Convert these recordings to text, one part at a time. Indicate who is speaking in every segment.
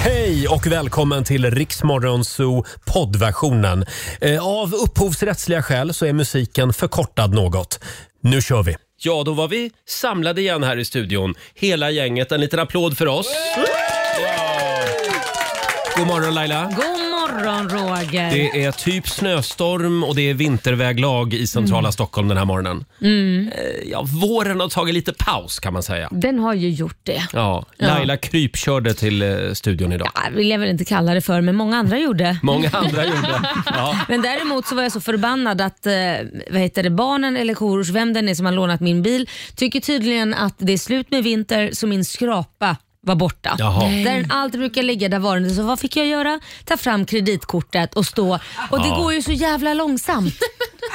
Speaker 1: Hej och välkommen till Riksmorgonzoo poddversionen. Eh, Av upphovsrättsliga skäl så är musiken förkortad något. Nu kör vi! Ja, då var vi samlade igen här i studion. Hela gänget. En liten applåd för oss. God morgon Laila.
Speaker 2: God morgon Roger.
Speaker 1: Det är typ snöstorm och det är vinterväglag i centrala Stockholm den här morgonen.
Speaker 2: Mm.
Speaker 1: Eh, Ja, våren har tagit lite paus kan man säga.
Speaker 2: Den har ju gjort det.
Speaker 1: Ja, Laila krypkörde till eh, studion idag.
Speaker 2: Ja, Ah, vill jag väl inte kalla det för, men många andra gjorde.
Speaker 1: Många andra gjorde. Ja.
Speaker 2: Men däremot så var jag så förbannad att eh, vad heter det, barnen eller Korosh, vem den är som har lånat min bil, tycker tydligen att det är slut med vinter så min skrapa var borta.
Speaker 1: Jaha. Nej.
Speaker 2: Där den alltid brukar ligga, där var den. Så vad fick jag göra? Ta fram kreditkortet och stå. Och det
Speaker 1: Ja.
Speaker 2: går ju så jävla långsamt.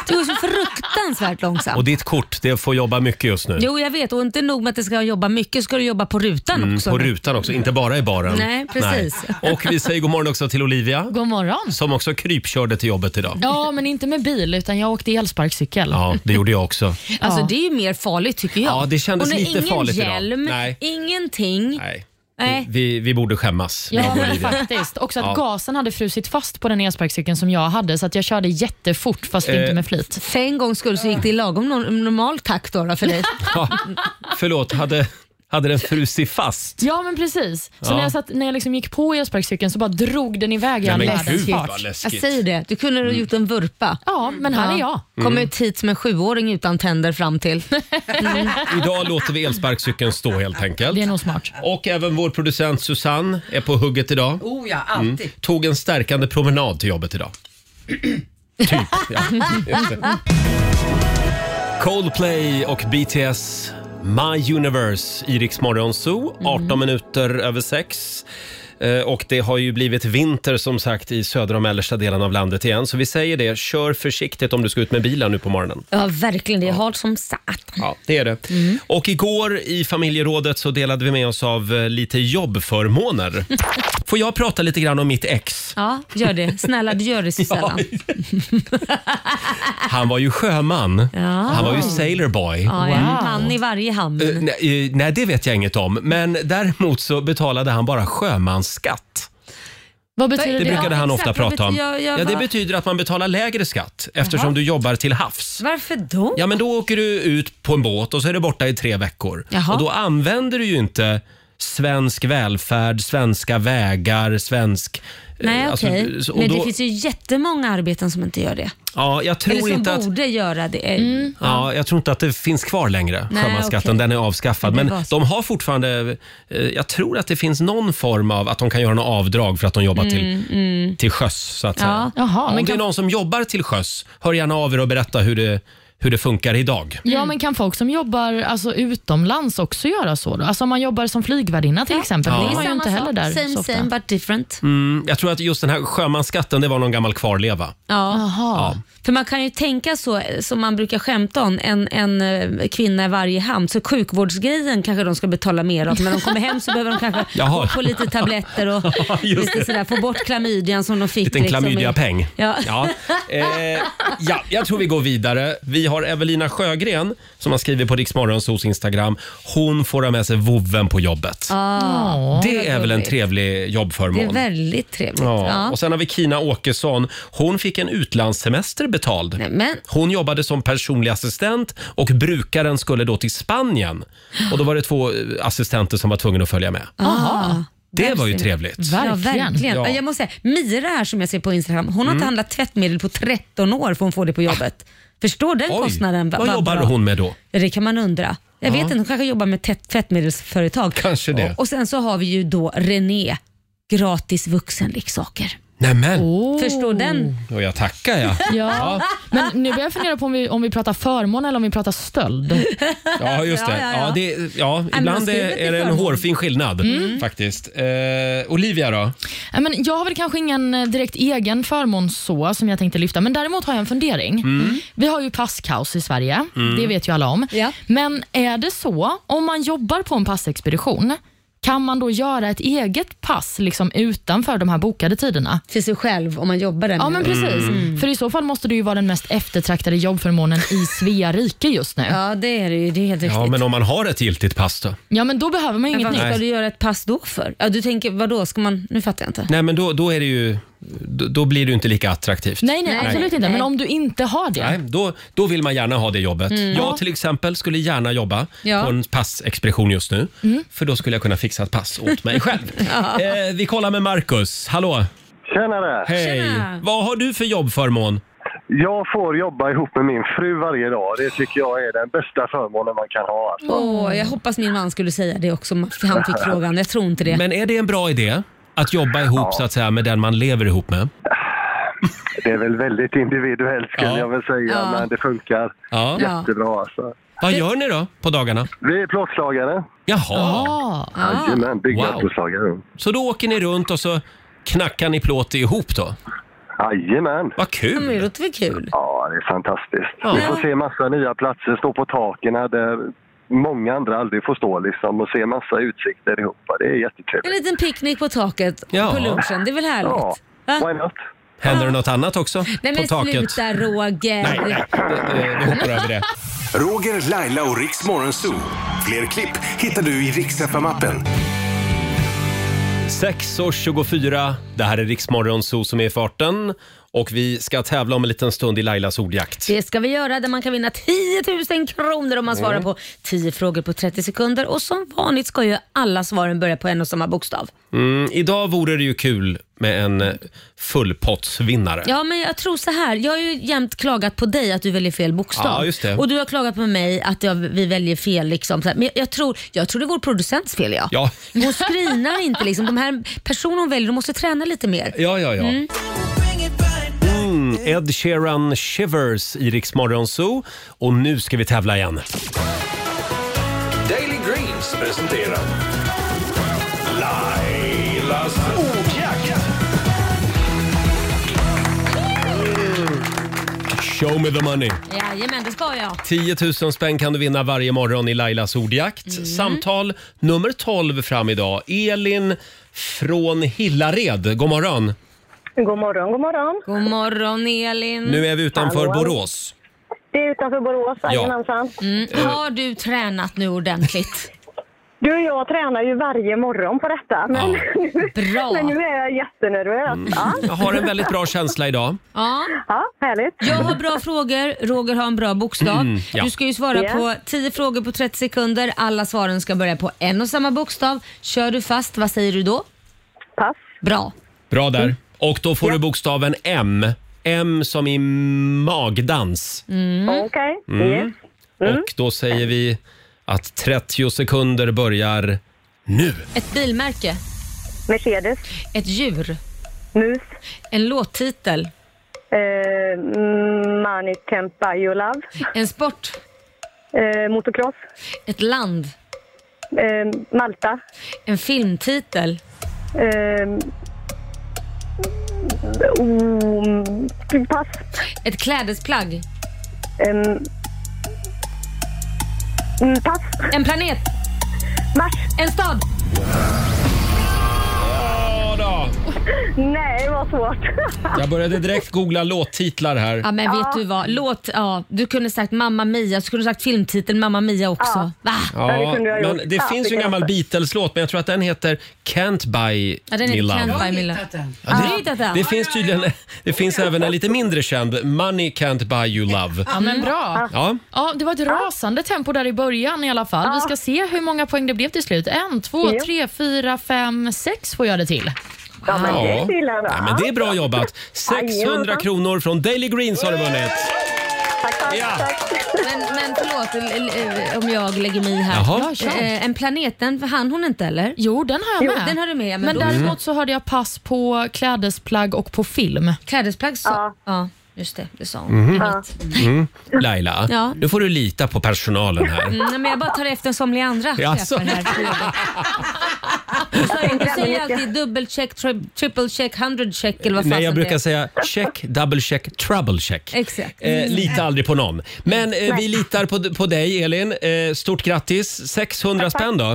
Speaker 2: Det går så fruktansvärt långsamt.
Speaker 1: Och ditt kort, det får jobba mycket just nu.
Speaker 2: Jo, jag vet. Och inte nog med att det ska jobba mycket, ska du jobba på rutan
Speaker 1: Mm,
Speaker 2: också.
Speaker 1: på rutan också, inte bara i baren.
Speaker 2: Nej, precis.
Speaker 1: Nej. Och vi säger god morgon också till Olivia
Speaker 3: God morgon.
Speaker 1: som också krypkörde till jobbet idag.
Speaker 3: Ja, men inte med bil, utan jag åkte elsparkcykel.
Speaker 1: Ja, det gjorde jag också.
Speaker 2: Alltså
Speaker 3: Ja.
Speaker 2: det är ju mer farligt tycker jag.
Speaker 1: Ja, det kändes
Speaker 2: Hon har
Speaker 1: lite
Speaker 2: ingen
Speaker 1: farligt idag.
Speaker 2: hjälm,
Speaker 1: Nej.
Speaker 2: ingenting.
Speaker 1: Nej.
Speaker 2: Nej.
Speaker 1: Vi, vi borde skämmas. jag
Speaker 3: Ja,
Speaker 1: och
Speaker 3: men
Speaker 1: Olivia.
Speaker 3: faktiskt. Också att
Speaker 1: Ja.
Speaker 3: gasen hade frusit fast på den elsparkcykeln som jag hade, så att jag körde jättefort, fast
Speaker 1: Eh,
Speaker 3: inte med flit.
Speaker 2: För en gångs skull så gick det i lagom no- normal takt då, då för dig.
Speaker 1: Ja, förlåt, hade, hade den frusit fast?
Speaker 3: Ja, men precis. Så
Speaker 1: Ja.
Speaker 3: när jag, satt, när jag liksom gick på elsparkcykeln så bara drog den iväg i all
Speaker 1: Nej,
Speaker 3: världens fart.
Speaker 1: vad
Speaker 2: Jag
Speaker 1: läskigt.
Speaker 2: säger det, du kunde
Speaker 1: Mm.
Speaker 2: ha gjort en vurpa.
Speaker 3: Ja, men här är jag.
Speaker 2: Kom ut hit som en sjuåring utan tänder fram till.
Speaker 1: Idag låter vi elsparkcykeln stå helt enkelt.
Speaker 3: Det är nog smart.
Speaker 1: Och även vår producent Susanne är på hugget idag. Mm.
Speaker 4: Oh ja, alltid.
Speaker 1: Tog en stärkande promenad till jobbet idag. typ, ja. Just det. Coldplay och BTS My Universe i Rix Morgon Zoo,
Speaker 4: Mhm.
Speaker 1: 18 minuter över 6. Och det har ju blivit vinter som sagt i södra och mellersta delen av landet igen. Så vi säger det, kör försiktigt om du ska ut med bilen nu på morgonen.
Speaker 2: Ja verkligen, det är halt som satan.
Speaker 1: Ja, det är det.
Speaker 2: Mm.
Speaker 1: Och igår i familjerådet så delade vi med oss av eh, lite jobbförmåner. Får jag prata lite grann om mitt ex?
Speaker 2: Ja, gör det. Snälla du gör det så sällan.
Speaker 1: Han var ju sjöman. Han var ju sailorboy.
Speaker 2: Ja, en
Speaker 3: Wow.
Speaker 2: man i varje
Speaker 1: Eh,
Speaker 2: hamn.
Speaker 1: nej, eh, nej, det vet jag inget om. Men däremot så betalade han bara sjömansskatt.
Speaker 3: Vad
Speaker 1: Det
Speaker 3: betyder det?
Speaker 1: brukade han
Speaker 2: exakt.
Speaker 1: ofta
Speaker 2: Vad
Speaker 1: prata om.
Speaker 2: betyder- jag- jag
Speaker 1: Ja, det
Speaker 2: bara-
Speaker 1: betyder att man betalar lägre skatt eftersom du jobbar till havs.
Speaker 2: Varför då?
Speaker 1: Ja, men då åker du ut på en båt och så är du borta i tre veckor.
Speaker 2: Jaha.
Speaker 1: Och då använder du ju inte svensk välfärd, svenska vägar, svensk... eh,
Speaker 2: Nej
Speaker 1: alltså,
Speaker 2: okej,
Speaker 1: så- och
Speaker 2: men det
Speaker 1: då-
Speaker 2: finns ju jättemånga arbeten som inte gör det.
Speaker 1: ja, jag
Speaker 2: Eller
Speaker 1: tror
Speaker 2: som
Speaker 1: inte att...
Speaker 2: borde göra det.
Speaker 1: Mm. Ja, jag tror inte att det finns kvar längre,
Speaker 2: Nej,
Speaker 1: sjömansskatten.
Speaker 2: okej.
Speaker 1: Den är avskaffad.
Speaker 2: Det
Speaker 1: Men
Speaker 2: var så.
Speaker 1: de har fortfarande... eh, Jag tror att det finns någon form av att de kan göra något avdrag för att de jobbar
Speaker 2: Mm,
Speaker 1: till, till sjöss, så att säga.
Speaker 3: Jaha,
Speaker 1: Om
Speaker 3: men
Speaker 1: det är
Speaker 3: kan-
Speaker 1: någon som jobbar till sjöss, hör gärna av er och berätta hur det, hur det funkar idag.
Speaker 3: Ja, men kan folk som jobbar alltså, utomlands också göra så? Då? Alltså, om man jobbar som flygvärdinna till exempel,
Speaker 1: Ja.
Speaker 3: då
Speaker 1: Det
Speaker 3: är
Speaker 1: är
Speaker 3: man ju inte heller där så
Speaker 2: Same
Speaker 3: ofta.
Speaker 2: same but different.
Speaker 1: Mm, jag tror att just den här sjömansskatten, det var någon gammal kvarleva.
Speaker 2: Ja.
Speaker 3: Jaha.
Speaker 2: För man kan ju tänka så, eh, som man brukar skämta om, en, en eh, kvinna i varje hamn. Så sjukvårdsgrejen kanske de ska betala mer av. När de kommer hem så behöver de kanske
Speaker 1: Jaha.
Speaker 2: gå på lite tabletter och
Speaker 1: just det.
Speaker 2: lite sådär, få bort klamydian som de fick.
Speaker 1: Liten
Speaker 2: liksom i-
Speaker 1: klamydiapeng.
Speaker 2: Ja.
Speaker 1: Ja. Eh, ja, jag tror vi går vidare. Vi har Evelina Sjögren som har skrivit på Riksmorgonsos Instagram. Hon får ha med sig vovven på jobbet.
Speaker 3: Ja.
Speaker 1: det är väl en
Speaker 2: gulligt.
Speaker 1: trevlig
Speaker 2: Det är
Speaker 1: jobbförmån.
Speaker 2: väldigt trevligt.
Speaker 1: Ja.
Speaker 2: Ja.
Speaker 1: Och sen har vi Kina Åkesson. Hon fick en utlandssemester betald.
Speaker 2: Nej, men,
Speaker 1: Hon jobbade som personlig assistent och brukaren skulle då till Spanien. Och då var det två eh, assistenter som var tvungna att följa med.
Speaker 2: aha.
Speaker 1: Det var ju
Speaker 2: Verkligen.
Speaker 1: trevligt.
Speaker 2: Ah. Ja,
Speaker 3: Verkligen.
Speaker 2: verkligen.
Speaker 1: Ja. Mm.
Speaker 2: Jag måste säga, Mira här som jag ser på Instagram, hon har inte handlat tvättmedel på 13 år för hon får det på jobbet. Förstår den
Speaker 1: Ah. Oj,
Speaker 2: kostnaden? Va-
Speaker 1: vad
Speaker 2: va-
Speaker 1: jobbar
Speaker 2: bra.
Speaker 1: hon med då?
Speaker 2: Ja, Det kan man undra. Jag vet inte, hon kanske jobbar med tvätt- tvättmedelsföretag.
Speaker 1: Kanske det.
Speaker 2: Och, och sen så har vi ju då René, gratis vuxenleksaker.
Speaker 1: Nämen!
Speaker 3: Oh.
Speaker 2: Förstår den?
Speaker 1: Och jag tackar jag.
Speaker 3: Ja. Men nu börjar jag fundera på om vi, om vi pratar förmån eller om vi pratar stöld.
Speaker 1: Ja, just det.
Speaker 2: Ja, ja, ja.
Speaker 1: Ja, det, ja,
Speaker 2: men
Speaker 1: ibland
Speaker 2: man
Speaker 1: är,
Speaker 2: skriver
Speaker 1: är
Speaker 2: till
Speaker 1: det en
Speaker 2: förmån. Mm.
Speaker 1: hårfin skillnad faktiskt. Eh, Olivia då?
Speaker 3: Ja, Men jag har väl kanske ingen eh, direkt egen förmån så som jag tänkte lyfta, men däremot har jag en fundering. Vi har ju passkaos i Sverige, det vet ju alla om.
Speaker 2: Mm. Ja.
Speaker 3: Men är det så, om man jobbar på en passexpedition, Kan man då göra ett eget pass liksom utanför de här bokade tiderna?
Speaker 2: Till sig själv om man jobbar där.
Speaker 3: Ja,
Speaker 2: nu.
Speaker 3: men precis.
Speaker 2: Mm.
Speaker 3: För i så fall måste det ju vara den mest eftertraktade jobbförmånen i Svea rike just nu.
Speaker 2: ja det är det ju. Det är helt riktigt.
Speaker 1: Ja, men om man har ett giltigt pass då?
Speaker 3: Ja, men då behöver man ju
Speaker 2: Men
Speaker 3: inget
Speaker 2: varför
Speaker 3: nytt.
Speaker 2: ska du göra ett pass då för? Ja, du tänker, vad då ska man... Nu fattar jag inte.
Speaker 1: Nej, men då, då, är det ju, då, då blir det ju inte lika attraktivt.
Speaker 3: Nej, nej,
Speaker 2: Nej.
Speaker 3: absolut inte. Men
Speaker 2: Nej.
Speaker 3: om du inte har det.
Speaker 1: Nej, då, då vill man gärna ha det jobbet. Jag till exempel skulle gärna jobba
Speaker 2: Mm. Ja. Mm.
Speaker 1: på en passexpedition just nu. För då skulle jag kunna fixa ett pass åt mig själv. eh, vi kollar med Marcus. Hallå!
Speaker 4: Tjenare!
Speaker 1: Hej!
Speaker 2: Tjena.
Speaker 1: Vad har du för jobbförmån?
Speaker 4: Jag får jobba ihop med min fru varje dag. Det tycker jag är den bästa förmånen man kan ha. Alltså.
Speaker 2: Åh, jag hoppas min man skulle säga det också om han fick frågan. Jag tror inte det.
Speaker 1: Men är det en bra idé? Att jobba ihop så att säga med den man lever ihop med?
Speaker 4: Det är väl väldigt individuellt skulle
Speaker 1: Ja.
Speaker 4: jag väl säga,
Speaker 2: Ja.
Speaker 4: men det funkar
Speaker 1: Ja.
Speaker 2: Ja.
Speaker 4: jättebra alltså.
Speaker 1: Vad gör ni då på dagarna?
Speaker 4: Vi är plåtslagare.
Speaker 1: Jaha,
Speaker 3: Ah.
Speaker 2: Ah.
Speaker 4: Jajamän, byggnadsplåtslagare.
Speaker 1: så då åker ni runt och så knackar ni plåt ihop då?
Speaker 4: Jajamän!
Speaker 1: Vad
Speaker 2: Ja, men Det
Speaker 1: kul!
Speaker 2: låter väl kul?
Speaker 4: Ja, det är fantastiskt.
Speaker 1: Ja.
Speaker 4: Vi får se massa nya platser, stå på taken här där många andra aldrig får stå liksom och se massa utsikter ihop. Det är
Speaker 2: En
Speaker 4: jättetrevligt.
Speaker 2: liten picknick på taket
Speaker 1: Ja.
Speaker 2: på lunchen. Det är väl härligt?
Speaker 4: Ja,
Speaker 2: Va?
Speaker 4: why not?
Speaker 1: Händer det något annat också?
Speaker 2: Nej men
Speaker 1: på taket?
Speaker 2: sluta Roger.
Speaker 1: Nej, nej, eh, vi hoppar över det.
Speaker 5: Roger, Laila och Riks Morgonzoo. Fler klipp hittar du i Riks FM-appen.
Speaker 1: 6.24, det här är Riksmorgon Zoo som är i farten och vi ska tävla om en liten stund i Lailas ordjakt.
Speaker 2: Det ska vi göra där man kan vinna 10 000 kronor om man
Speaker 1: Mm.
Speaker 2: svarar på 10 frågor på 30 sekunder. Och som vanligt ska ju alla svaren börja på en och samma bokstav.
Speaker 1: Mm, idag vore det ju kul med en eh, fullpottsvinnare.
Speaker 2: Ja, men jag tror så här. Jag har ju jämt klagat på dig att du väljer fel bokstav.
Speaker 1: Ja, just det.
Speaker 2: Och du har klagat på mig att jag, vi väljer fel. Liksom. Så här, Men jag, jag, tror, jag tror det är vår producents fel. Ja.
Speaker 1: Ja,
Speaker 2: Hon screenar inte. Liksom. De här personerna hon väljer, de måste träna lite mer.
Speaker 1: ja, ja. ja. Mm. Ed Sheeran Shivers i Riksmorgon Zoo och nu ska vi tävla igen.
Speaker 5: Daily Greens presenterar Lailas ordjakt.
Speaker 1: Show me the money!
Speaker 2: Jajamän, det ska jag.
Speaker 1: 10 000 spänn kan du vinna varje morgon i Lailas ordjakt. Samtal nummer 12 fram idag. Elin från Hillared, god morgon!
Speaker 6: God morgon, god morgon.
Speaker 2: God morgon Elin.
Speaker 1: Nu är vi utanför
Speaker 6: Hallå.
Speaker 1: Borås.
Speaker 6: Det är utanför Borås, jajamensan.
Speaker 1: Eh.
Speaker 2: Mm. Har du tränat nu ordentligt?
Speaker 6: Du och jag tränar ju varje morgon på detta, men,
Speaker 2: Bra.
Speaker 6: men nu är jag jättenervös. Ja,
Speaker 1: Jag har en väldigt bra känsla idag.
Speaker 2: Ja.
Speaker 6: ja, härligt.
Speaker 2: Jag har bra frågor, Roger har en bra bokstav.
Speaker 1: Mm, ja.
Speaker 2: Du ska ju svara
Speaker 6: Ja.
Speaker 2: på 10 frågor på 30 sekunder. Alla svaren ska börja på en och samma bokstav. Kör du fast, vad säger du då?
Speaker 6: Pass.
Speaker 2: Bra.
Speaker 1: Bra
Speaker 6: Mm.
Speaker 1: där. Och då får du bokstaven M. M som i magdans.
Speaker 6: Okej. Yes. Mm.
Speaker 1: Och då säger vi att 30 sekunder börjar nu.
Speaker 2: Ett bilmärke,
Speaker 6: Mercedes,
Speaker 2: ett djur,
Speaker 6: mus,
Speaker 2: en låttitel,
Speaker 6: eh, Mani Tempa, You Love,
Speaker 2: en sport,
Speaker 6: eh, motocross,
Speaker 2: ett land,
Speaker 6: eh, Malta,
Speaker 2: en filmtitel,
Speaker 6: eh, oh, pass.
Speaker 2: ett klädesplagg,
Speaker 6: Eh, mm, pass.
Speaker 2: en planet,
Speaker 6: Mars.
Speaker 2: en stad.
Speaker 1: Ja då.
Speaker 6: Nej, vad svårt.
Speaker 1: Jag började direkt googla låttitlar här.
Speaker 2: Ja men vet du vad, låt, ja, du kunde sagt Mamma Mia, så kunde du sagt filmtiteln Mamma Mia också. Va?
Speaker 6: Ja, det kunde jag
Speaker 1: men
Speaker 6: gjort.
Speaker 1: det
Speaker 6: Ja,
Speaker 1: finns ju en
Speaker 6: det kan
Speaker 1: gammal
Speaker 6: jag.
Speaker 1: Beatles-låt, men jag tror att den heter Can't Buy
Speaker 2: Ja, den
Speaker 1: Me
Speaker 2: är
Speaker 1: Love.
Speaker 2: Can't buy me love.
Speaker 1: Ja,
Speaker 2: Har du hittat den?
Speaker 1: Det finns tydligen det finns även en lite mindre känd, Money Can't Buy You Love.
Speaker 3: Ja, men bra.
Speaker 1: Ja,
Speaker 3: Ja, det var ett rasande tempo där i början i alla fall. Vi ska se hur många poäng det blev till slut. En, två,
Speaker 6: Ja.
Speaker 3: tre, fyra, fem, sex får jag det till.
Speaker 6: Ja, men det
Speaker 1: Ja.
Speaker 6: är illa ändå.
Speaker 1: Nej, men det är bra jobbat. 600 kronor från Daily Greens har du vunnit.
Speaker 6: Tack, tack,
Speaker 1: Ja.
Speaker 6: tack.
Speaker 2: Men, men förlåt l- l- eh, om jag lägger mig i här.
Speaker 1: Jaha.
Speaker 3: Ja, kör.
Speaker 2: Eh, en planet, den hann hon inte eller?
Speaker 3: Jo, den har jag med.
Speaker 2: Den har du med. Men,
Speaker 3: Men
Speaker 1: Mm.
Speaker 2: då,
Speaker 3: däremot så hörde jag pass på klädesplagg och på film.
Speaker 2: klädesplagg så. Ja.
Speaker 6: Ja.
Speaker 2: just det. Det sa hon.
Speaker 1: Mhm.
Speaker 2: Ja.
Speaker 1: Laila,
Speaker 2: Ja.
Speaker 1: nu får du lita på personalen här.
Speaker 2: Mm, nej, men jag bara tar efter somliga andra
Speaker 1: Jaså?
Speaker 2: chefer här. Så Du säger alltid dubbelcheck, tri- triple check, hundred check eller vad
Speaker 1: Nej,
Speaker 2: fasen
Speaker 1: jag brukar
Speaker 2: det
Speaker 1: säga check, double check, trouble check.
Speaker 2: Exakt. Mm.
Speaker 1: Eh, lita aldrig på någon. Men eh, vi litar på, på dig, Elin. Eh, stort grattis. 600 spänn då.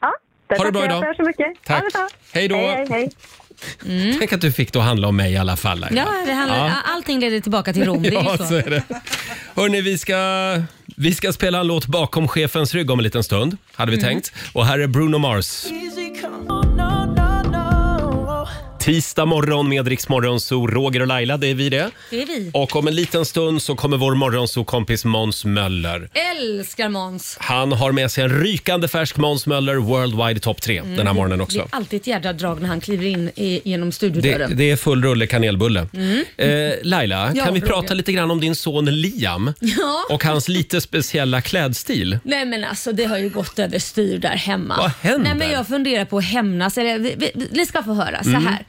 Speaker 6: Ja,
Speaker 1: Ha det bra
Speaker 6: tackar jag
Speaker 1: idag.
Speaker 6: för så mycket.
Speaker 1: Tack.
Speaker 6: Ha det bra.
Speaker 1: Hej då.
Speaker 6: Hej, hej.
Speaker 1: Tänk att du fick då handla om mig i alla fall. Laila.
Speaker 2: Ja, det handlar,
Speaker 1: Ja.
Speaker 2: Allting leder tillbaka till Rom. Det är
Speaker 1: Ja,
Speaker 2: ju
Speaker 1: så
Speaker 2: så.
Speaker 1: är det. Hörrni, vi ska, vi ska spela en låt bakom chefens rygg om en liten stund, hade
Speaker 2: Mm.
Speaker 1: vi tänkt. Och här är Bruno Mars. Tisdag morgon med Rix Morgonzoo, Roger och Laila, det är vi det.
Speaker 2: Det är vi.
Speaker 1: Och om en liten stund så kommer vår morgonzoo-kompis Måns Möller.
Speaker 2: Älskar Måns.
Speaker 1: Han har med sig en rykande färsk Måns Möller Worldwide Top 3 den här morgonen
Speaker 2: Det
Speaker 1: också.
Speaker 2: är Mm. alltid ett jädra drag när han kliver in i, genom
Speaker 1: Det,
Speaker 2: studiodörren.
Speaker 1: det är full rulle kanelbulle. Eh, Laila,
Speaker 2: Mm. Ja,
Speaker 1: kan vi
Speaker 2: Roger.
Speaker 1: prata lite grann om din son Liam
Speaker 2: Ja.
Speaker 1: och hans lite speciella klädstil?
Speaker 2: Nej men alltså det har ju gått överstyr där hemma.
Speaker 1: Vad händer?
Speaker 2: Nej men jag funderar på att hämnas. Eller, vi, vi, ni ska få höra
Speaker 1: Mm.
Speaker 2: så här.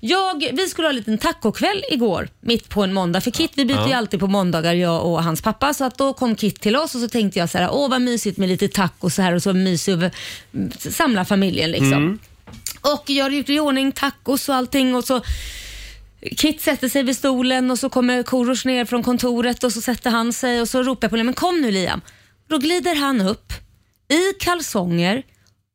Speaker 2: Jag, vi skulle ha en liten tacokväll igår, mitt på en måndag. För Kit, vi byter ju alltid på måndagar jag och hans pappa. Så att då kom Kit till oss och så tänkte jag så här, åh vad mysigt med lite taco så här och så mysig över- samla familjen liksom.
Speaker 1: Mm.
Speaker 2: Och jag gjorde i ordning tacos och allting och så Kit sätter sig vid stolen och så kommer Korosh ner från kontoret och så sätter han sig och så ropar jag på honom, men kom nu Liam. Då glider han upp i kalsonger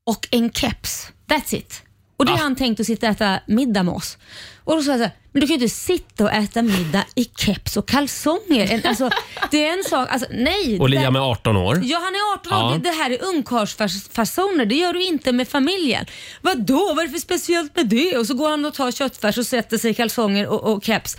Speaker 2: och en keps. That's it. Och
Speaker 1: Ah.
Speaker 2: det har han tänkt att sitta och äta middag med oss. Och då sa jag så här, men du kan ju inte sitta och äta middag i keps och kalsonger. En- Alltså, det är en sak, alltså nej.
Speaker 1: Och
Speaker 2: det där-
Speaker 1: Liam är 18 år.
Speaker 2: Ja, han är 18
Speaker 1: Ja.
Speaker 2: år. Det- Det här är ungkarlsfasoner. Det gör du inte med familjen. Vadå, vad är det för speciellt med det? Och så går han och tar köttfärs och sätter sig i kalsonger och, och keps.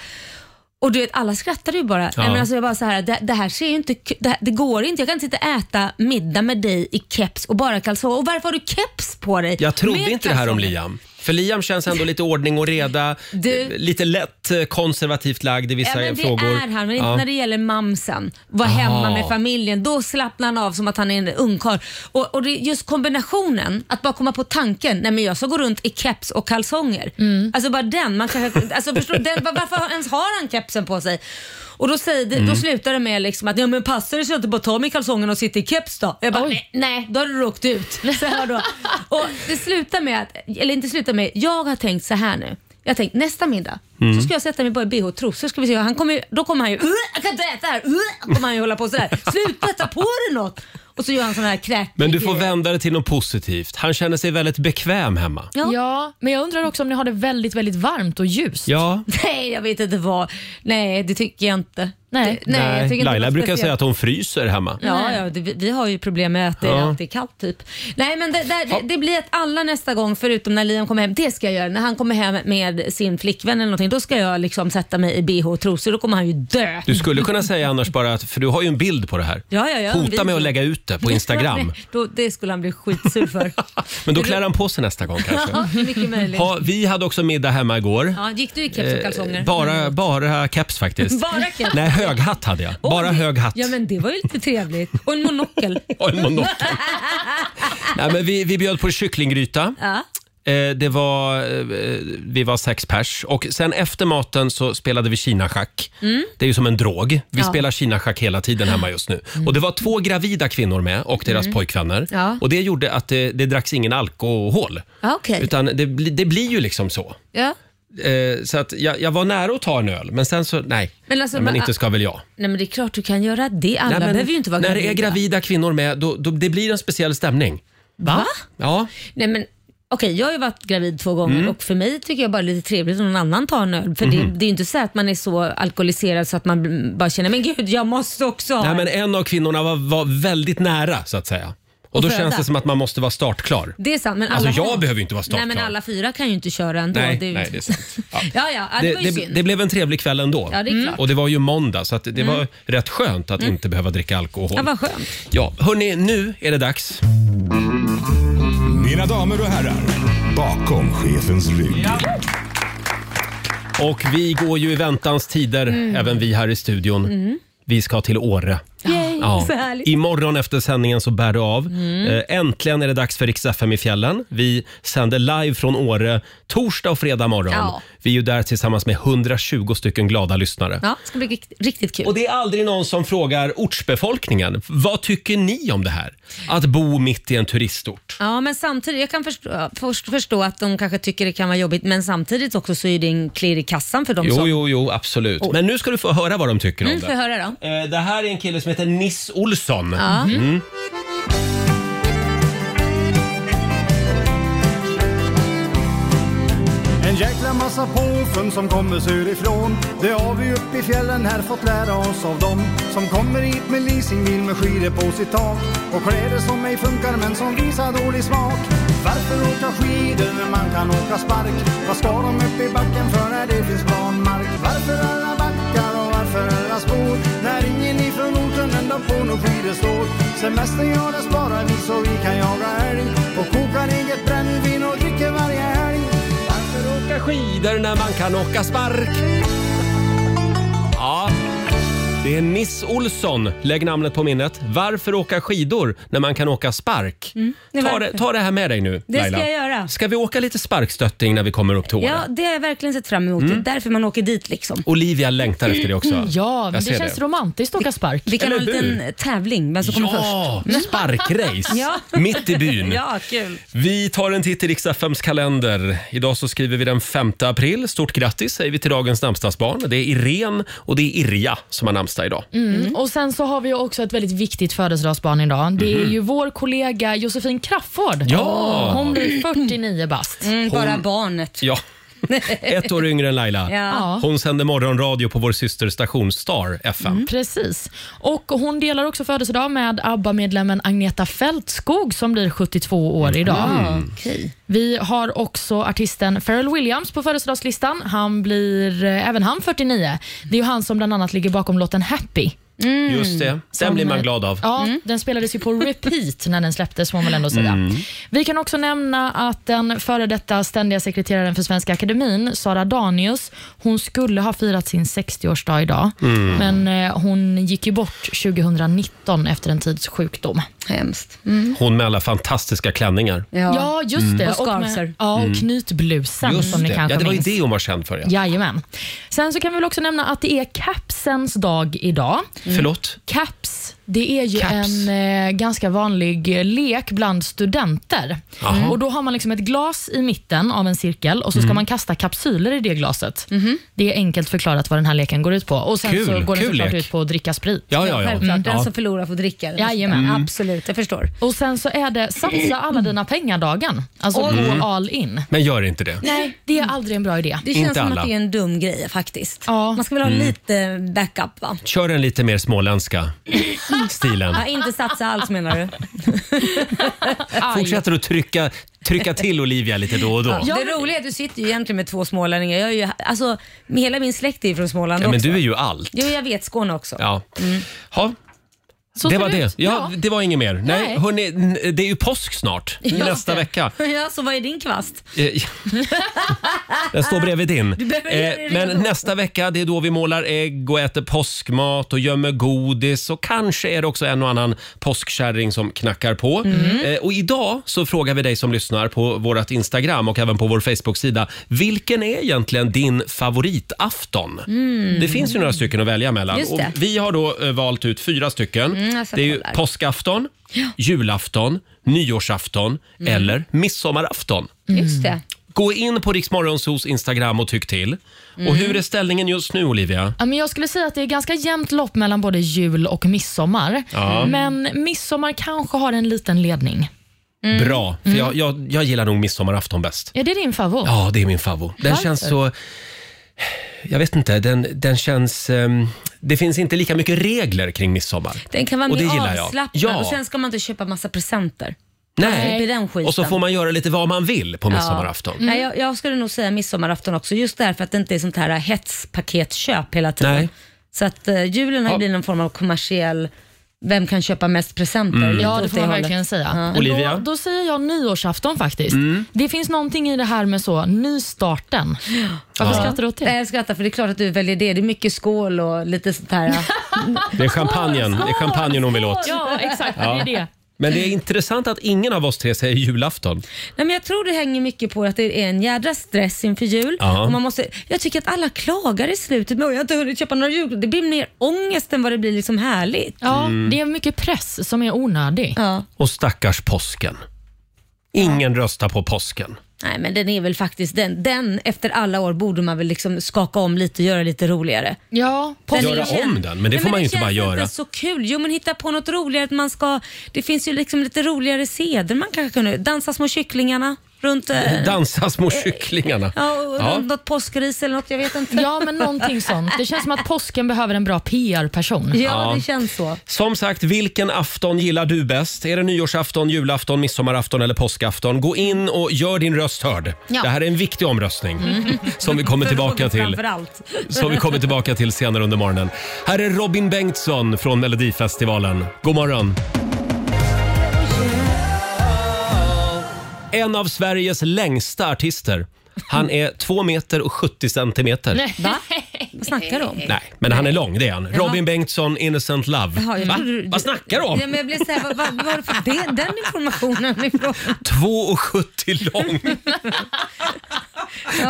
Speaker 2: Och du vet, alla skrattade ju bara.
Speaker 1: Ja.
Speaker 2: Nej, men alltså jag bara så här, det, det här ser ju inte, k- det, här, det går inte. Jag kan inte sitta och äta middag med dig i keps och bara kalsonger. Och varför har du keps på dig?
Speaker 1: Jag trodde
Speaker 2: Med
Speaker 1: inte det här om
Speaker 2: kalsonger.
Speaker 1: Liam. För Liam känns ändå lite ordning och reda,
Speaker 2: Du-
Speaker 1: eh, lite lätt eh, konservativt lagd i
Speaker 2: Ja,
Speaker 1: vissa
Speaker 2: men det
Speaker 1: frågor.
Speaker 2: är han, men inte
Speaker 1: Ja.
Speaker 2: när det gäller mamsen. Var hemma med familjen. Då slappnar han av som att han är en ungkarl. Och, och det är just kombinationen, att bara komma på tanken, nej men jag ska gå runt i keps och kalsonger. Alltså bara den, man kan, alltså förstår, den var- varför ens har han kepsen på sig? Och då, säger, det-
Speaker 1: Mm.
Speaker 2: då slutar det med liksom att, ja men passar det så jag inte bara tar mig kalsongerna och sitter i keps då? Jag bara, nej, nej, då har du råkat ut. Så här då. och det slutar med, att, eller inte slutar med, jag har tänkt så här nu. Jag tänkte nästa middag
Speaker 1: Mm.
Speaker 2: så ska jag sätta mig bara i bh och trosor. Ska vi se. Han kommer, ju- då kommer han ju, "Ugh, jag kan inte äta här, Ugh", kommer han ju hålla på sådär. Sluta ta på dig något! Och så gör han sån här kräk.
Speaker 1: Men du får vända det till något positivt. Han känner sig väldigt bekväm hemma.
Speaker 2: Ja.
Speaker 3: Ja, men jag undrar också om ni har det väldigt, väldigt varmt och ljust.
Speaker 1: Ja.
Speaker 2: Nej, jag vet inte vad. Nej, det tycker jag inte.
Speaker 3: Nej.
Speaker 2: det, nej, jag tycker inte det
Speaker 1: Laila
Speaker 2: var
Speaker 1: brukar
Speaker 2: speciellt.
Speaker 1: säga att hon fryser hemma.
Speaker 2: Ja, ja det, vi- vi har ju problem med att det
Speaker 1: Ja.
Speaker 2: alltid är kallt typ. Nej men det, där, det, det blir att alla nästa gång förutom när Liam kommer hem, det ska jag göra. När han kommer hem med sin flickvän eller någonting, då ska jag liksom sätta mig i bh och trosor. Då kommer han ju dö.
Speaker 1: Du skulle kunna säga annars bara att, för du har ju en bild på det här.
Speaker 2: Ja, ja, ja, en
Speaker 1: Hota
Speaker 2: video.
Speaker 1: med att lägga ut det på Instagram.
Speaker 2: Då, det skulle han bli skitsur för.
Speaker 1: Men då klär han på sig nästa gång kanske.
Speaker 2: ja, det är mycket möjligt.
Speaker 1: Ha, vi hade också middag hemma igår.
Speaker 2: Ja, gick du i keps och kalsonger?
Speaker 1: Eh, Bara, bara keps faktiskt.
Speaker 2: Bara keps?
Speaker 1: Nej, höghatt hade jag. Bara
Speaker 2: Åh, det-
Speaker 1: hög hatt.
Speaker 2: Ja, men det var ju lite trevligt. Och en monokel.
Speaker 1: Och en monokel. Nej, men vi, vi bjöd på kycklinggryta.
Speaker 2: Ja.
Speaker 1: Eh, Det var, eh, vi var sex pers och sen efter maten så spelade vi kinaschack.
Speaker 2: Mm.
Speaker 1: Det är ju som en drog. Vi spelar kinaschack hela tiden hemma just nu. Och det var två gravida kvinnor med och deras pojkvänner.
Speaker 2: Mm. Ja.
Speaker 1: Och det gjorde att det, det dracks ingen alkohol.
Speaker 2: Ja, okej.
Speaker 1: Utan det, bli- det blir ju liksom så.
Speaker 2: Ja.
Speaker 1: Eh, Så att jag, jag var nära att ta en öl, men sen så, nej.
Speaker 2: Men alltså,
Speaker 1: Ja, men
Speaker 2: man-
Speaker 1: inte ska väl jag.
Speaker 2: Nej, men det är klart du kan göra det. Alla
Speaker 1: Nej, men
Speaker 2: behöver ju inte vara
Speaker 1: när
Speaker 2: gravida.
Speaker 1: det är gravida kvinnor med, då, då, det blir en speciell stämning.
Speaker 2: Va?
Speaker 1: Ja,
Speaker 2: Nej, men Okej, jag har ju varit gravid två gånger
Speaker 1: Mm.
Speaker 2: och för mig tycker jag bara det är lite trevligt om någon annan tar en öl. För
Speaker 1: Mhm.
Speaker 2: det, det är ju inte så att man är så alkoholiserad så att man b- bara känner, men gud jag måste också ha
Speaker 1: Nej,
Speaker 2: en."
Speaker 1: men en av kvinnorna var, var väldigt nära så att säga. Och då
Speaker 2: föda.
Speaker 1: känns det som att man måste vara startklar.
Speaker 2: Det är sant. Men alla
Speaker 1: Alltså jag behöver ju inte vara startklar.
Speaker 2: Nej, men alla fyra kan ju inte köra ändå.
Speaker 1: Nej,
Speaker 2: det är ju...
Speaker 1: nej, det är sant. Ja.
Speaker 2: Ja, ja, ja, det,
Speaker 1: Det,
Speaker 2: var ju
Speaker 1: det,
Speaker 2: synd.
Speaker 1: det blev en trevlig kväll ändå. Mm.
Speaker 2: Ja, det är klart. Mm.
Speaker 1: Och det var ju måndag så att det var rätt skönt att inte behöva dricka alkohol.
Speaker 2: Ja, vad skönt.
Speaker 1: Ja, hörni, nu är det dags.
Speaker 7: Mina damer och herrar, bakom chefens rygg.
Speaker 1: Och vi går ju i väntans tider,
Speaker 2: Mm.
Speaker 1: även vi här i studion. Vi ska till Åre.
Speaker 2: Yay,
Speaker 1: Ja.
Speaker 2: så härligt. Mm.
Speaker 1: Imorgon efter sändningen så bär det av. Eh, Äntligen är det dags för Rix FM i fjällen. Vi sänder live från Åre torsdag och fredag morgon.
Speaker 2: Ja.
Speaker 1: Vi är ju där tillsammans med 120 stycken glada lyssnare.
Speaker 2: Ja, det ska bli rikt- riktigt kul.
Speaker 1: Och det är aldrig någon som frågar ortsbefolkningen. Vad tycker ni om det här? Att bo mitt i en turistort.
Speaker 2: Ja, men samtidigt, jag kan förstå, först, förstå att de kanske tycker det kan vara jobbigt, men samtidigt också så är det en klirr i kassan för de
Speaker 1: Jo,
Speaker 2: som...
Speaker 1: jo, jo, absolut. Men nu ska du få höra vad de tycker om
Speaker 2: Mm,
Speaker 1: det.
Speaker 2: får jag höra då?
Speaker 1: Eh, Det här är en kille som heter Niss Olsson. Mm.
Speaker 8: passa på fön som kommer sörifrån. Det har vi uppe i fjällen här fått lära oss av dem som kommer hit med leasingbil med skidor på sitt tak och kläder som ej funkar men som visar dålig smak. Varför åka skidor när man kan åka spark? Vad ska de upp i backen för när det finns plan mark? Varför alla backar och varför alla spår? När ingen ifrån orten ända på något skidor står. Semestern ja, den sparar vi så vi kan jaga älg och kokar eget brännvin och dricker varje helg.
Speaker 1: Åka skidor när man kan åka spark. Ja, det är Niss Olsson. Lägg namnet på minnet. Varför åka skidor när man kan åka spark?
Speaker 2: Mm, det
Speaker 1: ta,
Speaker 2: var-
Speaker 1: det, ta det här med dig nu,
Speaker 2: Det ska jag göra.
Speaker 1: Ska vi åka lite sparkstötting när vi kommer upp till Åre?
Speaker 2: Ja, det har jag verkligen sett fram emot. Det
Speaker 1: Mm.
Speaker 2: är därför man åker dit liksom.
Speaker 1: Olivia längtar efter det också.
Speaker 3: Ja, men
Speaker 1: Jag
Speaker 3: det
Speaker 1: ser
Speaker 3: känns romantiskt att åka spark.
Speaker 2: Vi kan ha en
Speaker 1: Eller hur?
Speaker 2: liten tävling, vem som kommer
Speaker 1: Ja, sparkrace
Speaker 2: Ja.
Speaker 1: mitt i byn.
Speaker 2: först. Ja, kul.
Speaker 1: Vi tar en titt i riks FMs kalender. Idag så skriver vi den 5 april. Stort grattis säger vi till dagens namnsdagsbarn. Det är Irene och det är Irja som har namnsdag idag.
Speaker 3: Mm. Och Sen så har vi ju också ett väldigt viktigt födelsedagsbarn idag. Det är ju vår kollega Josefin Crafoord.
Speaker 1: Mhm. Ja.
Speaker 3: Hon blir 49 bast.
Speaker 2: Mm, bara barnet.
Speaker 1: Ja. Ett år yngre än Laila.
Speaker 2: Ja.
Speaker 1: Hon sänder morgonradio på vår systerstation Star FM.
Speaker 3: Precis. Och Hon delar också födelsedag med ABBA-medlemmen Agneta Fältskog som blir 72 år idag.
Speaker 2: Okej.
Speaker 3: Vi har också artisten Pharrell Williams på födelsedagslistan. Han blir eh, även han 49. Det är ju han som bland annat ligger bakom låten Happy.
Speaker 1: Just det. Den
Speaker 3: Mm. Som- eh,
Speaker 1: blir man glad av. Mm.
Speaker 3: Ja, Den spelades ju på repeat när den släpptes, får man väl ändå säga. Vi kan också nämna att den före detta ständiga sekreteraren för Svenska Akademin, Sara Danius, hon skulle ha firat sin 60-årsdag idag,
Speaker 1: Mm.
Speaker 3: men eh, hon gick ju bort 2019 efter en tids sjukdom.
Speaker 2: Hemskt. Mm.
Speaker 1: Hon med alla fantastiska klänningar.
Speaker 3: Ja,
Speaker 2: Ja.
Speaker 3: just det.
Speaker 2: Och scarfser.
Speaker 3: ja, och knytblusen som ni
Speaker 1: Mm. det.
Speaker 3: kanske
Speaker 1: Ja, det var ju
Speaker 3: minns.
Speaker 1: det hon var känd för. Ja.
Speaker 3: Jajamän. Sen så kan vi väl också nämna att det är capsens dag idag.
Speaker 1: Förlåt?
Speaker 3: Caps, det är ju
Speaker 1: Caps.
Speaker 3: en eh, ganska vanlig eh, lek bland studenter.
Speaker 1: Jaha. Mm.
Speaker 3: Och Då har man liksom ett glas i mitten av en cirkel och så ska man kasta kapsyler i det glaset. Det är enkelt förklarat vad den här leken går ut på. Och Sen
Speaker 1: Mhm. Kul,
Speaker 3: så går den
Speaker 1: kul
Speaker 3: såklart
Speaker 1: lek.
Speaker 3: ut på att dricka sprit.
Speaker 1: Ja, ja, ja.
Speaker 2: Självklart, den
Speaker 1: Ja. Mm.
Speaker 2: som förlorar får dricka. den.
Speaker 3: Jajamän.
Speaker 2: Absolut, jag förstår.
Speaker 3: Och Sen så är det satsa alla dina pengar-dagen. Alltså
Speaker 1: Mm.
Speaker 3: gå all in.
Speaker 1: Men gör inte det.
Speaker 3: Nej, det är aldrig en bra idé.
Speaker 2: Det
Speaker 1: Inte
Speaker 2: känns som
Speaker 1: alla. Mm.
Speaker 2: att det är en dum grej faktiskt.
Speaker 3: Ja.
Speaker 2: Man ska väl ha lite backup va?
Speaker 1: Kör en lite mer småländska stilen.
Speaker 2: Ja, inte satsa alls menar du?
Speaker 1: Fortsätter att trycka, trycka till Olivia lite då och då.
Speaker 2: Ja, det roliga är att du sitter ju egentligen med två smålänningar. Jag är ju, alltså, hela min släkt är ju från Småland
Speaker 1: Ja, men
Speaker 2: också.
Speaker 1: du är ju allt.
Speaker 2: Jo, jag vet. Skåne också.
Speaker 1: Ja. Mm. Ha,
Speaker 3: Så
Speaker 1: det
Speaker 3: ser
Speaker 1: var
Speaker 3: ut.
Speaker 1: det. Ja, det var inget mer. Nej,
Speaker 3: Nej.
Speaker 1: Hörrni, n- det är ju påsk snart.
Speaker 2: Just
Speaker 1: Nästa
Speaker 2: det.
Speaker 1: vecka.
Speaker 2: Ja, så vad är din kvast?
Speaker 1: Eh, Den står bredvid din.
Speaker 2: behöver
Speaker 1: Eh,
Speaker 2: göra dig
Speaker 1: Men
Speaker 2: redo.
Speaker 1: nästa vecka det är då vi målar ägg och äter påskmat och gömmer godis och kanske är det också en och annan påskkärring som knackar på.
Speaker 2: Mm.
Speaker 1: Eh, Och idag så frågar vi dig som lyssnar på vårt Instagram och även på vår Facebook-sida. Vilken är egentligen din favoritafton? Det finns ju några stycken att välja mellan.
Speaker 2: Mm. Just
Speaker 1: Och
Speaker 2: det. Mm,
Speaker 1: vi har då eh, valt ut fyra stycken.
Speaker 2: jag ska
Speaker 1: det är ju
Speaker 2: kolla.
Speaker 1: påskafton, julafton, nyårsafton
Speaker 2: Mm.
Speaker 1: eller midsommarafton.
Speaker 2: Just det.
Speaker 1: Gå in på Riksmorgonsos Instagram och tyck till. Och hur är ställningen just nu Olivia?
Speaker 3: Ja, men jag skulle säga att det är ganska jämnt lopp mellan både jul och midsommar. Men midsommar kanske har en liten ledning.
Speaker 2: Mm.
Speaker 1: Bra, för jag, jag, jag gillar nog midsommarafton bäst.
Speaker 3: Är det din favorit?
Speaker 1: Ja, det är min favvo. Den
Speaker 3: Varför?
Speaker 1: känns så... Jag vet inte, den, den känns... ehm, det finns inte lika mycket regler kring midsommar.
Speaker 2: Den kan vara
Speaker 1: Och det gillar
Speaker 2: mer
Speaker 1: jag.
Speaker 2: avslappnad
Speaker 1: Ja.
Speaker 2: och sen ska man inte köpa massa presenter. Det är
Speaker 1: Nej.
Speaker 2: den skiten.
Speaker 1: Och så får man göra lite vad man vill på midsommarafton.
Speaker 2: Nej, jag, jag skulle nog säga midsommarafton också, just därför att det inte är sånt här hetspaketköp hela tiden.
Speaker 1: Nej.
Speaker 2: Så att eh, julen har ju blivit någon form av kommersiell, vem kan köpa mest presenter?
Speaker 1: Mm.
Speaker 2: Lite
Speaker 3: Ja, Mm. det
Speaker 2: åt
Speaker 3: får man
Speaker 2: hållet.
Speaker 3: verkligen säga. Men
Speaker 1: Olivia? Mm.
Speaker 3: Då, då säger jag nyårsafton faktiskt. Det finns någonting i det här med så nystarten. Varför skrattar du åt
Speaker 2: Nej,
Speaker 3: det?
Speaker 2: jag skrattar för det är klart att du väljer det. Det är mycket skål och lite sånt här.
Speaker 1: Det är champagnen, det är champagnen hon vill åt.
Speaker 3: Ja, exakt. Det är det.
Speaker 1: Men det är intressant att ingen av oss tre säger julafton.
Speaker 2: Nej, men jag tror det hänger mycket på att det är en jädra stress inför jul.
Speaker 1: Ja.
Speaker 2: Och man måste, jag tycker att alla klagar i slutet med att jag har inte hunnit köpa några julklappar. Det blir mer ångest än vad det blir liksom härligt.
Speaker 3: Ja,
Speaker 1: Mm.
Speaker 3: det är mycket press som är onödig.
Speaker 2: Ja.
Speaker 1: Och stackars påsken. Ingen röstar på påsken.
Speaker 2: Nej men den är väl faktiskt den. Den efter alla år borde man väl liksom skaka om lite och göra lite roligare.
Speaker 3: Ja, på
Speaker 2: Den är
Speaker 1: Göra
Speaker 2: känd.
Speaker 1: om den, men det får man ju inte bara
Speaker 2: Det
Speaker 1: göra.
Speaker 2: känns inte så kul. Jo men hitta på något roligare. Att man ska, det finns ju liksom lite roligare seder man kanske kunde. Dansa små kycklingarna. runt... eh,
Speaker 1: Dansa små kycklingarna.
Speaker 2: Ja, och
Speaker 1: Ja.
Speaker 2: Runt något påskris eller något, jag vet inte.
Speaker 3: Ja, men någonting sånt. Det känns som att påsken behöver en bra PR-person.
Speaker 2: Ja, det känns så.
Speaker 1: Som sagt, vilken afton gillar du bäst? Är det nyårsafton, julafton, midsommarafton eller påskafton? Gå in och gör din röst hörd.
Speaker 2: Ja. Mm.
Speaker 1: Det här är en viktig omröstning som vi kommer tillbaka
Speaker 2: Frågor
Speaker 1: till.
Speaker 2: Framförallt.
Speaker 1: Som vi kommer tillbaka till senare under morgonen. Här är Robin Bengtsson från Melodifestivalen. God morgon! En av Sveriges längsta artister. Han är 2 meter och 70 centimeter. Nej,
Speaker 2: Va? Vad snackar du om?
Speaker 1: men han är lång, det är han. Robin Bengtsson, Innocent Love.
Speaker 2: Jaha, jag
Speaker 1: Va?
Speaker 2: trodde du-
Speaker 1: Vad snackar du om?
Speaker 2: Ja, men jag blev såhär, vad, vad, vad får det, den informationen ifrån?
Speaker 1: 2,70 lång.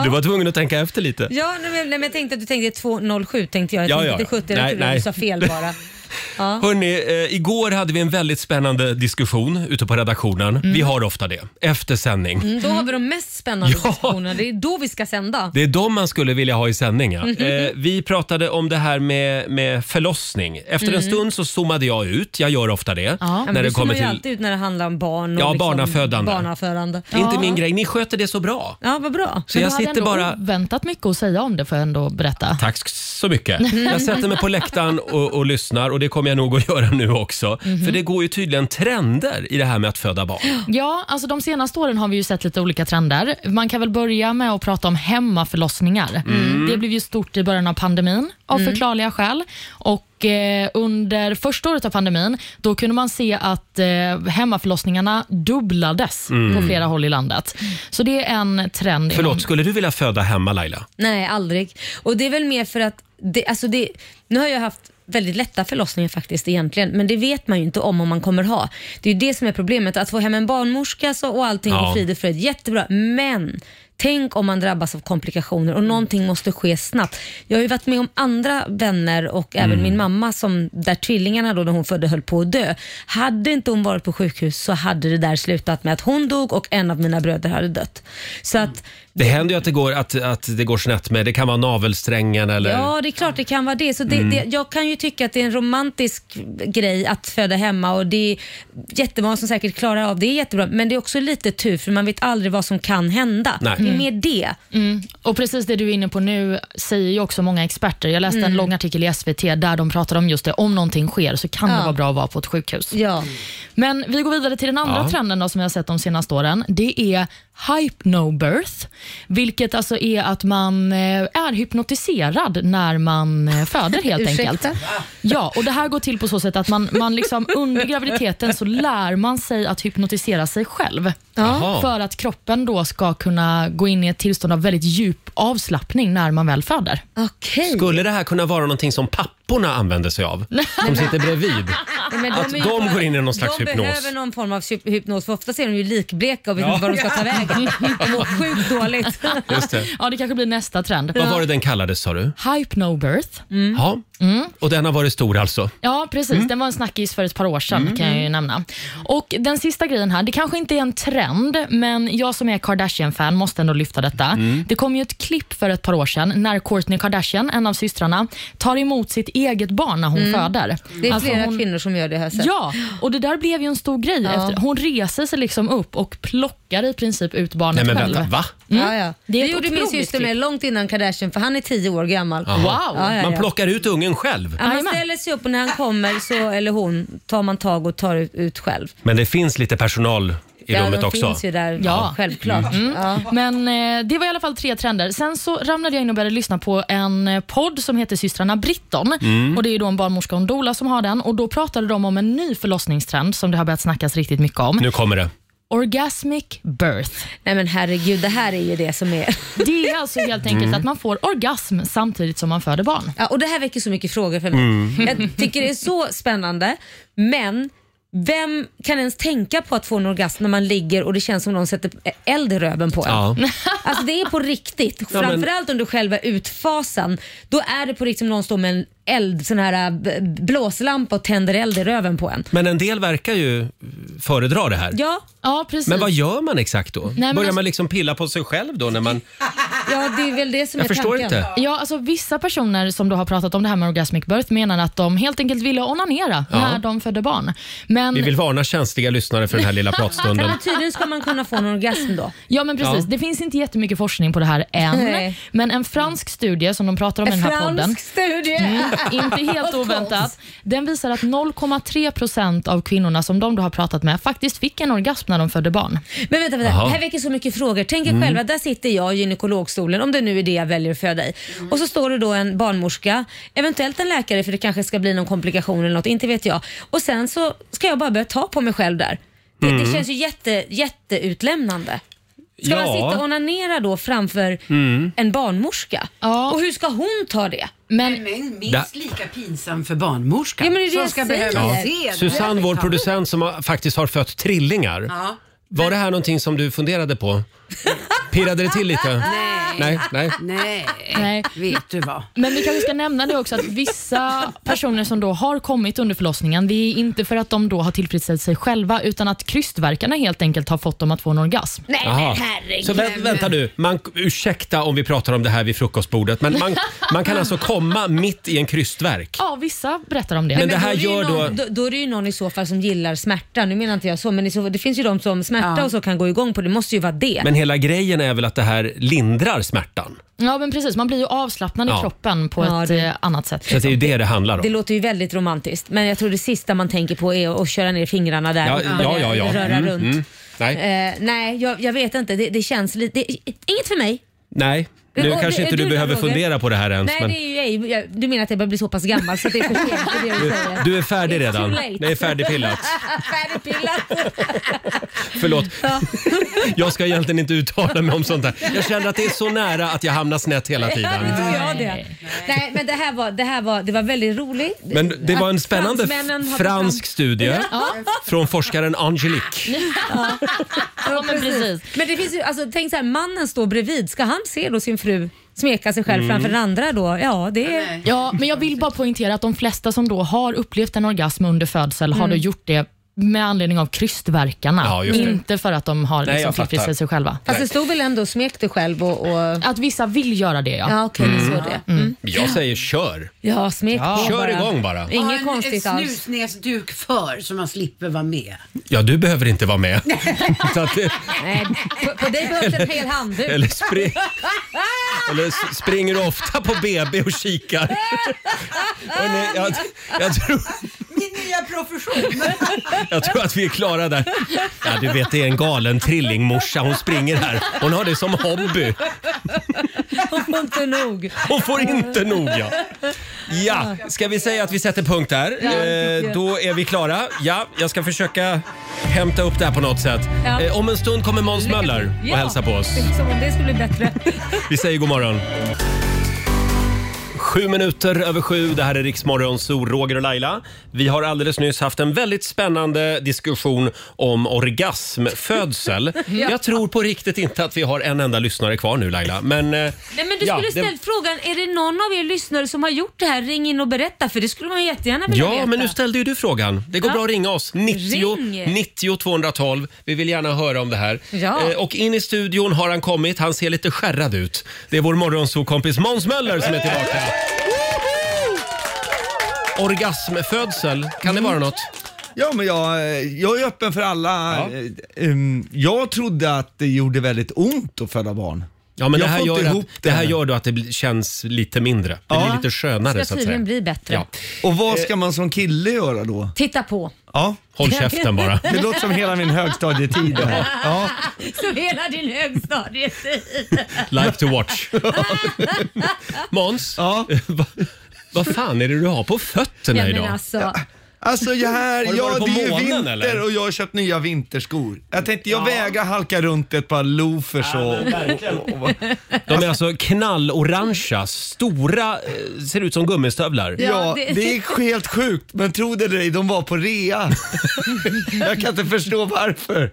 Speaker 1: Du var tvungen att tänka efter lite.
Speaker 2: Ja, nej, men, nej, men jag tänkte att du tänkte 207 tänkte jag. Jag
Speaker 1: Ja,
Speaker 2: tänkte
Speaker 1: ja, ja.
Speaker 2: inte 70, jag
Speaker 1: Nej,
Speaker 2: trodde att
Speaker 1: nej.
Speaker 2: du sa fel bara.
Speaker 1: Hörrni, eh, igår hade vi en väldigt spännande diskussion ute på redaktionen. Vi har ofta det, efter sändning.
Speaker 2: Då har vi de mest spännande
Speaker 1: Ja.
Speaker 2: diskussionerna. Det är då vi ska sända.
Speaker 1: Det är de man skulle vilja ha i sändning. Ja. Eh, vi pratade om det här med, med förlossning. Efter en stund så zoomade jag ut, jag gör ofta det.
Speaker 3: Ja,
Speaker 2: Ja, men
Speaker 1: när det
Speaker 2: du kommer
Speaker 1: kommer
Speaker 2: ju
Speaker 1: till...
Speaker 2: alltid ut när det handlar om barn och
Speaker 1: Ja,
Speaker 2: liksom
Speaker 1: barnafödande.
Speaker 2: barnafödande.
Speaker 1: Det är inte
Speaker 2: Ja.
Speaker 1: min grej, ni sköter det så bra.
Speaker 2: Ja, vad bra.
Speaker 1: Så jag
Speaker 3: du hade
Speaker 1: sitter
Speaker 3: ändå
Speaker 1: bara...
Speaker 3: oväntat mycket att säga om det får jag ändå berätta.
Speaker 1: Tack så mycket. Jag sätter mig på läktaren och, och lyssnar och det kommer jag nog att göra nu också. För det går ju tydligen trender i det här med att föda barn.
Speaker 3: Ja, alltså de senaste åren har vi ju sett lite olika trender. Man kan väl börja med att prata om hemmaförlossningar.
Speaker 2: Mm.
Speaker 3: Det blev ju stort i början av pandemin av förklarliga skäl. Och eh, under första året av pandemin då kunde man se att eh, hemmaförlossningarna dubblades
Speaker 2: Mm.
Speaker 3: på flera håll i landet. Så det är en trend. inom-
Speaker 1: Förlåt, skulle du vilja föda hemma Laila?
Speaker 2: Nej, aldrig. Och det är väl mer för att, det, alltså det, nu har jag haft väldigt lätta förlossningar faktiskt egentligen, men det vet man ju inte om om man kommer ha. Det är ju det som är problemet, att få hem en barnmorska så, och allting
Speaker 1: Ja.
Speaker 2: och frid och fröjd, jättebra, men Tänk om man drabbas av komplikationer och någonting måste ske snabbt. Jag har ju varit med om andra vänner och även min mamma som, där tvillingarna då när hon födde höll på att dö. Hade inte hon varit på sjukhus så hade det där slutat med att hon dog och en av mina bröder hade dött. Så att
Speaker 1: Det händer ju att det går, att, att det går snett med, det kan vara navelsträngen eller...
Speaker 2: Ja, det är klart det kan vara det. Så det,
Speaker 1: Mm.
Speaker 2: det. Jag kan ju tycka att det är en romantisk grej att föda hemma och det är jättemånga som säkert klarar av det. Det är jättebra, men det är också lite tur för man vet aldrig vad som kan hända.
Speaker 1: Nej.
Speaker 2: Det är mer
Speaker 3: Mm.
Speaker 2: det.
Speaker 3: Och precis det du är inne på nu säger ju också många experter. Jag läste
Speaker 2: Mm.
Speaker 3: en lång artikel i SVT där de pratar om just det. Om någonting sker så kan det
Speaker 2: Ja.
Speaker 3: vara bra att vara på ett sjukhus.
Speaker 2: Ja.
Speaker 3: Men vi går vidare till den andra
Speaker 1: Ja.
Speaker 3: trenden då, som vi har sett de senaste åren. Det är hype no birth, vilket alltså är att man eh, är hypnotiserad när man eh, föder helt enkelt.
Speaker 2: Ursäkta?
Speaker 3: Ja, och det här går till på så sätt att man, man liksom under graviditeten så lär man sig att hypnotisera sig själv.
Speaker 1: Jaha.
Speaker 3: För att kroppen då ska kunna gå in i ett tillstånd av väldigt djup avslappning när man väl föder.
Speaker 2: Okej.
Speaker 1: Skulle det här kunna vara någonting som papporna använder sig av? De sitter bredvid.
Speaker 2: Men de
Speaker 1: Att
Speaker 2: är ju-
Speaker 1: de går in i någon slags
Speaker 2: de
Speaker 1: hypnos.
Speaker 2: De behöver någon form av hy- hypnos för ofta ser de ju likbleka och vet inte var de ska ta vägen. De mår sjukt dåligt.
Speaker 1: Just det.
Speaker 3: Ja, det kanske blir nästa trend.
Speaker 1: Vad var det den kallades sa
Speaker 2: Mm.
Speaker 1: du?
Speaker 3: Hype no birth.
Speaker 1: Ja. Och den har varit stor alltså?
Speaker 3: Ja, precis. Den var en snackis för ett par år sedan
Speaker 1: Mm.
Speaker 3: kan jag ju nämna. Och Den sista grejen här, det kanske inte är en trend, men jag som är Kardashian-fan måste ändå lyfta detta.
Speaker 1: Mm.
Speaker 3: Det kom ju ett klipp för ett par år sedan när Kourtney Kardashian, en av systrarna, tar emot sitt eget barn när hon föder.
Speaker 2: Mm. Det är
Speaker 3: Alltså,
Speaker 2: flera
Speaker 3: hon-
Speaker 2: kvinnor som gör det här sen.
Speaker 3: Ja, och det där blev ju en stor grej. Efter, hon reser sig liksom upp och plockar i princip ut barnet
Speaker 1: Nej men
Speaker 3: själv.
Speaker 1: vänta, va?
Speaker 2: Ja, ja.
Speaker 3: Mm. Det
Speaker 2: Det,
Speaker 3: är ett
Speaker 2: gjorde min
Speaker 3: otroligt
Speaker 2: syster
Speaker 3: klipp.
Speaker 2: med långt innan Kardashian för han är tio år gammal.
Speaker 1: Jaha.
Speaker 3: Wow.
Speaker 2: Ja, ja,
Speaker 1: Man
Speaker 2: ja.
Speaker 1: plockar ut ungen själv.
Speaker 2: Ja, man
Speaker 3: Jajamän.
Speaker 2: ställer sig upp och när han kommer, så, eller hon, tar man tag och tar ut, ut själv.
Speaker 1: Men det finns lite personal i
Speaker 2: ja,
Speaker 1: rummet
Speaker 2: de
Speaker 1: också. Mm.
Speaker 2: finns ju där,
Speaker 3: Ja.
Speaker 2: självklart. Ja.
Speaker 3: Men eh, det var i alla fall tre trender. Sen så ramlade jag in och började lyssna på en eh, podd som heter Systrarna Britton.
Speaker 1: Mm.
Speaker 3: Och det är ju då en barnmorska och en doula som har den. Och Då pratade de om en ny förlossningstrend som det har börjat snackas riktigt mycket om.
Speaker 1: Nu kommer det.
Speaker 3: Orgasmic birth.
Speaker 2: Nej men herregud, det här är ju det som är...
Speaker 3: Det är alltså helt enkelt
Speaker 1: Mm.
Speaker 3: att man får orgasm samtidigt som man föder barn.
Speaker 2: Ja, och det här väcker så mycket frågor för mig.
Speaker 1: Mm.
Speaker 2: Jag tycker det är så spännande, men vem kan ens tänka på att få en orgasm när man ligger och det känns som någon sätter eld i röven på en?
Speaker 1: Ja.
Speaker 2: Alltså det är på riktigt.
Speaker 1: men-
Speaker 2: Framförallt under själva utfasen. Då är det på riktigt som någon står med en eld, sån här äh, b- blåslampa och tänder eld i röven på en.
Speaker 1: Men en del verkar ju föredra det här.
Speaker 2: Ja,
Speaker 3: Ja, precis.
Speaker 1: Men vad gör man exakt då?
Speaker 3: men
Speaker 1: Börjar
Speaker 3: alltså-
Speaker 1: man liksom pilla på sig själv då när man
Speaker 2: Ja, det är väl det som
Speaker 1: Jag
Speaker 2: är
Speaker 1: förstår
Speaker 2: tanken.
Speaker 1: inte.
Speaker 3: Ja, alltså vissa personer som då har pratat om det här med orgasmic birth menar att de helt enkelt ville onanera
Speaker 1: Ja.
Speaker 3: när de födde barn. Men,
Speaker 1: Vi vill varna känsliga lyssnare för den här lilla pratstunden.
Speaker 2: Men tydligen ska man kunna få en orgasm då.
Speaker 3: ja, men precis.
Speaker 1: Ja.
Speaker 3: Det finns inte jättemycket forskning på det här än,
Speaker 2: Nej.
Speaker 3: men en fransk studie som de pratar om i den här podden Mm,
Speaker 2: Fransk studie.
Speaker 1: Mm.
Speaker 3: inte helt oväntat. Den visar att 0,3 procent av kvinnorna som de då har pratat med faktiskt fick en orgasm när de födde barn.
Speaker 2: Men vänta, vänta.
Speaker 1: Jaha. Mm.
Speaker 2: det här väcker så mycket frågor. Tänk er själva, där sitter jag i gynekologstolen, om det nu är det jag väljer att föda i. Och så står det då en barnmorska, eventuellt en läkare för det kanske ska bli någon komplikation eller något, inte vet jag. Och sen så ska jag bara börja ta på mig själv där. Det,
Speaker 1: Mm.
Speaker 2: det känns ju jätte, jätteutlämnande. Ska man sitta och onanera då framför
Speaker 1: Mm.
Speaker 2: en barnmorska?
Speaker 3: Ja.
Speaker 2: Och hur ska hon ta det?
Speaker 3: Men
Speaker 9: Men
Speaker 1: Da-
Speaker 9: minst lika pinsam för barnmorskan
Speaker 2: Ja, men det är det
Speaker 9: som
Speaker 2: jag
Speaker 9: ska
Speaker 2: säger.
Speaker 9: behöva
Speaker 2: Ja.
Speaker 9: se det.
Speaker 1: Susanne, vår producent som har, faktiskt har fött trillingar.
Speaker 9: Ja.
Speaker 1: Var det här någonting som du funderade på? Pirrade det till lite?
Speaker 9: Nej. Nej.
Speaker 1: Nej, nej.
Speaker 3: Nej.
Speaker 9: vet du vad?
Speaker 3: Men vi kanske ska nämna det också att vissa personer som då har kommit under förlossningen, det är inte för att de då har tillfredsställt sig själva, utan att krystverkarna helt enkelt har fått dem att få en orgasm.
Speaker 2: Nej
Speaker 1: Jaha.
Speaker 2: men herregud.
Speaker 1: Så vä- vänta nu, man, ursäkta om vi pratar om det här vid frukostbordet, men man, man kan alltså komma mitt i en krystverk?
Speaker 3: Ja, vissa berättar om det.
Speaker 1: Men det här
Speaker 2: är det ju
Speaker 1: gör då-
Speaker 2: någon, då... Då är det ju någon i så fall som gillar smärta. Nu menar inte jag så, men i så, det finns ju de som smärta
Speaker 9: Ja.
Speaker 2: och så kan gå igång på det. Det måste ju vara det.
Speaker 1: Men hela grejen är väl att det här lindrar smärtan?
Speaker 3: Ja, men precis. Man blir ju avslappnad
Speaker 1: Ja.
Speaker 3: i kroppen på
Speaker 2: Ja,
Speaker 3: ett
Speaker 2: det-
Speaker 3: eh, annat sätt.
Speaker 1: Så att det är ju det det handlar
Speaker 2: Det
Speaker 1: om.
Speaker 2: låter ju väldigt romantiskt, men jag tror det sista man tänker på är att köra ner fingrarna där
Speaker 1: Ja,
Speaker 2: och börja
Speaker 1: ja, ja. ja.
Speaker 2: röra
Speaker 1: Mm,
Speaker 2: runt.
Speaker 1: mm. Nej,
Speaker 2: Eh, nej, jag, jag vet inte. Det, det känns lite... Det, inget för mig.
Speaker 1: nej. Nu
Speaker 2: Och det-
Speaker 1: kanske inte
Speaker 2: du
Speaker 1: du
Speaker 2: då,
Speaker 1: behöver
Speaker 2: Roger?
Speaker 1: fundera på det här ens.
Speaker 2: Nej,
Speaker 1: Men...
Speaker 2: det är ju, jag, jag, du menar att jag börjar bli så pass gammal så att det är för sent för det du säger.
Speaker 1: Du är färdig
Speaker 2: It's
Speaker 1: redan.
Speaker 2: too late.
Speaker 1: Det är färdigpillat.
Speaker 2: Färdigpillat.
Speaker 1: Förlåt. Jag ska egentligen inte uttala mig om sånt här. Jag känner att det är så nära att jag hamnar snett hela
Speaker 2: Ja, nu
Speaker 1: tiden.
Speaker 2: tror jag det. Nej, men det här var, det här var, det var väldigt roligt.
Speaker 1: Men det var en
Speaker 2: Att
Speaker 1: spännande
Speaker 2: fransmännen har
Speaker 1: fransk studie från forskaren Angelique.
Speaker 3: Ja, men precis.
Speaker 2: Men det finns ju, alltså, tänk så här, mannen står bredvid, ska han se då sin fru smeka sig själv framför den
Speaker 1: Mm.
Speaker 2: andra då? Ja, det är...
Speaker 9: Nej.
Speaker 3: Ja, men jag vill bara poängtera att de flesta som då har upplevt en orgasm under födsel har då gjort det med anledning av krystverkarna.
Speaker 1: Ja, just det.
Speaker 3: inte för att de har
Speaker 1: Nej,
Speaker 3: liksom
Speaker 1: jag fattar.
Speaker 3: tillfredsställt sig själva.
Speaker 2: Fast det stod väl ändå smek dig själv och... och...
Speaker 3: Att vissa vill göra det, ja.
Speaker 2: Ja okej, det är så det. Mm.
Speaker 1: Jag säger kör.
Speaker 2: Ja, smek på
Speaker 1: Kör
Speaker 2: bara.
Speaker 1: igång bara.
Speaker 9: Ha
Speaker 2: Inget
Speaker 9: en,
Speaker 2: konstigt
Speaker 9: en
Speaker 2: alls.
Speaker 9: snusnäsduk för så man slipper vara med.
Speaker 1: Ja, du behöver inte vara med. Så att det,
Speaker 2: Nej, på, på dig behövs en hel handduk.
Speaker 1: eller, spring, eller s- springer du ofta på BB och kikar? Hörrni, jag, jag, tror,
Speaker 9: Min nya profession.
Speaker 1: jag tror att vi är klara där. Ja, du vet, det är en galen trillingmorsa. Hon springer här. Hon har det som hobby.
Speaker 2: Hon får inte nog.
Speaker 1: Hon får inte nog ja. Ja, ska vi säga att vi sätter punkt där? Eh, då är vi klara. Ja, jag ska försöka hämta upp det här på något sätt.
Speaker 2: Ja.
Speaker 1: Eh, om en stund kommer Måns Möller och hälsar på oss.
Speaker 2: Som om det skulle bli bättre.
Speaker 1: Vi säger god morgon. Sju minuter över sju, det här är Riksmorgon, så Roger och Laila. Vi har alldeles nyss haft en väldigt spännande diskussion om orgasmfödsel. Jag tror på riktigt inte att vi har en enda lyssnare kvar nu Laila. Men, eh,
Speaker 2: Nej, men du
Speaker 1: ja,
Speaker 2: skulle
Speaker 1: det-
Speaker 2: ställt frågan, är det någon av er lyssnare som har gjort det här? Ring in och berätta för det skulle man ju jättegärna vilja
Speaker 1: Ja,
Speaker 2: veta.
Speaker 1: men nu ställde ju du frågan. Det går
Speaker 2: Ja.
Speaker 1: bra att ringa oss. 90
Speaker 2: Ring.
Speaker 1: 90 212. Vi vill gärna höra om det här.
Speaker 2: Ja.
Speaker 1: Eh, och in i studion har han kommit. Han ser lite skärrad ut. Det är vår morgonsokompis Måns Möller som är tillbaka. Orgasmfödsel, kan
Speaker 2: Mm.
Speaker 1: det vara något?
Speaker 10: Ja, men jag, eh, jag är öppen för alla.
Speaker 1: Ja.
Speaker 10: Eh, ehm, Jag trodde att det gjorde väldigt ont att föda barn.
Speaker 1: Ja, men
Speaker 10: jag
Speaker 1: det, här
Speaker 10: får
Speaker 1: gör
Speaker 10: inte
Speaker 1: att,
Speaker 10: ihop
Speaker 1: det. här
Speaker 10: det.
Speaker 1: gör då att det blir- känns lite mindre. Det
Speaker 10: Ja.
Speaker 1: blir lite skönare
Speaker 2: Det
Speaker 1: så
Speaker 2: ska
Speaker 1: att säga.
Speaker 2: tydligen bli bättre.
Speaker 1: Ja.
Speaker 10: Och vad ska man som kille göra då?
Speaker 2: Titta på.
Speaker 10: Ja,
Speaker 1: Håll käften bara.
Speaker 10: det låter som hela min högstadietid det här. Ja.
Speaker 2: Som hela din högstadietid.
Speaker 1: Life to watch. Måns,
Speaker 10: Ja.
Speaker 1: vad vad fan är det du har på fötterna
Speaker 2: Ja,
Speaker 1: idag?
Speaker 2: men alltså,
Speaker 10: Alltså jag här,
Speaker 1: Har du
Speaker 10: ja,
Speaker 1: varit på
Speaker 10: det är ju
Speaker 1: månen,
Speaker 10: vinter
Speaker 1: eller?
Speaker 10: och jag har köpt nya vinterskor. Jag tänkte jag vägrar halka runt ett par loafers och... och, och, och
Speaker 1: De är alltså knallorangea, stora, eh, ser ut som gummistövlar.
Speaker 10: Ja,
Speaker 2: det-
Speaker 10: det är helt sjukt, men tro det eller ej, de var på rea. jag kan inte förstå varför.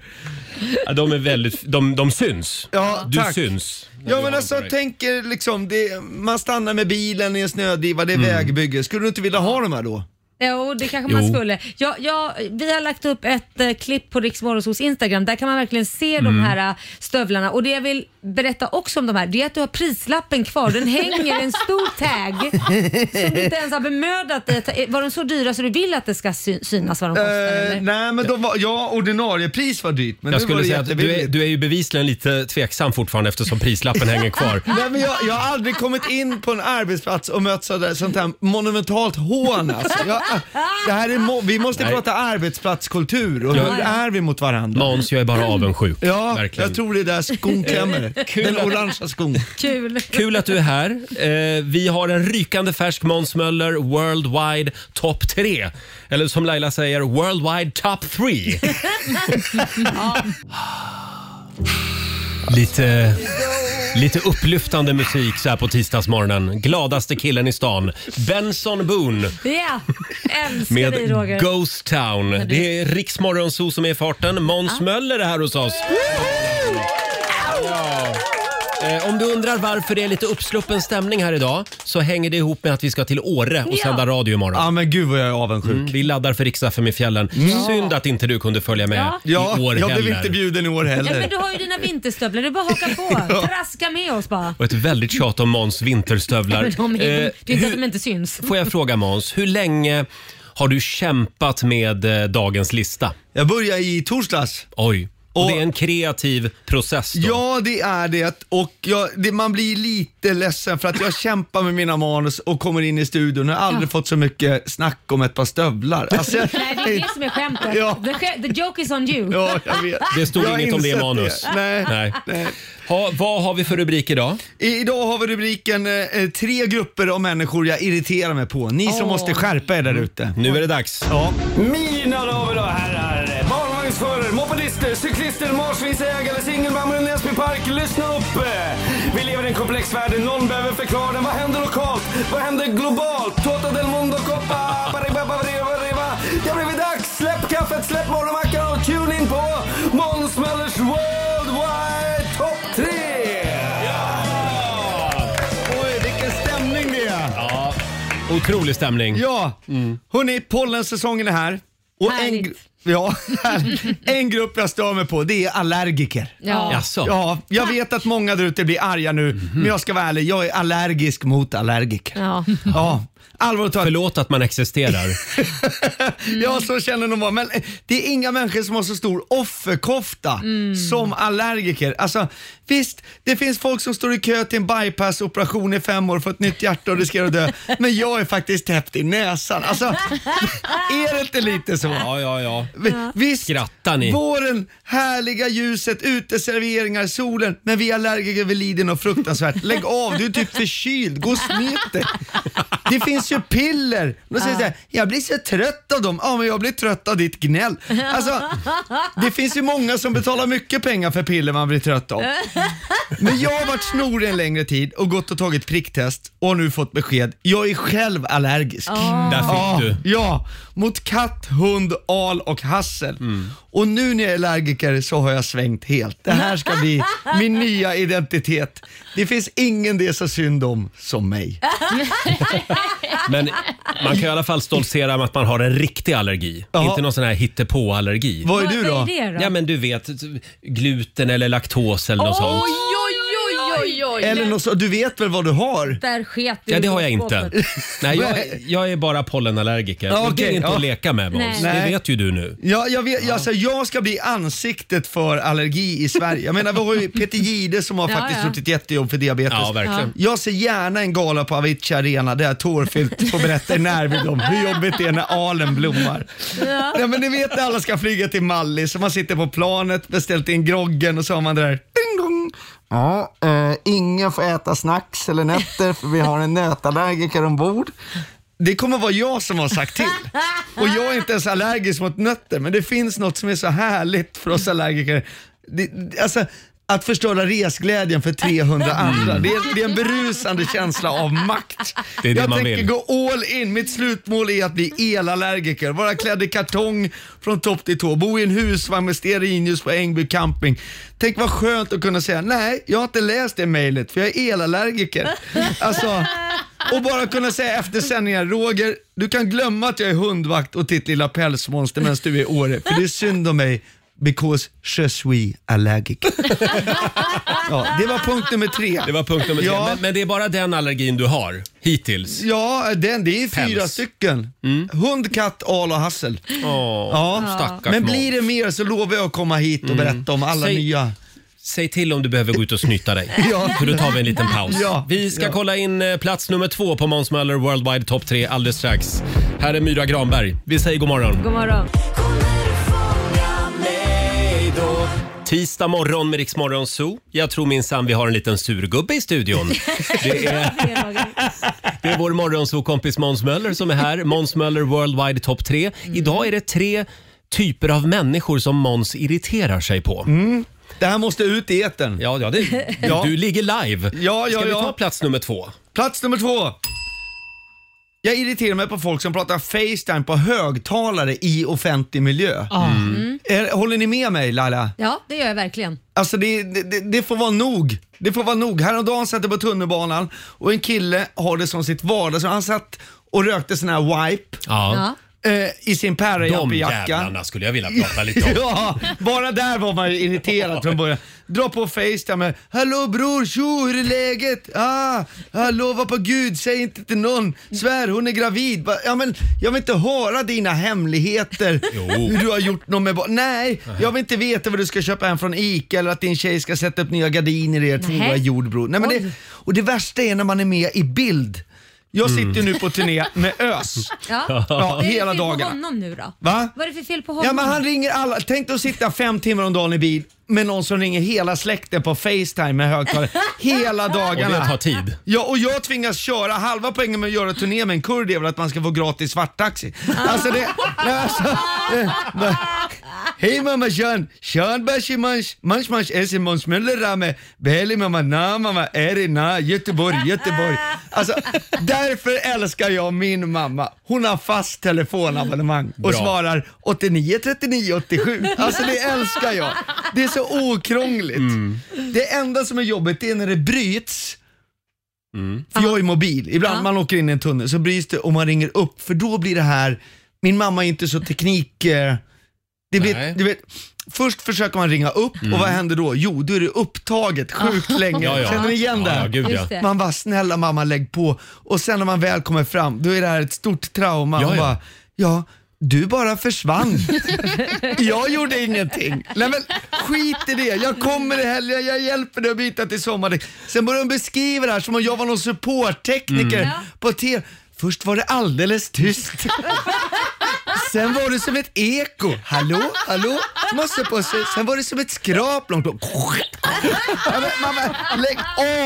Speaker 1: Ja, de är väldigt, de, de syns.
Speaker 10: Ja,
Speaker 1: du
Speaker 10: tack.
Speaker 1: syns. när
Speaker 10: Ja
Speaker 1: du har
Speaker 10: men
Speaker 1: dem
Speaker 10: alltså
Speaker 1: på dig.
Speaker 10: tänker
Speaker 1: Mm.
Speaker 10: liksom, det, man stannar med bilen i en snödriva, det är vägbygge. Skulle du inte vilja ha de här då?
Speaker 2: Jo, det kanske man
Speaker 1: Jo.
Speaker 2: skulle. Ja, ja, vi har lagt upp ett eh, klipp på Rix Morgonzoos Instagram. Där kan man verkligen se de
Speaker 11: Mm.
Speaker 2: här eh, stövlarna. Och det jag vill berätta också om de här, det är att du har prislappen kvar. Den hänger i en stor tag som du inte ens har bemödat dig. att ta- eh, Var de så dyra så du vill att det ska sy- synas vad de kostar?
Speaker 10: Eh,
Speaker 2: eller?
Speaker 10: nej men de var, ja ordinarie pris var dyrt men
Speaker 1: jag
Speaker 10: nu var
Speaker 1: skulle
Speaker 10: det
Speaker 1: säga att du är,
Speaker 10: jättebilligt.
Speaker 1: du är ju bevisligen lite tveksam fortfarande eftersom prislappen hänger kvar.
Speaker 10: Nej, men jag, jag har aldrig kommit in på en arbetsplats och mött sådär, sånt här monumentalt hån alltså. jag, det här är mo- Vi måste prata arbetsplatskultur och hur är vi mot varandra?
Speaker 1: Måns, jag är bara avundsjuk.
Speaker 10: Ja,
Speaker 1: Verkligen.
Speaker 10: jag tror det där skon klämmer.
Speaker 1: Kul
Speaker 10: Den
Speaker 1: att-
Speaker 10: orangea skon.
Speaker 2: Kul.
Speaker 1: Kul att du är här. Eh, vi har en rykande färsk Måns Möller Worldwide Top 3. Eller som Laila säger, Worldwide Top 3.
Speaker 2: ja.
Speaker 1: Lite, lite upplyftande musik så här på tisdagsmorgonen. Gladaste killen i stan, Benson Boone.
Speaker 2: Ja, älskar
Speaker 1: Med
Speaker 2: dig Roger.
Speaker 1: Ghost Town. Det är Riksmorgonzoo som är i farten. Måns Möller är här hos oss. Ja. Eh, Om du undrar varför det är lite uppsluppen stämning här idag så hänger det ihop med att vi ska till Åre och
Speaker 10: Ja.
Speaker 1: sända radio
Speaker 2: Ah.
Speaker 1: imorgon. Ja
Speaker 10: men gud vad jag är avundsjuk.
Speaker 1: vi laddar för riks i fjällen. Synd att inte du kunde följa med
Speaker 2: Mm. Ja.
Speaker 1: i
Speaker 10: Ja,
Speaker 1: år
Speaker 10: jag blev
Speaker 1: heller.
Speaker 10: inte bjuden i år
Speaker 2: Ja, men du har ju dina vinterstövlar, det är bara att haka på. Traska med oss bara.
Speaker 1: Och ett väldigt tjat om Måns vinterstövlar.
Speaker 2: Men de är,
Speaker 1: Eh,
Speaker 2: det är inte att
Speaker 1: hur-
Speaker 2: de inte syns.
Speaker 1: Får jag fråga Måns, hur länge har du kämpat med eh, dagens lista?
Speaker 10: Jag började i torsdags.
Speaker 1: Oj, och, det är en kreativ process då?
Speaker 10: Ja, det är det. Och jag, det. Man blir lite ledsen för att jag kämpar med mina manus och kommer in i studion och har aldrig fått så mycket snack om ett par stövlar. Alltså, jag,
Speaker 2: Nej, det är det som är skämtet.
Speaker 10: Ja.
Speaker 2: The, skä- the joke is on you.
Speaker 10: Ja, jag vet.
Speaker 1: Det stod
Speaker 10: Jag har
Speaker 1: inget om det i
Speaker 10: insett
Speaker 1: manus.
Speaker 10: det. Nej. eh.
Speaker 1: Ha, vad har vi för rubrik idag?
Speaker 10: I- Idag har vi rubriken eh, tre grupper av människor jag irriterar mig på. Ni som
Speaker 1: Åh.
Speaker 10: måste skärpa er där ute.
Speaker 1: Nu är det dags.
Speaker 10: Ja.
Speaker 7: Mina damer och herrar, barnvagnsförare, mopedister, cyklister, marsvinsägare, singelmammor i Näsby Park. Lyssna upp! Vi lever i en komplex värld, någon behöver förklara den. Vad händer lokalt? Vad händer globalt? Tota del mondo coppa! Baribabaribaribariba. Det har blivit dags! Släpp kaffet, släpp morgonmackan och tune in på Måns Möllers Worldwide Top 3!
Speaker 10: Oj, vilken stämning det är!
Speaker 1: Ja. Otrolig stämning.
Speaker 10: Ja, hörni, pollensäsongen är här. Och en, gr- ja, en grupp jag stör mig på, det är allergiker.
Speaker 1: Ja. Jaså?
Speaker 10: Ja, jag vet att många där ute blir arga nu, men jag ska vara ärlig, jag är allergisk mot allergiker.
Speaker 2: Ja.
Speaker 10: Ja, allvarligt talat.
Speaker 1: Förlåt att man existerar.
Speaker 10: Ja, så känner de bara. Men eh, det är inga människor som har så stor offerkofta som allergiker. Alltså, visst, det finns folk som står i kö till en bypassoperation i fem år för ett nytt hjärta och riskerar att dö. Men jag är faktiskt täppt i näsan. Alltså, är det inte lite så?
Speaker 1: Ja, ja, ja.
Speaker 10: Vi- Visst,
Speaker 1: Skrattar ni?
Speaker 10: våren, härliga ljuset, uteserveringar, solen. Men vi allergiker, vi lider något fruktansvärt. Lägg av, du är typ förkyld. Gå och smet dig. Det finns ju piller. De säger
Speaker 11: Ja.
Speaker 10: så här, jag blir så trött av dem. Ja, men jag blir trött av ditt gnäll. Alltså, det finns ju många som betalar mycket pengar för piller man blir trött av. Men jag har varit snorig en längre tid och gått och tagit pricktest och har nu fått besked. Jag är själv allergisk.
Speaker 1: Ah. Där fick
Speaker 10: du. Ja, mot katt, hund, al och hassel.
Speaker 1: Mm.
Speaker 10: Och nu när jag är allergiker så har jag svängt helt. Det här ska bli min nya identitet. Det finns ingen det är så synd om som mig.
Speaker 1: Men man kan i alla fall stoltsera med att man har en riktig allergi.
Speaker 10: Ja.
Speaker 1: Inte någon sån här hittepå-allergi.
Speaker 10: Vad är du Vad- vad då?
Speaker 2: är det då?
Speaker 1: Ja, men du vet, gluten eller laktos eller något sånt.
Speaker 2: oj, oj, oj.
Speaker 10: Eller något så, du vet väl vad du har?
Speaker 2: Där sket du
Speaker 1: Ja, det
Speaker 2: i
Speaker 1: har jag inte.
Speaker 2: skåpet.
Speaker 1: Nej, jag, jag är bara pollenallergiker.
Speaker 10: Ja,
Speaker 1: Och det är
Speaker 10: okej,
Speaker 1: inte
Speaker 10: ja.
Speaker 1: att leka med, Måns.
Speaker 10: Nej.
Speaker 1: Det vet ju du nu.
Speaker 10: Ja, jag, vet, Alltså, jag ska bli ansiktet för allergi i Sverige. Jag menar, vi har ju Peter Gide som har
Speaker 1: Ja,
Speaker 10: faktiskt
Speaker 1: ja.
Speaker 10: gjort ett jättejobb för diabetes.
Speaker 1: Ja, verkligen.
Speaker 10: Liksom. Jag ser gärna en gala på Avicii Arena där Tårfyllt får berätta i närbild om hur jobbigt det är när alen blommar.
Speaker 11: Ja.
Speaker 10: Nej, men ni vet när alla ska flyga till Mallis så man sitter på planet, beställt in groggen och så har man det där ding dong. Ja, eh, ingen får äta snacks eller nötter för vi har en nötallergiker ombord. Det kommer vara jag som har sagt till. Och jag är inte ens allergisk mot nötter, men det finns något som är så härligt för oss allergiker. Det, det- alltså, att förstöra resglädjen för 300 andra,
Speaker 1: Mm.
Speaker 10: det är, det är en berusande känsla av makt.
Speaker 1: Det är det
Speaker 10: jag
Speaker 1: man
Speaker 10: tänker
Speaker 1: vill.
Speaker 10: gå all in. Mitt slutmål är att bli elallergiker. Vara klädd i kartong från topp till tå. Bo i en husvagn med stearinljus på Ängby camping. Tänk vad skönt att kunna säga nej, jag har inte läst det mejlet för jag är elallergiker. Alltså, Och bara kunna säga efter sändningen, Roger, du kan glömma att jag är hundvakt och ditt lilla pälsmonster medan du är i Åre, för det är synd om mig. Because je suis allergic. ja, det var punkt nummer tre.
Speaker 1: Det var punkt nummer tre.
Speaker 10: Ja.
Speaker 1: Men, men det är bara den allergin du har hittills.
Speaker 10: Ja, den, det är
Speaker 1: Päls.
Speaker 10: fyra stycken.
Speaker 1: Mm.
Speaker 10: Hund, katt, al och hassel.
Speaker 1: ja. stackars
Speaker 10: Men
Speaker 1: Måns.
Speaker 10: blir det mer så lovar jag att komma hit och
Speaker 1: Mm.
Speaker 10: berätta om alla
Speaker 1: Säg-
Speaker 10: nya.
Speaker 1: Säg till om du behöver gå ut och snyta dig.
Speaker 10: Ja.
Speaker 1: För då tar vi en liten paus.
Speaker 10: Ja.
Speaker 1: Vi ska
Speaker 10: Ja.
Speaker 1: kolla in eh, plats nummer två på Måns Möller Worldwide Top 3 alldeles strax. Här är Myra Granberg. Vi säger god morgon.
Speaker 2: God morgon.
Speaker 1: Tisdag morgon med Rix Morgon Zoo. Jag tror minsann vi har en liten surgubbe i studion. Det är, det är vår morgonzoo-kompis Måns Möller som är här. Måns Möller Worldwide Top 3. Idag är det tre typer av människor som Måns irriterar sig på.
Speaker 10: Det här måste ut i etern.
Speaker 1: Ja, ja, det,
Speaker 10: Ja.
Speaker 1: du ligger live.
Speaker 10: Ja, ja,
Speaker 1: Ska vi
Speaker 10: ja.
Speaker 1: ta plats nummer två?
Speaker 10: Plats nummer två. Jag irriterar mig på folk som pratar Facetime på högtalare i offentlig miljö.
Speaker 2: Ja. Mm.
Speaker 10: Eh, Håller ni med mig Laila?
Speaker 2: Ja, det gör jag verkligen.
Speaker 10: Alltså det, det, det får vara nog. Det får vara nog. Häromdagen satt jag på tunnelbanan och en kille har det som sitt vardag. Så han satt och rökte sån här wipe
Speaker 1: Ja.
Speaker 10: eh, i sin
Speaker 1: De
Speaker 10: pärajampi-jacka.
Speaker 1: jävlarna skulle jag vilja prata lite om.
Speaker 10: Ja, bara där var man ju irriterad från början. Dra på Facetime med “Hallå bror, tjo, hur är läget? Ah, jag lovar på gud, säg inte till någon. Svär, hon är gravid. Bara, Ja, men, jag vill inte höra dina hemligheter.
Speaker 1: Jo.
Speaker 10: Hur du har gjort något med barn. Nej, jag vill inte veta vad du ska köpa hem från ICA eller att din tjej ska sätta upp nya gardiner i ert
Speaker 2: Nähä.
Speaker 10: tvåa jordbror. Nej, men det,
Speaker 2: Oj.
Speaker 10: och det värsta är när man är med i bild. Jag sitter ju nu på turné med Ös.
Speaker 2: Ja.
Speaker 10: Ja,
Speaker 2: Vad är det
Speaker 10: hela
Speaker 2: för fel på
Speaker 10: dagarna.
Speaker 2: honom nu då?
Speaker 10: Va?
Speaker 2: Vad är det för fel på honom?
Speaker 10: Ja men han ringer alla. Tänk dig att sitta fem timmar om dagen i bil med någon som ringer hela släkten på Facetime med högtalare hela
Speaker 1: Och det tar
Speaker 10: dagarna.
Speaker 1: tid.
Speaker 10: Ja, och jag tvingas köra. Halva poängen med att göra turné med en kurd är väl att man ska få gratis svarttaxi. Alltså det... Nej, alltså, eh, men- Hej mamma Sean! Sean Bashi Munch, Munch Munch Essie Måns Möller Rame, Beli mamma Na mamma Eri Na, Göteborg, Göteborg. Alltså, därför älskar jag min mamma. Hon har fast telefonabonnemang och
Speaker 1: Bra.
Speaker 10: svarar 89 39 87. Alltså det älskar jag. Det är så okrångligt. Det enda som är jobbigt är när det bryts. För jag är mobil. Ibland man åker in i en tunnel så bryts det och man ringer upp för då blir det här, min mamma är inte så teknik... Eh, det
Speaker 1: Nej. Mm.
Speaker 10: blir, du vet, först försöker man ringa upp och vad händer då? Jo, då är det upptaget sjukt länge.
Speaker 1: Ja, ja.
Speaker 10: Känner ni igen det?
Speaker 1: Ja, ja, gud ja.
Speaker 2: Just det.
Speaker 10: Man bara, snälla mamma lägg på. Och sen när man väl kommer fram, då är det här ett stort trauma.
Speaker 1: Ja,
Speaker 10: och
Speaker 1: ja.
Speaker 10: Bara, ja, du bara försvann. jag gjorde ingenting. Nej men skit i det. Jag kommer i helgen, jag hjälper dig att byta till sommardäck. Sen börjar hon beskriva det här som om jag var någon supporttekniker
Speaker 2: Mm.
Speaker 10: på TV. Först var det alldeles tyst. Sen var det som ett eko. Hallå, hallå, måste på sig. Sen var det som ett skrap långt bort. Ja, men Mamma, lägg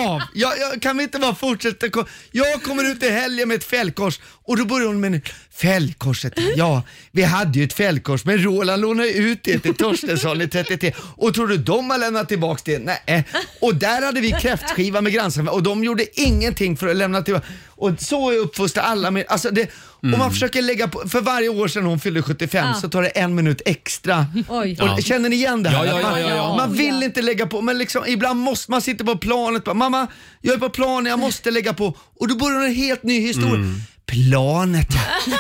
Speaker 10: av! Jag, jag, kan vi inte bara fortsätta? ko- Jag kommer ut i helgen med ett fällkors och då börjar hon med en- fällkorset. Ja, vi hade ju ett fällkors men Roland lånade ut det till Torstensson i 33 och tror du de har lämnat tillbaka det? Nej. Och där hade vi kräftskiva med grannsamma och de gjorde ingenting för att lämna tillbaka. Och så är uppfostrade alla. Med, alltså det, Och man försöker lägga på, för varje år sedan hon fyllde 75
Speaker 2: Ja.
Speaker 10: så tar det en minut extra.
Speaker 2: Oj.
Speaker 10: Och, Känner ni igen det här?
Speaker 1: Ja, ja,
Speaker 10: Att man-
Speaker 1: ja, ja, ja.
Speaker 10: Man vill
Speaker 2: Ja.
Speaker 10: inte lägga på, men liksom, ibland måste man sitta på planet bara, mamma, jag är på planet, jag måste lägga på. Och då börjar en helt ny historia.
Speaker 1: Mm.
Speaker 10: Planet ja.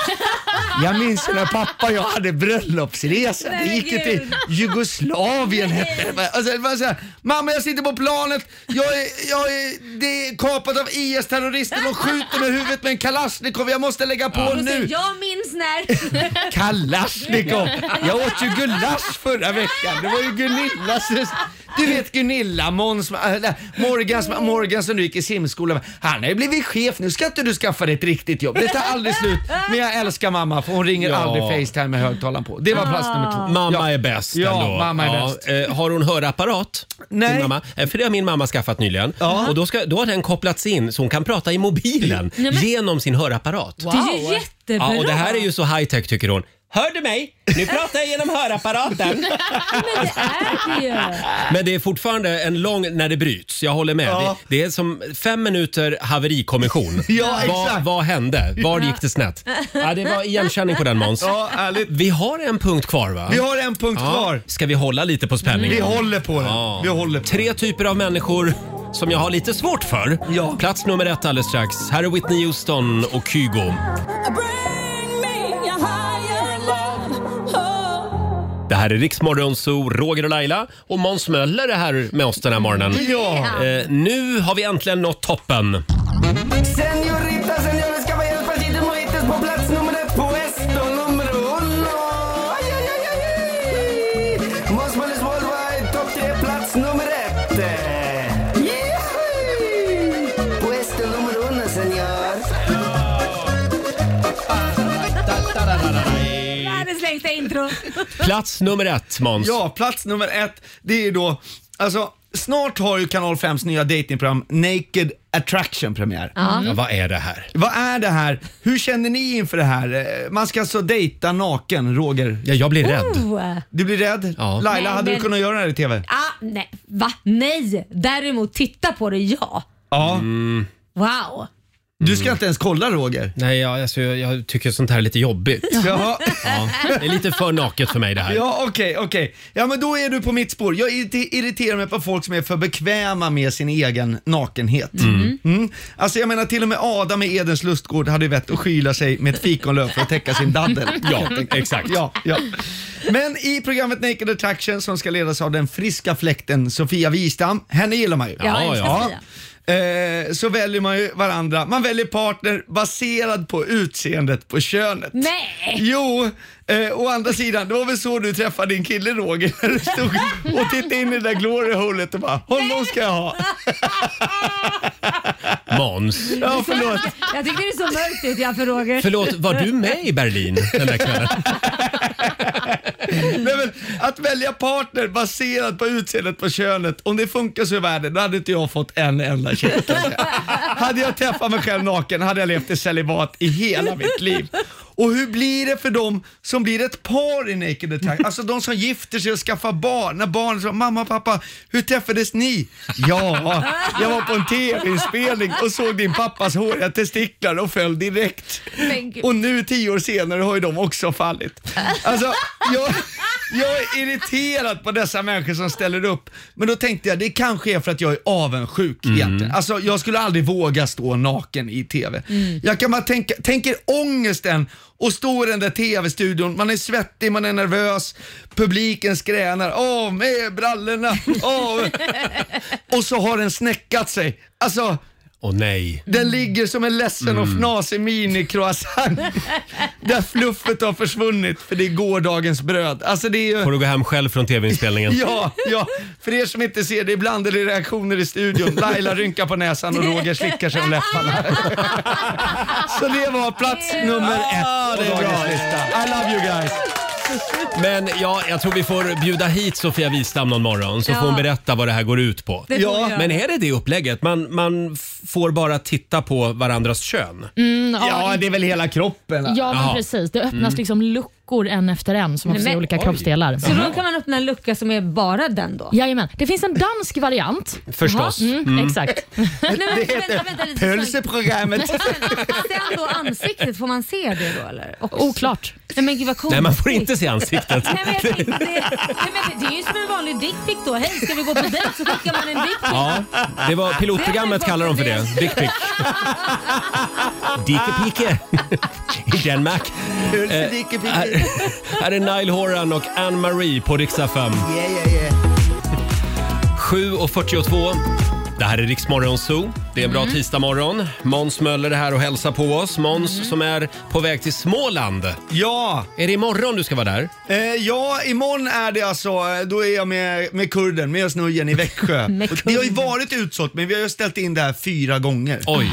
Speaker 10: Jag minns när pappa och jag hade bröllopsresa. Vi
Speaker 2: Nej,
Speaker 10: gick ju
Speaker 2: Gud.
Speaker 10: till Jugoslavien hette det. Alltså, det var så här, Mamma jag sitter på planet, jag är, jag är, det är kapat av IS-terrorister, de skjuter mig i huvudet med en kalasjnikov, jag måste lägga på
Speaker 2: Och
Speaker 10: nu.
Speaker 2: så, jag minns när...
Speaker 10: Kalasjnikov! liksom. Jag åt ju gulasch förra veckan. Det var ju Gunillas... Du vet Gunilla, Måns, äh, Morgans, Morgan som nu gick i simskolan. Han har ju blivit chef nu. Ska inte du skaffa dig ett riktigt jobb? Det tar aldrig slut. Men jag älskar mamma för hon ringer
Speaker 1: Ja. Ah.
Speaker 10: aldrig Facetime med högtalaren på. Det var plats nummer två.
Speaker 1: Mamma
Speaker 10: Ja.
Speaker 1: är bäst
Speaker 10: Ja,
Speaker 1: ändå.
Speaker 10: mamma är bäst.
Speaker 1: eh, har hon hörapparat?
Speaker 10: Nej.
Speaker 1: Din Mamma? Eh, För det har min mamma skaffat nyligen.
Speaker 10: Ja.
Speaker 1: Och då, ska, då har den kopplats in så hon kan prata i mobilen
Speaker 2: Nej, men-
Speaker 1: genom sin hörapparat.
Speaker 2: Det är ju jättebra.
Speaker 1: Ja, och det här är ju så high tech tycker hon. Hör du mig? Nu pratar jag genom hörapparaten.
Speaker 2: Men det är det ju.
Speaker 1: Men det är fortfarande en lång när det bryts. Jag håller med.
Speaker 10: Ja.
Speaker 1: Det, det är som fem minuter haverikommission.
Speaker 10: Ja,
Speaker 1: vad,
Speaker 10: exakt.
Speaker 1: vad hände? Var gick det snett? Ja, det var igenkänning på den Måns.
Speaker 10: Ja, ärligt.
Speaker 1: Vi har en punkt kvar va?
Speaker 10: Vi har en punkt
Speaker 1: Ja.
Speaker 10: kvar.
Speaker 1: Ska vi hålla lite på spänningen?
Speaker 10: Vi håller på den. Vi håller på den.
Speaker 1: Tre typer av människor som jag har lite svårt för. Plats nummer ett alldeles strax. Här är Whitney Houston och Kygo. Det här är Riksmorgon Zoo, Roger och Laila och Måns Möller är här med oss den här morgonen.
Speaker 7: Ja.
Speaker 1: Eh, nu har vi äntligen nått toppen.
Speaker 7: Senorita, señores, caballeros, pasitos, mojitos på plats nummer ett på esto nummer uno. Aj, aj, aj, aj, aj. Måns Möllers Worldwide, topp tre, plats nummer ett. Yay! På esto nummer uno, señor.
Speaker 2: Världens längsta intro.
Speaker 1: Plats nummer ett, Måns.
Speaker 10: Ja, plats nummer ett, det är ju då, alltså snart har ju kanal 5s nya datingprogram Naked Attraction premiär.
Speaker 1: Ja. Ja, vad är det här?
Speaker 10: Vad är det här? Hur känner ni inför det här? Eh, Man ska alltså dejta naken, Roger?
Speaker 1: Ja, jag blir
Speaker 2: Oh.
Speaker 10: Du blir rädd? Laila,
Speaker 2: Nej,
Speaker 10: hade du
Speaker 2: men-
Speaker 10: kunnat göra det här i TV?
Speaker 2: Ah, nej. Va? Nej. Däremot titta på det, ja.
Speaker 10: Ja.
Speaker 2: Wow.
Speaker 10: Du ska inte ens kolla Roger?
Speaker 1: Nej, jag, alltså, jag, jag tycker sånt här är lite jobbigt.
Speaker 10: Jaha.
Speaker 1: Ja, det är lite för naket för mig det här.
Speaker 10: Ja, okej, okej. Ja, men då är du på mitt spår. Jag irrite- irriterar mig på folk som är för bekväma med sin egen nakenhet. Mm. Alltså jag menar till och med Adam i Edens lustgård hade ju vett att skyla sig med ett fikonlöv för att täcka sin daddel.
Speaker 1: Ja,
Speaker 10: Helt enkelt.
Speaker 1: exakt.
Speaker 10: Ja, ja. Men i programmet Naked Attraction som ska ledas av den friska fläkten Sofia Wistam, henne gillar man ju.
Speaker 7: Ja, jag älskar Sofia.
Speaker 10: Eh, så väljer man ju varandra. Man väljer partner baserad på utseendet på könet.
Speaker 2: Nej!
Speaker 10: Jo, eh, å andra sidan, det var väl så du träffade din kille Roger? När du stod och tittade in i det där glory-holet och bara “honom ska jag ha”.
Speaker 1: Måns.
Speaker 10: Ja, förlåt.
Speaker 2: Jag tycker det är så mörkt ut, jag för Roger.
Speaker 1: Förlåt, var du med i Berlin den där kvällen?
Speaker 7: Mm.
Speaker 10: Nej, men, att välja partner baserat på utseendet på könet, om det funkar så i världen, då hade inte jag fått en enda tjej. kan jag säga. Hade jag träffat mig själv naken hade jag levt i celibat i hela mitt liv. Och hur blir det för dem som blir ett par i Naked Attack? Alltså de som gifter sig och skaffar barn. När barnen säger “Mamma, pappa, hur träffades ni?” “Ja, jag var på en TV-inspelning och såg din pappas håriga testiklar och föll direkt.”
Speaker 7: Men gud.
Speaker 10: Och nu tio år senare har ju de också fallit. Alltså, jag, jag är irriterad på dessa människor som ställer upp. Men då tänkte jag, det kanske är för att jag är avundsjuk egentligen. Alltså, jag skulle aldrig våga stå naken i TV. Jag kan bara tänka, tänk er ångesten och stå i den där TV-studion, man är svettig, man är nervös, publiken skränar, av med brallorna, av. Och så har den snäckat sig. Alltså,
Speaker 1: Åh nej.
Speaker 10: den ligger som en ledsen och fnasig mini-croissant där fluffet har försvunnit för det är gårdagens bröd. Alltså det är ju...
Speaker 1: Får du gå hem själv från tv-inspelningen?
Speaker 10: Ja, ja, för er som inte ser det, ibland är det reaktioner i studion. Laila rynkar på näsan och Roger slickar sig om läpparna. Så det var plats nummer ett på dagens lista. I love you guys.
Speaker 1: Men ja, jag tror vi får bjuda hit Sofia Wistam någon morgon så
Speaker 10: Ja.
Speaker 1: får hon berätta vad det här går ut på.
Speaker 3: Det får vi göra.
Speaker 1: Men är det det upplägget? Man, man f- får bara titta på varandras kön?
Speaker 3: Mm, ja, Ja,
Speaker 10: det är väl hela kroppen?
Speaker 3: Ja, men precis. Det öppnas
Speaker 1: Mm.
Speaker 3: liksom luckor en efter en som har
Speaker 2: Nej,
Speaker 3: får se
Speaker 2: men-
Speaker 3: olika
Speaker 2: Oj.
Speaker 3: kroppsdelar.
Speaker 2: Så då kan man öppna en lucka som är bara den då?
Speaker 3: Jajamän. Det finns en dansk variant.
Speaker 2: Förstås.
Speaker 3: Jaha, Mm,
Speaker 2: Mm.
Speaker 3: Exakt.
Speaker 2: vänta, vänta, vänta lite.
Speaker 10: Pölseprogrammet.
Speaker 2: Sen då ansiktet, får man se det då eller? Också.
Speaker 3: Oklart.
Speaker 2: Nej men gud vad konstigt.
Speaker 1: Nej, man får inte se ansiktet.
Speaker 2: Nej, men jag tänkte, det, nej, men det är ju som en vanlig dickpic då. Hej, ska vi gå på dejt? Så skickar man en dickpic.
Speaker 1: Ja, det var pilotprogrammet kallar de för det. Dickpic. Dickepike i Danmark.
Speaker 10: Pölse
Speaker 1: Eh,
Speaker 10: dickepike.
Speaker 1: här, här är Nile Horan och Anne-Marie på riksdag 5.
Speaker 10: Yeah, yeah, yeah.
Speaker 1: 7.42. Det här är Riksmorgon Zoo. Det är en bra
Speaker 7: Mm.
Speaker 1: tisdagmorgon. Måns Möller är här och hälsar på oss. Måns
Speaker 10: Mm.
Speaker 1: som är på väg till Småland.
Speaker 10: Ja!
Speaker 1: Är det imorgon du ska vara där?
Speaker 10: Eh, ja, imorgon är det alltså, eh, då är jag med, med kurden, med snurren i Växjö.
Speaker 7: Med
Speaker 10: Och det har ju varit utsålt men vi har ju ställt in det här fyra gånger.
Speaker 1: Oj.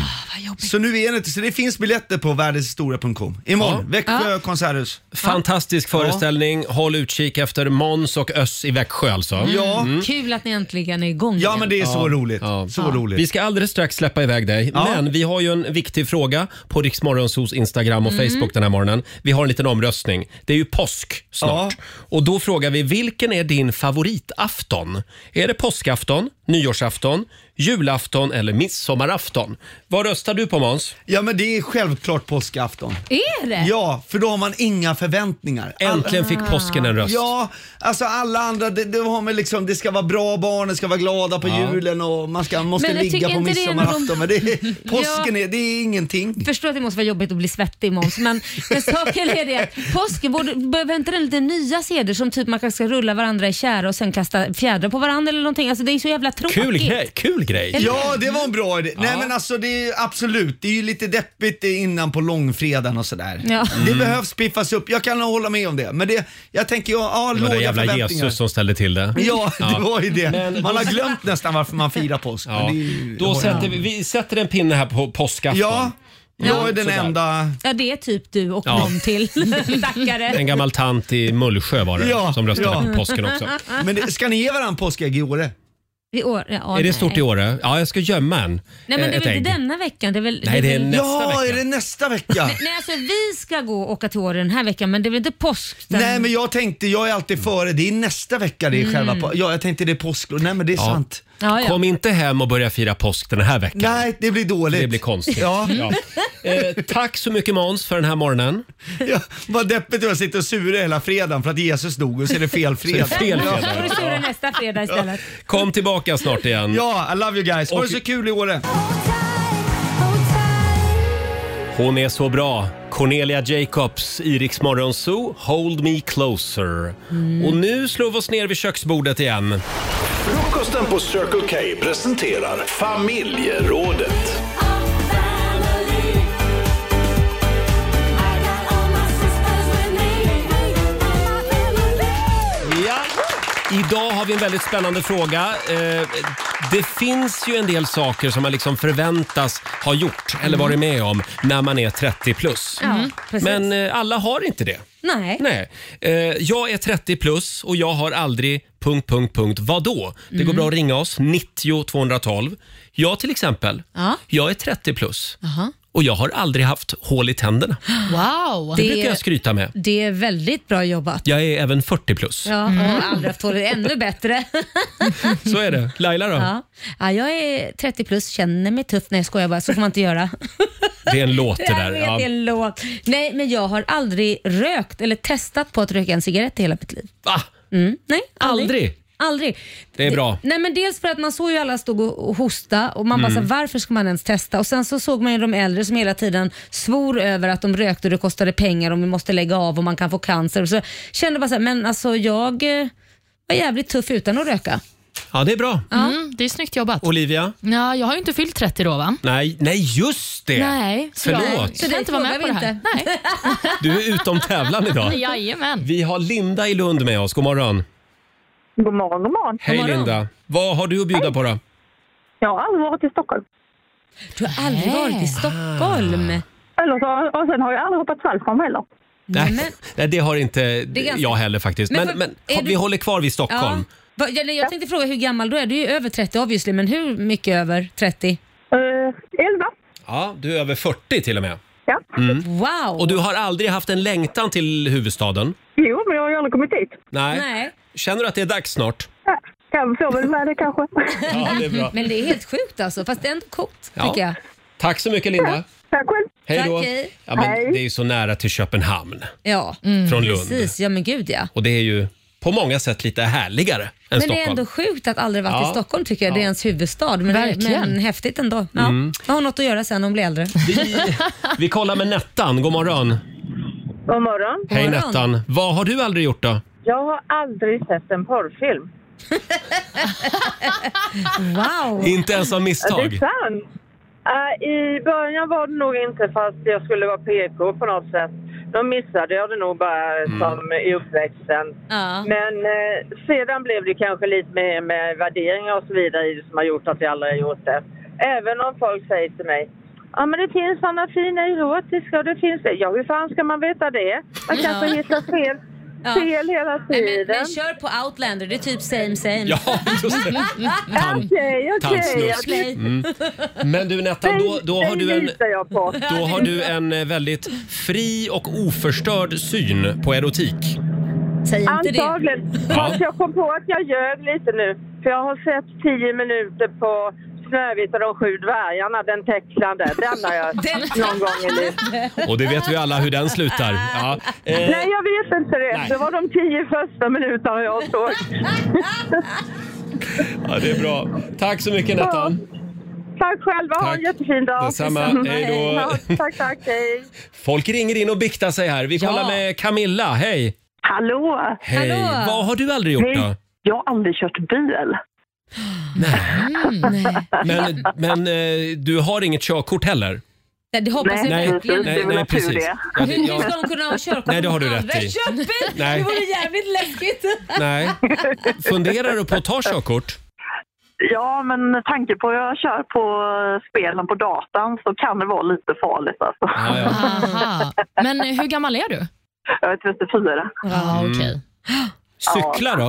Speaker 10: så nu är det inte, så det finns biljetter på världenshistoria.com. Imorgon, Växjö konserthus.
Speaker 1: Fantastisk föreställning. Håll utkik efter Måns och Öss i Växjö alltså. Mm.
Speaker 2: Kul att ni äntligen är igång
Speaker 1: Ja,
Speaker 2: igen.
Speaker 1: men det är så Ja. roligt.
Speaker 10: Så
Speaker 1: Ja.
Speaker 10: roligt.
Speaker 1: Vi ska alldeles strax släppa iväg dig,
Speaker 10: Ja.
Speaker 1: men vi har ju en viktig fråga på Riksmorgonsos Instagram och
Speaker 7: Mm.
Speaker 1: Facebook den här morgonen. Vi har en liten omröstning. Det är ju påsk snart och då frågar vi vilken är din favoritafton? Är det påskafton, nyårsafton, julafton eller midsommarafton. Vad röstar du på Måns?
Speaker 10: Ja, men det är självklart påskafton.
Speaker 11: Är det?
Speaker 10: Ja, för då har man inga förväntningar.
Speaker 1: Äntligen fick påsken en röst.
Speaker 10: Ja, alltså alla andra, det, det, har med liksom, det ska vara bra barn, det ska vara glada på
Speaker 1: Ja.
Speaker 10: julen och man ska, måste
Speaker 2: Men jag
Speaker 10: ligga
Speaker 2: tycker
Speaker 10: på
Speaker 2: inte det är någon-
Speaker 10: midsommarafton. Men det är, påsken
Speaker 2: Ja.
Speaker 10: är, det är ingenting.
Speaker 2: Förstår att det måste vara jobbigt att bli svettig Måns, men, men saken är det att påsken, borde, behöver inte den lite nya seder som typ man kanske ska rulla varandra i tjära och sen kasta fjädrar på varandra eller någonting. Alltså det är så jävla tråkigt.
Speaker 1: Kul grej! Kul grej.
Speaker 10: Ja, det var en bra idé. Nej men alltså det är absolut, det är ju lite deppigt innan på långfredagen och sådär.
Speaker 2: Ja.
Speaker 10: Det
Speaker 1: Mm.
Speaker 10: behövs piffas upp, jag kan hålla med om det. Men det, jag tänker, ja, ja
Speaker 1: Det var
Speaker 10: låga
Speaker 1: den jävla
Speaker 10: förväntningar.
Speaker 1: Jesus som ställde till det.
Speaker 10: Ja, det var ju det. Man har glömt nästan varför man firar påsk. men
Speaker 1: Ja.
Speaker 10: det är ju-
Speaker 1: Då sätter vi, vi sätter en pinne här på påskafton.
Speaker 10: Ja, jag är den
Speaker 1: Sådär.
Speaker 10: enda...
Speaker 2: Ja, det är typ du och
Speaker 1: Ja.
Speaker 2: någon till. Stackare.
Speaker 1: En gammal tant i Mullsjö var det som röstade på påsken också.
Speaker 2: Ah.
Speaker 10: Men det, ska ni ge varandra påskägg i Åre?
Speaker 2: I år, ja,
Speaker 1: är det
Speaker 2: nej.
Speaker 1: stort i Åre? Ja, jag ska gömma en.
Speaker 2: Nej, men
Speaker 1: eh,
Speaker 2: det är
Speaker 1: ett
Speaker 2: väl inte
Speaker 1: ägg.
Speaker 2: denna veckan? Det är väl,
Speaker 1: Nej, det är
Speaker 2: väl-
Speaker 1: nästa Ja, vecka.
Speaker 10: är det nästa vecka?
Speaker 2: Nej, nej, alltså vi ska gå och åka till Åre den här veckan, men det är väl inte påsk? den-
Speaker 10: Nej men jag tänkte, jag är alltid före, det är nästa vecka det är
Speaker 2: Mm.
Speaker 10: själva på, Ja, jag tänkte det är påsklov. Nej men det är
Speaker 1: Ja.
Speaker 10: sant.
Speaker 2: Ja, ja.
Speaker 1: Kom inte hem och börja fira påsk den här veckan.
Speaker 10: Nej, det blir dåligt.
Speaker 1: Det blir konstigt.
Speaker 10: Ja.
Speaker 1: Ja. Eh, tack så mycket Måns för den här morgonen.
Speaker 10: Ja, vad deppigt att jag sitter och surar hela fredagen för att Jesus dog och så är det fel fredag.
Speaker 1: Så är det fel
Speaker 10: Ja.
Speaker 1: fredag.
Speaker 2: Då får du sura nästa fredag istället.
Speaker 1: Kom tillbaka snart igen.
Speaker 10: Ja, I love you guys. Ha det
Speaker 1: Och-
Speaker 10: så kul i Åre.
Speaker 1: Hon är så bra. Cornelia Jacobs, Iriks morgonzoo, Hold Me Closer.
Speaker 10: Mm.
Speaker 1: Och nu slår vi oss ner vid köksbordet igen.
Speaker 5: Frukosten på Circle K presenterar Familjerådet.
Speaker 1: Ja. Idag har vi en väldigt spännande fråga. Eh, det finns ju en del saker som man liksom förväntas ha gjort eller varit med om när man är 30 plus.
Speaker 2: Mm. Ja, Mm. precis.
Speaker 1: Men eh, alla har inte det.
Speaker 2: Nej.
Speaker 1: Nej. Eh, jag är 30 plus och jag har aldrig... Punkt, punkt, punkt. Vadå? Det går
Speaker 2: Mm.
Speaker 1: bra att ringa oss, 90 212. Jag till exempel,
Speaker 2: Ja.
Speaker 1: jag är 30 plus
Speaker 2: Jaha.
Speaker 1: och jag har aldrig haft hål i tänderna.
Speaker 2: Wow!
Speaker 1: Det brukar jag skryta med.
Speaker 2: Det är väldigt bra jobbat.
Speaker 1: Jag är även 40 plus.
Speaker 2: Ja, och aldrig haft hålet ännu bättre.
Speaker 1: Så är det. Laila då?
Speaker 2: Ja. Ja, jag är 30 plus, känner mig tuff. Nej, jag skojar bara. Så får man inte göra.
Speaker 1: Det är en låt det där.
Speaker 2: Jag vet, det är
Speaker 1: Ja.
Speaker 2: en låt. Nej, men jag har aldrig rökt eller testat på att röka en cigarett i hela mitt liv.
Speaker 1: Va?
Speaker 2: Mm. Nej, aldrig.
Speaker 1: Aldrig?
Speaker 2: Aldrig.
Speaker 1: Det är bra.
Speaker 2: Nej men dels för att man såg ju alla stod och och hosta och man bara
Speaker 1: Mm.
Speaker 2: så här, varför ska man ens testa? Och sen så såg man ju de äldre som hela tiden svor över att de rökte och det kostade pengar och vi måste lägga av och man kan få cancer. Och så kände bara så här, men alltså jag eh, var jävligt tuff utan att röka.
Speaker 1: Ja, det är bra.
Speaker 3: Mm, det är snyggt jobbat.
Speaker 1: Olivia?
Speaker 3: Ja, jag har ju inte fyllt 30 då va?
Speaker 1: Nej, nej just det!
Speaker 3: Nej, så
Speaker 1: Förlåt.
Speaker 3: jag- Så det inte vara med på det här. Nej.
Speaker 1: Du är utom tävlan idag.
Speaker 3: Jajamän.
Speaker 1: Vi har Linda i Lund med oss. God morgon.
Speaker 12: God morgon, god morgon.
Speaker 1: Hej Linda. Vad har du att bjuda på då?
Speaker 12: Jag har aldrig varit i Stockholm.
Speaker 2: Du har aldrig varit i Stockholm?
Speaker 1: Ah.
Speaker 12: Eller så, och sen har jag aldrig hoppat fallskärm heller.
Speaker 1: Nej,
Speaker 2: men-
Speaker 1: nej, det har inte
Speaker 2: Det är ganska-
Speaker 1: jag heller faktiskt.
Speaker 2: Men
Speaker 1: Men,
Speaker 2: för-
Speaker 1: men,
Speaker 2: är
Speaker 1: ha-
Speaker 2: du-
Speaker 1: vi håller kvar vid Stockholm.
Speaker 2: Va- ja, nej, jag tänkte fråga hur gammal du är. Du är ju över 30 obviously, men hur mycket över 30?
Speaker 12: 11.
Speaker 1: Ja, du är över 40 till och med.
Speaker 12: Eh, Ja.
Speaker 1: Mm.
Speaker 2: Wow!
Speaker 1: Och du har aldrig haft en längtan till huvudstaden?
Speaker 12: Jo, men jag har ju aldrig kommit dit.
Speaker 1: Nej.
Speaker 2: Nej.
Speaker 1: Känner du att det är dags snart?
Speaker 12: Jag får väl med det kanske.
Speaker 1: Ja, det är bra.
Speaker 2: Men det är helt sjukt alltså, fast det är ändå coolt
Speaker 1: Ja.
Speaker 2: tycker jag.
Speaker 1: Tack så mycket Linda.
Speaker 12: Tack själv.
Speaker 1: Hej då.
Speaker 2: Tack, hej.
Speaker 1: Ja, men
Speaker 2: Hej.
Speaker 1: det är ju så nära till Köpenhamn.
Speaker 2: Ja,
Speaker 1: Från Mm. Lund.
Speaker 2: Mm, precis. Ja men gud ja.
Speaker 1: Och det är ju på många sätt lite härligare än
Speaker 2: Men
Speaker 1: Stockholm.
Speaker 2: det är ändå sjukt att aldrig varit
Speaker 1: Ja.
Speaker 2: i Stockholm tycker jag. Det är ens huvudstad. Men,
Speaker 1: Verkligen.
Speaker 2: men häftigt ändå. Ja.
Speaker 1: Mm.
Speaker 2: Jag har något att göra sen när hon blir äldre.
Speaker 1: Vi kollar med Nettan. God morgon.
Speaker 13: God morgon.
Speaker 1: Hej Nettan. Vad har du aldrig gjort då?
Speaker 13: Jag har aldrig sett en porrfilm.
Speaker 2: wow!
Speaker 1: Inte ens av misstag?
Speaker 13: Det är sant. Eh, I början var det nog inte fast jag skulle vara PK på något sätt. Då missade jag det nog bara
Speaker 14: Mm.
Speaker 13: som i uppväxten. Men eh, sedan blev det kanske lite mer med värderingar och så vidare i det som har gjort att jag aldrig har gjort det. Även om folk säger till mig Ja men det finns sådana fina erotiska och det finns det. Ja hur fan ska man veta det? Man kanske
Speaker 2: Ja.
Speaker 13: hittar fel, fel hela
Speaker 2: Nej,
Speaker 13: tiden.
Speaker 2: men, men kör på Outlander, det är typ same same.
Speaker 1: Ja, just det. Tan-
Speaker 13: Okej,
Speaker 1: tandsnusk. Mm. Men du Nettan, då, då, har du en, då har du en eh, väldigt fri och oförstörd syn på erotik.
Speaker 2: Säg
Speaker 13: Antagligen.
Speaker 1: Ja.
Speaker 13: Fast jag kom på att jag ljög lite nu. För För jag har sett 10 minuter på Snövit och de sju dvärgarna, den tecknade. Den har jag sett någon gång i livet.
Speaker 1: Och det vet vi alla hur den slutar. Ja. Eh,
Speaker 13: Nej, jag vet inte det. Det var de tio första minuterna jag såg.
Speaker 1: ja, det är bra. Tack så mycket Nettan.
Speaker 13: Tack själva, ha en jättefin dag.
Speaker 1: Detsamma. Hej då.
Speaker 13: Ja, Tack, tack, hej.
Speaker 1: Folk ringer in och biktar sig här. Vi kollar med Camilla. Hej!
Speaker 11: Hallå!
Speaker 1: Hej! Vad har du aldrig gjort då?
Speaker 11: Nej, jag har aldrig kört bil.
Speaker 1: Men, men eh, du har inget körkort heller?
Speaker 2: Nej, det hoppas jag
Speaker 1: nej,
Speaker 2: verkligen.
Speaker 1: nej, nej, precis. Ja, det-
Speaker 2: Hur
Speaker 1: ja.
Speaker 2: ska de kunna ha körkort?
Speaker 1: Nej, det har du
Speaker 2: om de
Speaker 1: rätt
Speaker 2: aldrig
Speaker 1: i.
Speaker 2: kört bil?
Speaker 1: Nej.
Speaker 2: Det vore jävligt läskigt.
Speaker 1: Nej. Funderar du på att ta körkort?
Speaker 11: Ja, men med tanke på att jag kör på spelen på datan så kan det vara lite farligt alltså.
Speaker 3: Aha. Men hur gammal är du?
Speaker 11: Jag är 34.
Speaker 3: Ja,
Speaker 1: Mm.
Speaker 3: okej.
Speaker 1: Cykla då?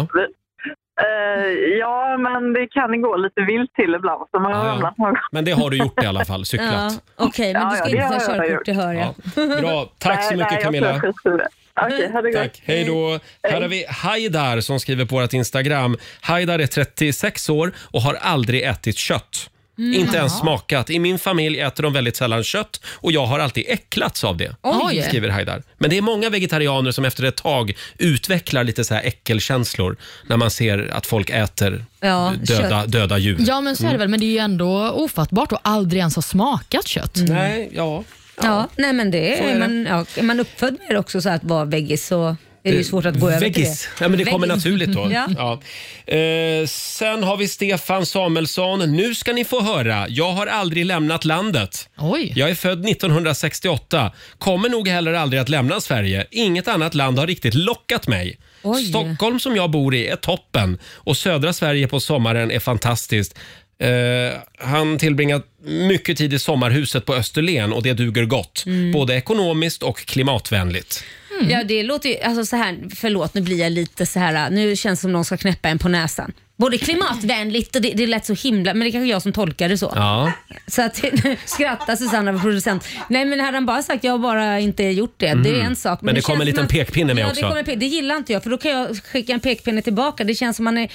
Speaker 11: Eh, ja, men det kan gå lite vilt till ibland. Så man har
Speaker 1: ja.
Speaker 11: ramlat någon gång.
Speaker 1: Men det har du gjort i alla fall, cyklat.
Speaker 2: Ja, Okej, men
Speaker 11: Ja,
Speaker 2: du ska
Speaker 11: ja, det
Speaker 2: inte ta
Speaker 11: har jag
Speaker 2: körkort,
Speaker 11: gjort.
Speaker 2: det hör jag.
Speaker 1: Bra, tack så
Speaker 11: Nej,
Speaker 1: mycket
Speaker 11: nej, jag
Speaker 1: Camilla.
Speaker 11: tror jag skiter i det. Okej, ha det gott.
Speaker 1: Tack. Hej då. Här har vi Haidar som skriver på vårt Instagram. Haidar är 36 år och har aldrig ätit kött.
Speaker 3: Mm.
Speaker 1: Inte ens
Speaker 3: Jaha.
Speaker 1: smakat. I min familj äter de väldigt sällan kött och jag har alltid äcklats av det.
Speaker 3: Oj.
Speaker 1: Skriver Haidar. Men det är många vegetarianer som efter ett tag utvecklar lite så här äckelkänslor när man ser att folk äter
Speaker 3: Ja,
Speaker 1: döda,
Speaker 3: kött.
Speaker 1: döda djur.
Speaker 3: Ja, men så är det
Speaker 1: Mm.
Speaker 3: väl. Men det är ju ändå ofattbart att aldrig ens ha smakat kött.
Speaker 1: Nej, ja.
Speaker 2: Ja. nej men det
Speaker 1: Så är
Speaker 2: är,
Speaker 1: det.
Speaker 2: man, ja, är man uppfödd med det också så att vara veggis så är det ju svårt att gå över till
Speaker 1: Veggis.
Speaker 2: det.
Speaker 1: Ja, men det kommer
Speaker 2: Veggis.
Speaker 1: naturligt då.
Speaker 2: ja.
Speaker 1: Ja. Eh, sen har vi Stefan Samuelsson. Nu ska ni få höra. Jag har aldrig lämnat landet.
Speaker 3: Oj.
Speaker 1: Jag är född 1968. Kommer nog heller aldrig att lämna Sverige. Inget annat land har riktigt lockat mig.
Speaker 14: Oj.
Speaker 1: Stockholm som jag bor i är toppen och södra Sverige på sommaren är fantastiskt. Eh, han tillbringar mycket tid i sommarhuset på Österlen och det duger gott.
Speaker 2: Mm.
Speaker 1: Både ekonomiskt och klimatvänligt.
Speaker 2: ja, det låter ju, alltså så här, förlåt nu blir jag lite så här, nu känns det som någon ska knäppa en på näsan. Både klimatvänligt och det, det lät så himla, men det är kanske jag som tolkar det så.
Speaker 1: Ja.
Speaker 2: Så att, skrattar Susanna, vår producent. Nej men hade han bara sagt jag har bara inte gjort det, det är
Speaker 1: Mm.
Speaker 2: en sak.
Speaker 1: Men det
Speaker 2: känns
Speaker 1: kommer en
Speaker 2: som
Speaker 1: liten pekpinne med
Speaker 2: ja,
Speaker 1: också.
Speaker 2: Det, kommer, en pe- det gillar inte jag för då kan jag skicka en pekpinne tillbaka. Det känns som man är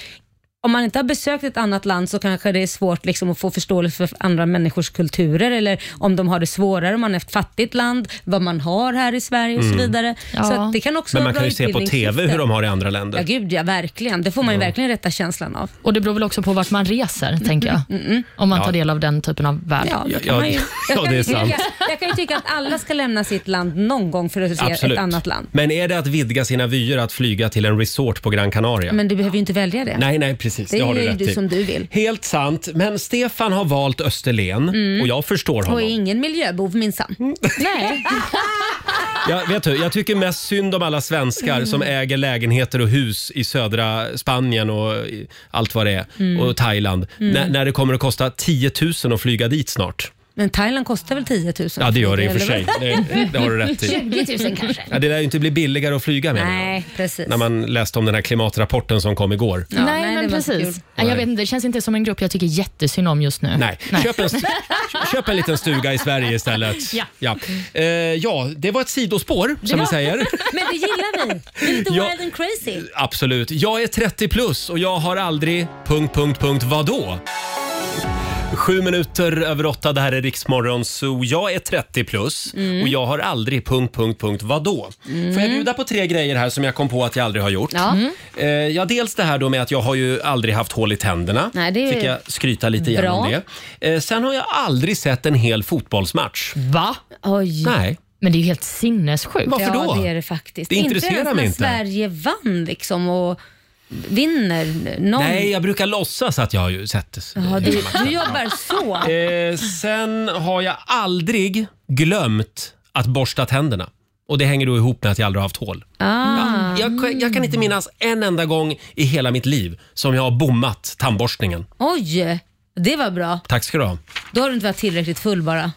Speaker 2: om man inte har besökt ett annat land så kanske det är svårt liksom att få förståelse för andra människors kulturer eller om de har det svårare, om man är ett fattigt land, vad man har här i Sverige och så
Speaker 1: Mm.
Speaker 2: vidare. Så
Speaker 1: Ja.
Speaker 2: att det kan också
Speaker 1: Men
Speaker 2: vara
Speaker 1: man
Speaker 2: bra
Speaker 1: kan ju se på TV
Speaker 2: utbildningssyfte.
Speaker 1: hur de har det i andra länder.
Speaker 2: Ja, gud ja, verkligen. Det får man ju verkligen rätta känslan av.
Speaker 3: Och det beror väl också på vart man reser, tänker jag. Om man
Speaker 1: Ja.
Speaker 3: tar del av den typen av värld.
Speaker 2: Ja, det kan
Speaker 1: Ja,
Speaker 2: man ju. Jag
Speaker 1: ja,
Speaker 2: kan
Speaker 1: det
Speaker 2: ju
Speaker 1: är sant.
Speaker 2: tycka- Jag kan ju tycka att alla ska lämna sitt land någon gång för att se ett annat land.
Speaker 1: Men är det att vidga sina vyer att flyga till en resort på Gran Canaria?
Speaker 2: Men du behöver ju inte välja det.
Speaker 1: Nej, nej, precis.
Speaker 2: Det
Speaker 1: Det, har du
Speaker 2: är ju
Speaker 1: rätt
Speaker 2: du
Speaker 1: i.
Speaker 2: som du vill.
Speaker 1: Helt sant. Men Stefan har valt Österlen
Speaker 2: Mm.
Speaker 1: och jag förstår
Speaker 2: Och är
Speaker 1: honom.
Speaker 2: ingen miljöbov minsann.
Speaker 1: Mm.
Speaker 3: Nej.
Speaker 1: Jag, vet du, jag tycker mest synd om alla svenskar
Speaker 2: Mm.
Speaker 1: som äger lägenheter och hus i södra Spanien och i- allt vad det är.
Speaker 2: Mm.
Speaker 1: Och Thailand.
Speaker 2: Mm.
Speaker 1: När- när det kommer att kosta 10 000 att flyga dit snart.
Speaker 2: Men Thailand kostar väl 10 000?
Speaker 1: Ja, det gör det i och för
Speaker 2: Eller vad?
Speaker 1: sig. Det- det har du rätt i.
Speaker 2: 20 000 kanske.
Speaker 1: Ja, det lär ju inte bli billigare att flyga med.
Speaker 2: Nej, precis.
Speaker 1: När man läste om den här klimatrapporten som kom igår.
Speaker 3: nej,
Speaker 2: nej,
Speaker 3: men
Speaker 2: det var inte
Speaker 3: precis.
Speaker 2: kul.
Speaker 3: Nej, Jag vet inte, det känns inte som en grupp jag tycker jättesynd om just nu.
Speaker 1: Nej. Köp, en, köp en liten stuga i Sverige istället.
Speaker 3: Ja.
Speaker 1: Ja, eh, ja det var ett sidospår som vi säger.
Speaker 2: Men det gillar vi. Det är lite
Speaker 1: Ja.
Speaker 2: wild and crazy.
Speaker 1: Absolut. Jag är 30 plus och jag har aldrig... Punkt, punkt, punkt, vadå? Sju minuter över åtta, det här är Riksmorgon Zoo. Jag är 30 plus
Speaker 2: Mm.
Speaker 1: och jag har aldrig... Punkt, punkt, punkt, vadå? Får jag bjuda på tre grejer här som jag kom på att jag aldrig har gjort?
Speaker 2: Ja. Mm.
Speaker 1: Eh, ja, dels det här då med att jag har ju aldrig haft hål i tänderna.
Speaker 2: Nej, det är
Speaker 1: Fick
Speaker 2: ju
Speaker 1: jag skryta lite grann
Speaker 2: bra.
Speaker 1: om det. Eh, sen har jag aldrig sett en hel fotbollsmatch.
Speaker 2: Mm.
Speaker 3: Va?
Speaker 2: Oj.
Speaker 1: Nej.
Speaker 3: Men det är ju helt sinnessjukt.
Speaker 1: Varför då?
Speaker 2: Ja, det är det faktiskt.
Speaker 1: Det intresserar
Speaker 2: inte ens när
Speaker 1: mig inte.
Speaker 2: Sverige vann liksom och vinner någon.
Speaker 1: Nej, jag brukar låtsas att jag har ju sett
Speaker 2: Ja, du,
Speaker 1: hela matchen.
Speaker 2: du jobbar så.
Speaker 1: Eh, sen har jag aldrig glömt att borsta tänderna. Och det hänger då ihop med att jag aldrig har haft hål.
Speaker 2: Ah.
Speaker 1: Jag, jag kan inte minnas en enda gång i hela mitt liv som jag har bommat tandborstningen.
Speaker 2: Oj, det var bra.
Speaker 1: Tack ska du ha.
Speaker 2: Då har du inte varit tillräckligt full bara.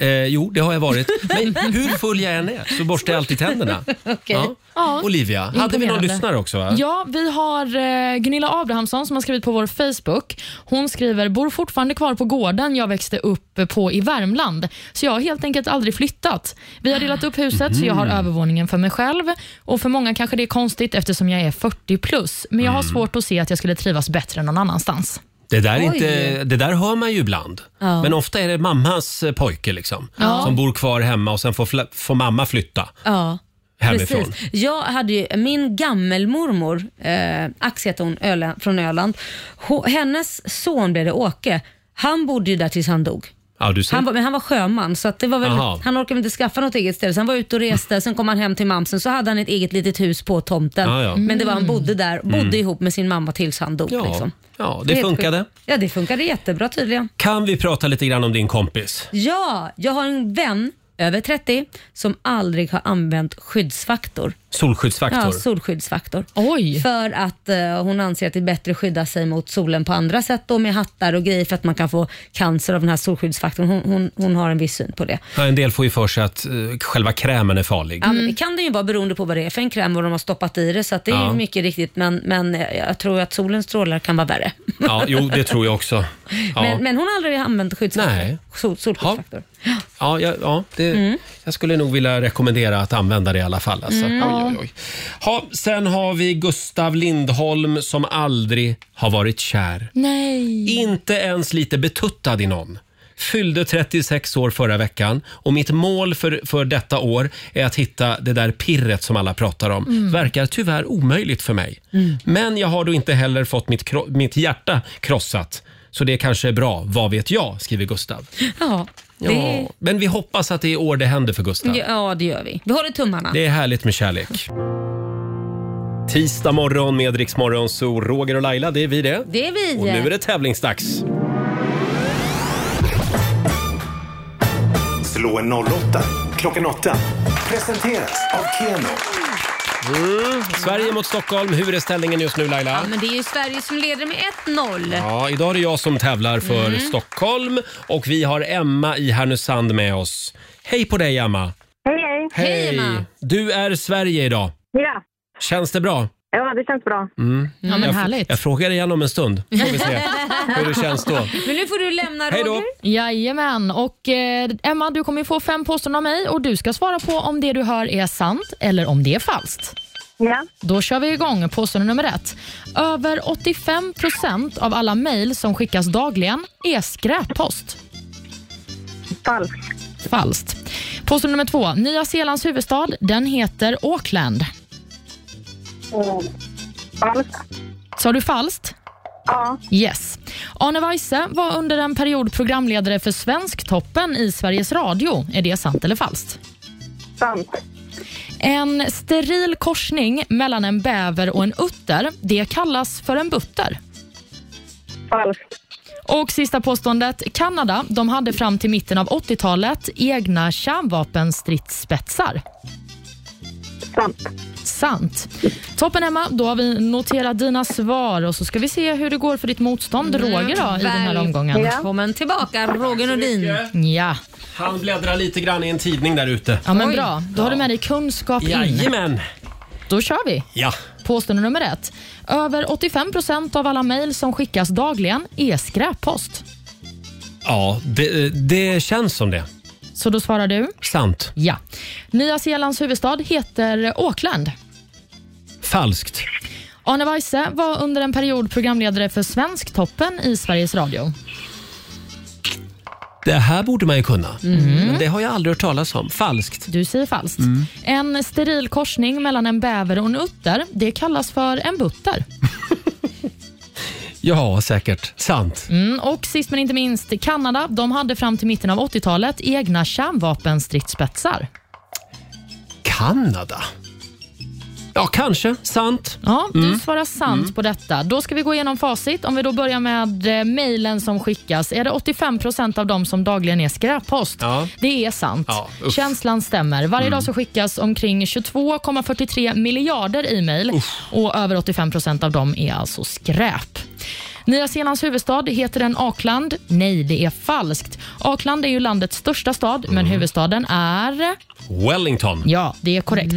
Speaker 1: Eh, jo, det har jag varit. Men hur full jag än är så borstar jag alltid tänderna.
Speaker 3: Okej.
Speaker 1: Ja.
Speaker 3: Ja.
Speaker 1: Olivia, hade vi någon
Speaker 3: Imponerande.
Speaker 1: lyssnare också? Va?
Speaker 3: Ja, vi har eh, Gunilla Abrahamsson som har skrivit på vår Facebook. Hon skriver, bor fortfarande kvar på gården jag växte upp på i Värmland, så jag har helt enkelt aldrig flyttat. Vi har delat upp huset, så jag har
Speaker 14: Mhm.
Speaker 3: övervåningen för mig själv. Och För många kanske det är konstigt eftersom jag är 40 plus, men jag har
Speaker 1: Mm.
Speaker 3: svårt att se att jag skulle trivas bättre någon annanstans.
Speaker 1: Det där, är
Speaker 3: Oj.
Speaker 1: inte, det där hör man ju ibland.
Speaker 3: Ja.
Speaker 1: Men ofta är det mammas eh, pojke liksom,
Speaker 2: Ja.
Speaker 1: som bor kvar hemma och sen får, fla- får mamma flytta.
Speaker 2: Ja.
Speaker 1: Hemifrån.
Speaker 2: Precis. Jag hade ju min gammelmormor, eh, Ax heter hon, Öla, från Öland. Ho, hennes son blev det Åke. Han bodde ju där tills han dog.
Speaker 1: Ja, du ser.
Speaker 2: Han var, men han var sjöman så att det var väl,
Speaker 1: Aha.
Speaker 2: han orkade väl inte skaffa något eget ställe. Så han var ute och reste, sen kom han hem till mamsen så hade han ett eget litet hus på tomten.
Speaker 1: Ja, ja.
Speaker 2: Men det var han bodde där, bodde
Speaker 1: Mm.
Speaker 2: ihop med sin mamma tills han dog.
Speaker 1: Ja,
Speaker 2: liksom.
Speaker 1: ja, det
Speaker 2: är helt
Speaker 1: funkade.
Speaker 2: sjukt. Ja, det funkade jättebra tydligen.
Speaker 1: Kan vi prata lite grann om din kompis?
Speaker 2: Ja, jag har en vän över 30 som aldrig har använt skyddsfaktor.
Speaker 1: Solskyddsfaktor.
Speaker 2: Ja, solskyddsfaktor. För att eh, hon anser att det är bättre att skydda sig mot solen på andra sätt då med hattar och grejer för att man kan få cancer av den här solskyddsfaktorn. Hon, hon, hon har en viss syn på det.
Speaker 1: Ja, en del får ju för sig att eh, själva krämen är farlig.
Speaker 2: Ja, men det kan det ju vara beroende på vad det är för en kräm och de har stoppat i det så att det är
Speaker 1: Mm. Ja.
Speaker 2: ju mycket riktigt men, men eh, jag tror att solens strålar kan vara värre.
Speaker 1: Ja, jo, det tror jag också. Ja,
Speaker 2: Men, men hon har aldrig använt skyddsfaktor.
Speaker 1: Nej.
Speaker 2: Sol, solskyddsfaktor.
Speaker 1: ja, ja, ja det, jag skulle nog vilja rekommendera att använda det i alla fall. Alltså.
Speaker 2: Mm.
Speaker 1: Oj, oj, oj. Ha, sen har vi Gustav Lindholm som aldrig har varit kär.
Speaker 3: Nej.
Speaker 1: Inte ens lite betuttad i någon. Fyllde 36 år förra veckan och mitt mål för, för detta år är att hitta det där pirret som alla pratar om.
Speaker 7: Mm.
Speaker 1: Verkar tyvärr omöjligt för mig. Men jag har då inte heller fått mitt, kro- mitt hjärta krossat. Så det kanske är bra, vad vet jag, skriver Gustav.
Speaker 2: Ja, det,
Speaker 1: Ja, men vi hoppas att det är i år det händer för Gustav.
Speaker 2: ja, det gör vi. Vi håller tummarna.
Speaker 1: Det är härligt med kärlek. Tisdag morgon med Rix Morgon, så Roger och Laila, det är vi det.
Speaker 2: Det är vi.
Speaker 1: Och nu är det tävlingsdags.
Speaker 5: Slå en 08 klockan 8. Presenteras av Keno.
Speaker 1: Mm. Sverige mot Stockholm. Hur är ställningen just nu Laila?
Speaker 2: Men det är ju Sverige som leder med 1-0.
Speaker 1: Ja, idag är det jag som tävlar för
Speaker 2: Mm.
Speaker 1: Stockholm och vi har Emma i Härnösand med oss. Hej på dig Emma!
Speaker 12: Hej, hej.
Speaker 1: Du är Sverige idag.
Speaker 12: Ja.
Speaker 1: Känns det bra?
Speaker 12: ja, det känns bra.
Speaker 1: Mm.
Speaker 12: Ja, men
Speaker 1: jag,
Speaker 12: härligt.
Speaker 1: jag frågar igen om en stund. Får vi se hur det känns då.
Speaker 2: Men nu får du lämna
Speaker 1: Hej då. Roger.
Speaker 3: Jajamän. Och, eh, Emma, du kommer ju få fem påståenden av mig och du ska svara på om det du hör är sant eller om det är falskt.
Speaker 12: Ja.
Speaker 3: Då kör vi igång. Påstående nummer ett. Över 85 procent av alla mejl som skickas dagligen är skräppost. Falskt. Falskt. Påstående nummer två. Nya Zeelands huvudstad, den heter Auckland.
Speaker 12: Falskt.
Speaker 3: Sa du falskt? Ja. Yes. Arne Weise var under en period programledare för Svensktoppen i Sveriges Radio. Är det sant eller falskt? Sant. En steril korsning mellan en bäver och en utter, det kallas för en butter. Falskt. Och sista påståendet. Kanada de hade fram till mitten av 80-talet egna kärnvapenstridsspetsar. Sant. Sant. Toppen Emma, då har vi noterat dina svar och så ska vi se hur det går för ditt motstånd Roger då, i den här omgången.
Speaker 2: Välkommen tillbaka Roger Nordin.
Speaker 3: Ja.
Speaker 1: Han bläddrar lite grann i en tidning där ute.
Speaker 3: Ja men bra, då har du med dig kunskap in.
Speaker 1: Jajamän!
Speaker 3: Då kör vi.
Speaker 1: Ja.
Speaker 3: Påstående nummer ett. Över 85 procent av alla mejl som skickas dagligen är skräppost.
Speaker 1: Ja, det, det känns som det.
Speaker 3: Så då svarar du?
Speaker 1: Sant.
Speaker 3: Ja. Nya Zeelands huvudstad heter Auckland.
Speaker 1: Falskt.
Speaker 3: Arne Weise var under en period programledare för Svensktoppen i Sveriges Radio.
Speaker 1: Det här borde man ju kunna.
Speaker 2: Mm.
Speaker 1: Men det har jag aldrig hört talas om. Falskt.
Speaker 3: Du säger falskt. En steril korsning mellan en bäver och en utter, det kallas för en butter.
Speaker 1: Ja, säkert. Sant.
Speaker 3: Mm, och sist men inte minst, Kanada de hade fram till mitten av 80-talet egna kärnvapenstridsspetsar.
Speaker 1: Kanada? Ja, kanske. Sant.
Speaker 3: Ja, du
Speaker 1: Mm.
Speaker 3: svarar sant på detta. Då ska vi gå igenom facit. Om vi då börjar med eh, mejlen som skickas. Är det 85 procent av dem som dagligen är skräppost? Det är sant.
Speaker 14: Ja, uff.
Speaker 3: Känslan stämmer. Varje
Speaker 14: Mm.
Speaker 3: dag så skickas omkring 22,43 miljarder e-mail och över 85 procent av dem är alltså skräp. Nya Zeelands huvudstad, heter den Auckland? Nej, det är falskt. Auckland är ju landets största stad, men huvudstaden är...
Speaker 1: Wellington.
Speaker 3: Ja, det är korrekt.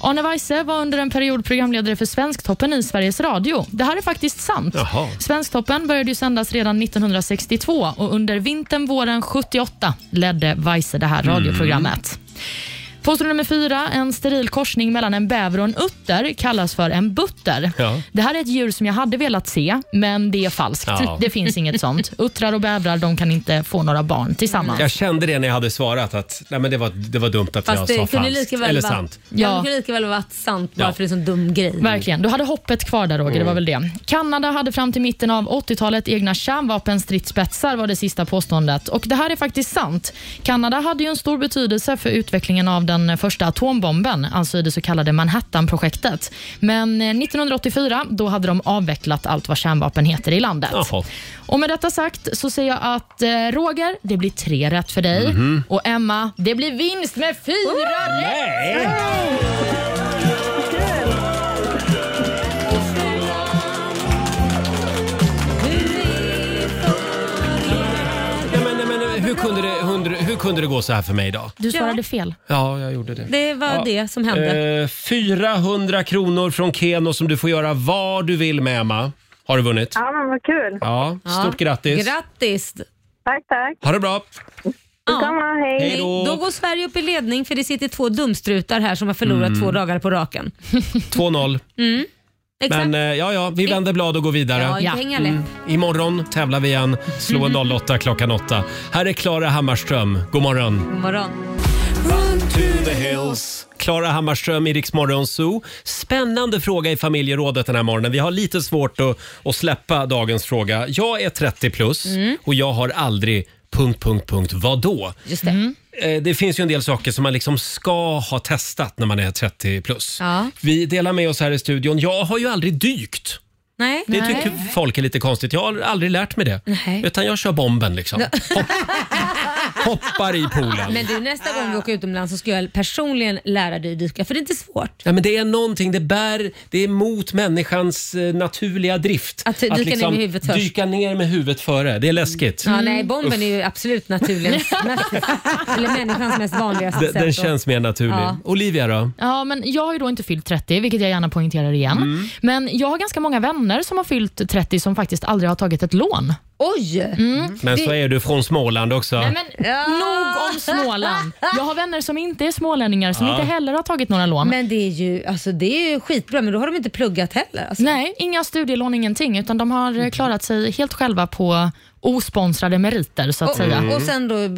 Speaker 3: Arne Weise var under en period programledare för Svensktoppen i Sveriges Radio. Det här är faktiskt sant.
Speaker 1: Jaha.
Speaker 3: Svensktoppen började ju sändas redan 1962 och under vintern, våren 78 ledde Weise det här
Speaker 14: Mm.
Speaker 3: radioprogrammet. Påstående nummer fyra. En steril korsning mellan en bäver och en utter kallas för en butter.
Speaker 14: Ja.
Speaker 3: Det här är ett djur som jag hade velat se, men det är falskt.
Speaker 1: Ja.
Speaker 3: Det finns inget sånt. Uttrar och bävrar de kan inte få några barn tillsammans.
Speaker 1: Jag kände det när jag hade svarat att nej, men det, var, det var dumt att
Speaker 2: Fast
Speaker 1: jag
Speaker 2: det
Speaker 1: sa
Speaker 2: kunde
Speaker 1: falskt.
Speaker 2: lika väl
Speaker 1: Eller
Speaker 2: vara,
Speaker 1: sant.
Speaker 2: Ja. Det kunde lika väl vara sant bara
Speaker 1: Ja.
Speaker 2: för det är en sån dum grej.
Speaker 3: Verkligen. Du hade hoppet kvar där Roger, det var väl det. Kanada hade fram till mitten av 80-talet egna kärnvapenstridsspetsar var det sista påståendet. Och det här är faktiskt sant. Kanada hade ju en stor betydelse för utvecklingen av den första atombomben, alltså i det så kallade Manhattan-projektet. Men eh, 1984, då hade de avvecklat allt vad kärnvapen heter i landet. Och med detta sagt så säger jag att eh, Roger, det blir tre rätt för dig.
Speaker 14: Mhm.
Speaker 3: Och Emma, det blir vinst med fyra rätt!
Speaker 1: Nej, men, nej, men, nej, hur, kunde det, hundra- hur kunde det gå så här för mig idag?
Speaker 3: Du svarade fel.
Speaker 1: Ja, jag gjorde det.
Speaker 2: Det var
Speaker 1: ja.
Speaker 2: det som hände.
Speaker 1: Eh, 400 kronor från Keno som du får göra vad du vill med, Emma. Har du vunnit?
Speaker 12: Ja, men vad kul.
Speaker 1: Ja, stort grattis.
Speaker 2: Grattis!
Speaker 12: Tack, tack.
Speaker 1: Ha det bra.
Speaker 2: Ja.
Speaker 12: hej.
Speaker 1: Hej då.
Speaker 2: Då går Sverige upp i ledning för det sitter två dumstrutar här som har förlorat
Speaker 1: Mm.
Speaker 2: två dagar på raken.
Speaker 1: 2-0.
Speaker 2: Mm. Exakt.
Speaker 1: Men eh, ja, ja, vi vänder blad och går vidare.
Speaker 2: Ja, det hänger lätt.
Speaker 1: Imorgon tävlar vi igen. Slå en 08 klockan 8. Här är Klara Hammarström. God morgon.
Speaker 2: God morgon.
Speaker 1: Klara Hammarström i Rix Morgon Zoo. Spännande fråga i familjerådet den här morgonen. Vi har lite svårt att, att släppa dagens fråga. Jag är 30 plus
Speaker 14: Mm.
Speaker 1: och jag har aldrig... Punkt, punkt, punkt. Vadå?
Speaker 2: Just det.
Speaker 1: Eh, Det finns ju en del saker som man liksom ska ha testat när man är 30 plus.
Speaker 2: Ja.
Speaker 1: Vi delar med oss här i studion. Jag har ju aldrig dykt.
Speaker 2: Nej.
Speaker 1: Det
Speaker 2: Nej.
Speaker 1: tycker folk är lite konstigt. Jag har aldrig lärt mig det.
Speaker 2: Nej.
Speaker 1: Utan jag kör bomben liksom.
Speaker 2: Ja.
Speaker 1: Hopp, hoppar i poolen.
Speaker 2: Men du, nästa gång vi åker utomlands så ska jag personligen lära dig dyka, för det är inte svårt.
Speaker 1: Ja, men det är någonting, det bär, det är mot människans eh, naturliga drift. liksom
Speaker 2: Att dyka ner med huvudet först.
Speaker 1: dyka ner med huvudet före. Det är läskigt.
Speaker 2: Ja, nej, bomben
Speaker 1: Uff.
Speaker 2: är ju absolut naturligast, eller människans mest vanligaste
Speaker 1: Den,
Speaker 2: sätt.
Speaker 1: den
Speaker 2: att-
Speaker 1: känns mer naturlig.
Speaker 3: Ja.
Speaker 1: Olivia
Speaker 2: Mm.
Speaker 1: då?
Speaker 3: Ja, men jag har ju då inte fyllt 30, vilket jag gärna poängterar igen.
Speaker 1: Mm.
Speaker 3: Men jag har ganska många vänner som har fyllt 30 som faktiskt aldrig har tagit ett lån.
Speaker 2: Oj!
Speaker 3: Mm.
Speaker 1: Men så
Speaker 3: Det-
Speaker 1: är du från Småland också.
Speaker 3: Nej, men Nog om Småland. Jag har vänner som inte är smålänningar som
Speaker 1: Ja.
Speaker 3: inte heller har tagit några lån.
Speaker 2: Men det är ju, alltså, det är ju skitbra, men då har de inte pluggat heller. Alltså.
Speaker 3: Nej, inga studielån, ingenting, utan de har eh, klarat sig helt själva på osponsrade meriter så att
Speaker 2: och,
Speaker 3: säga.
Speaker 1: Mm.
Speaker 2: och sen då eh,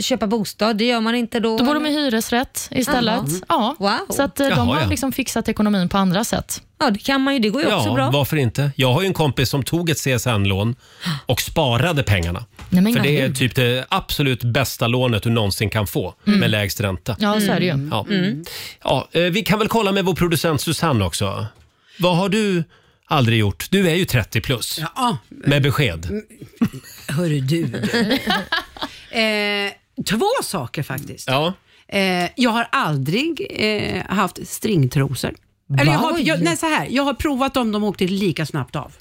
Speaker 2: köpa bostad, det gör man inte då.
Speaker 3: Då bor de i hyresrätt istället.
Speaker 2: Jaha.
Speaker 3: Ja.
Speaker 2: Wow.
Speaker 3: Så att eh, de
Speaker 1: Jaha,
Speaker 3: har
Speaker 1: ja.
Speaker 3: liksom fixat ekonomin på andra sätt.
Speaker 2: Ja, det kan man ju. Det går
Speaker 1: ja, varför inte? Jag har ju en kompis som tog ett CSN-lån och sparade pengarna.
Speaker 3: Nej, men
Speaker 1: För
Speaker 3: vad
Speaker 1: det är
Speaker 3: kul.
Speaker 1: typ det absolut bästa lånet du någonsin kan få
Speaker 3: Mm.
Speaker 1: med lägst ränta.
Speaker 3: Ja, så är det ju.
Speaker 1: Ja.
Speaker 3: Mm.
Speaker 1: Ja, eh, vi kan väl kolla med vår producent Susanne också. Vad har du aldrig gjort? Du är ju 30 plus. Med besked.
Speaker 9: Hörru du. eh, två saker faktiskt.
Speaker 1: Ja.
Speaker 9: Eh, jag har aldrig eh, haft stringtrosor. Eller jag har,
Speaker 2: Oj.
Speaker 9: jag, nej, så här. jag har provat dem, de åkte lika snabbt av.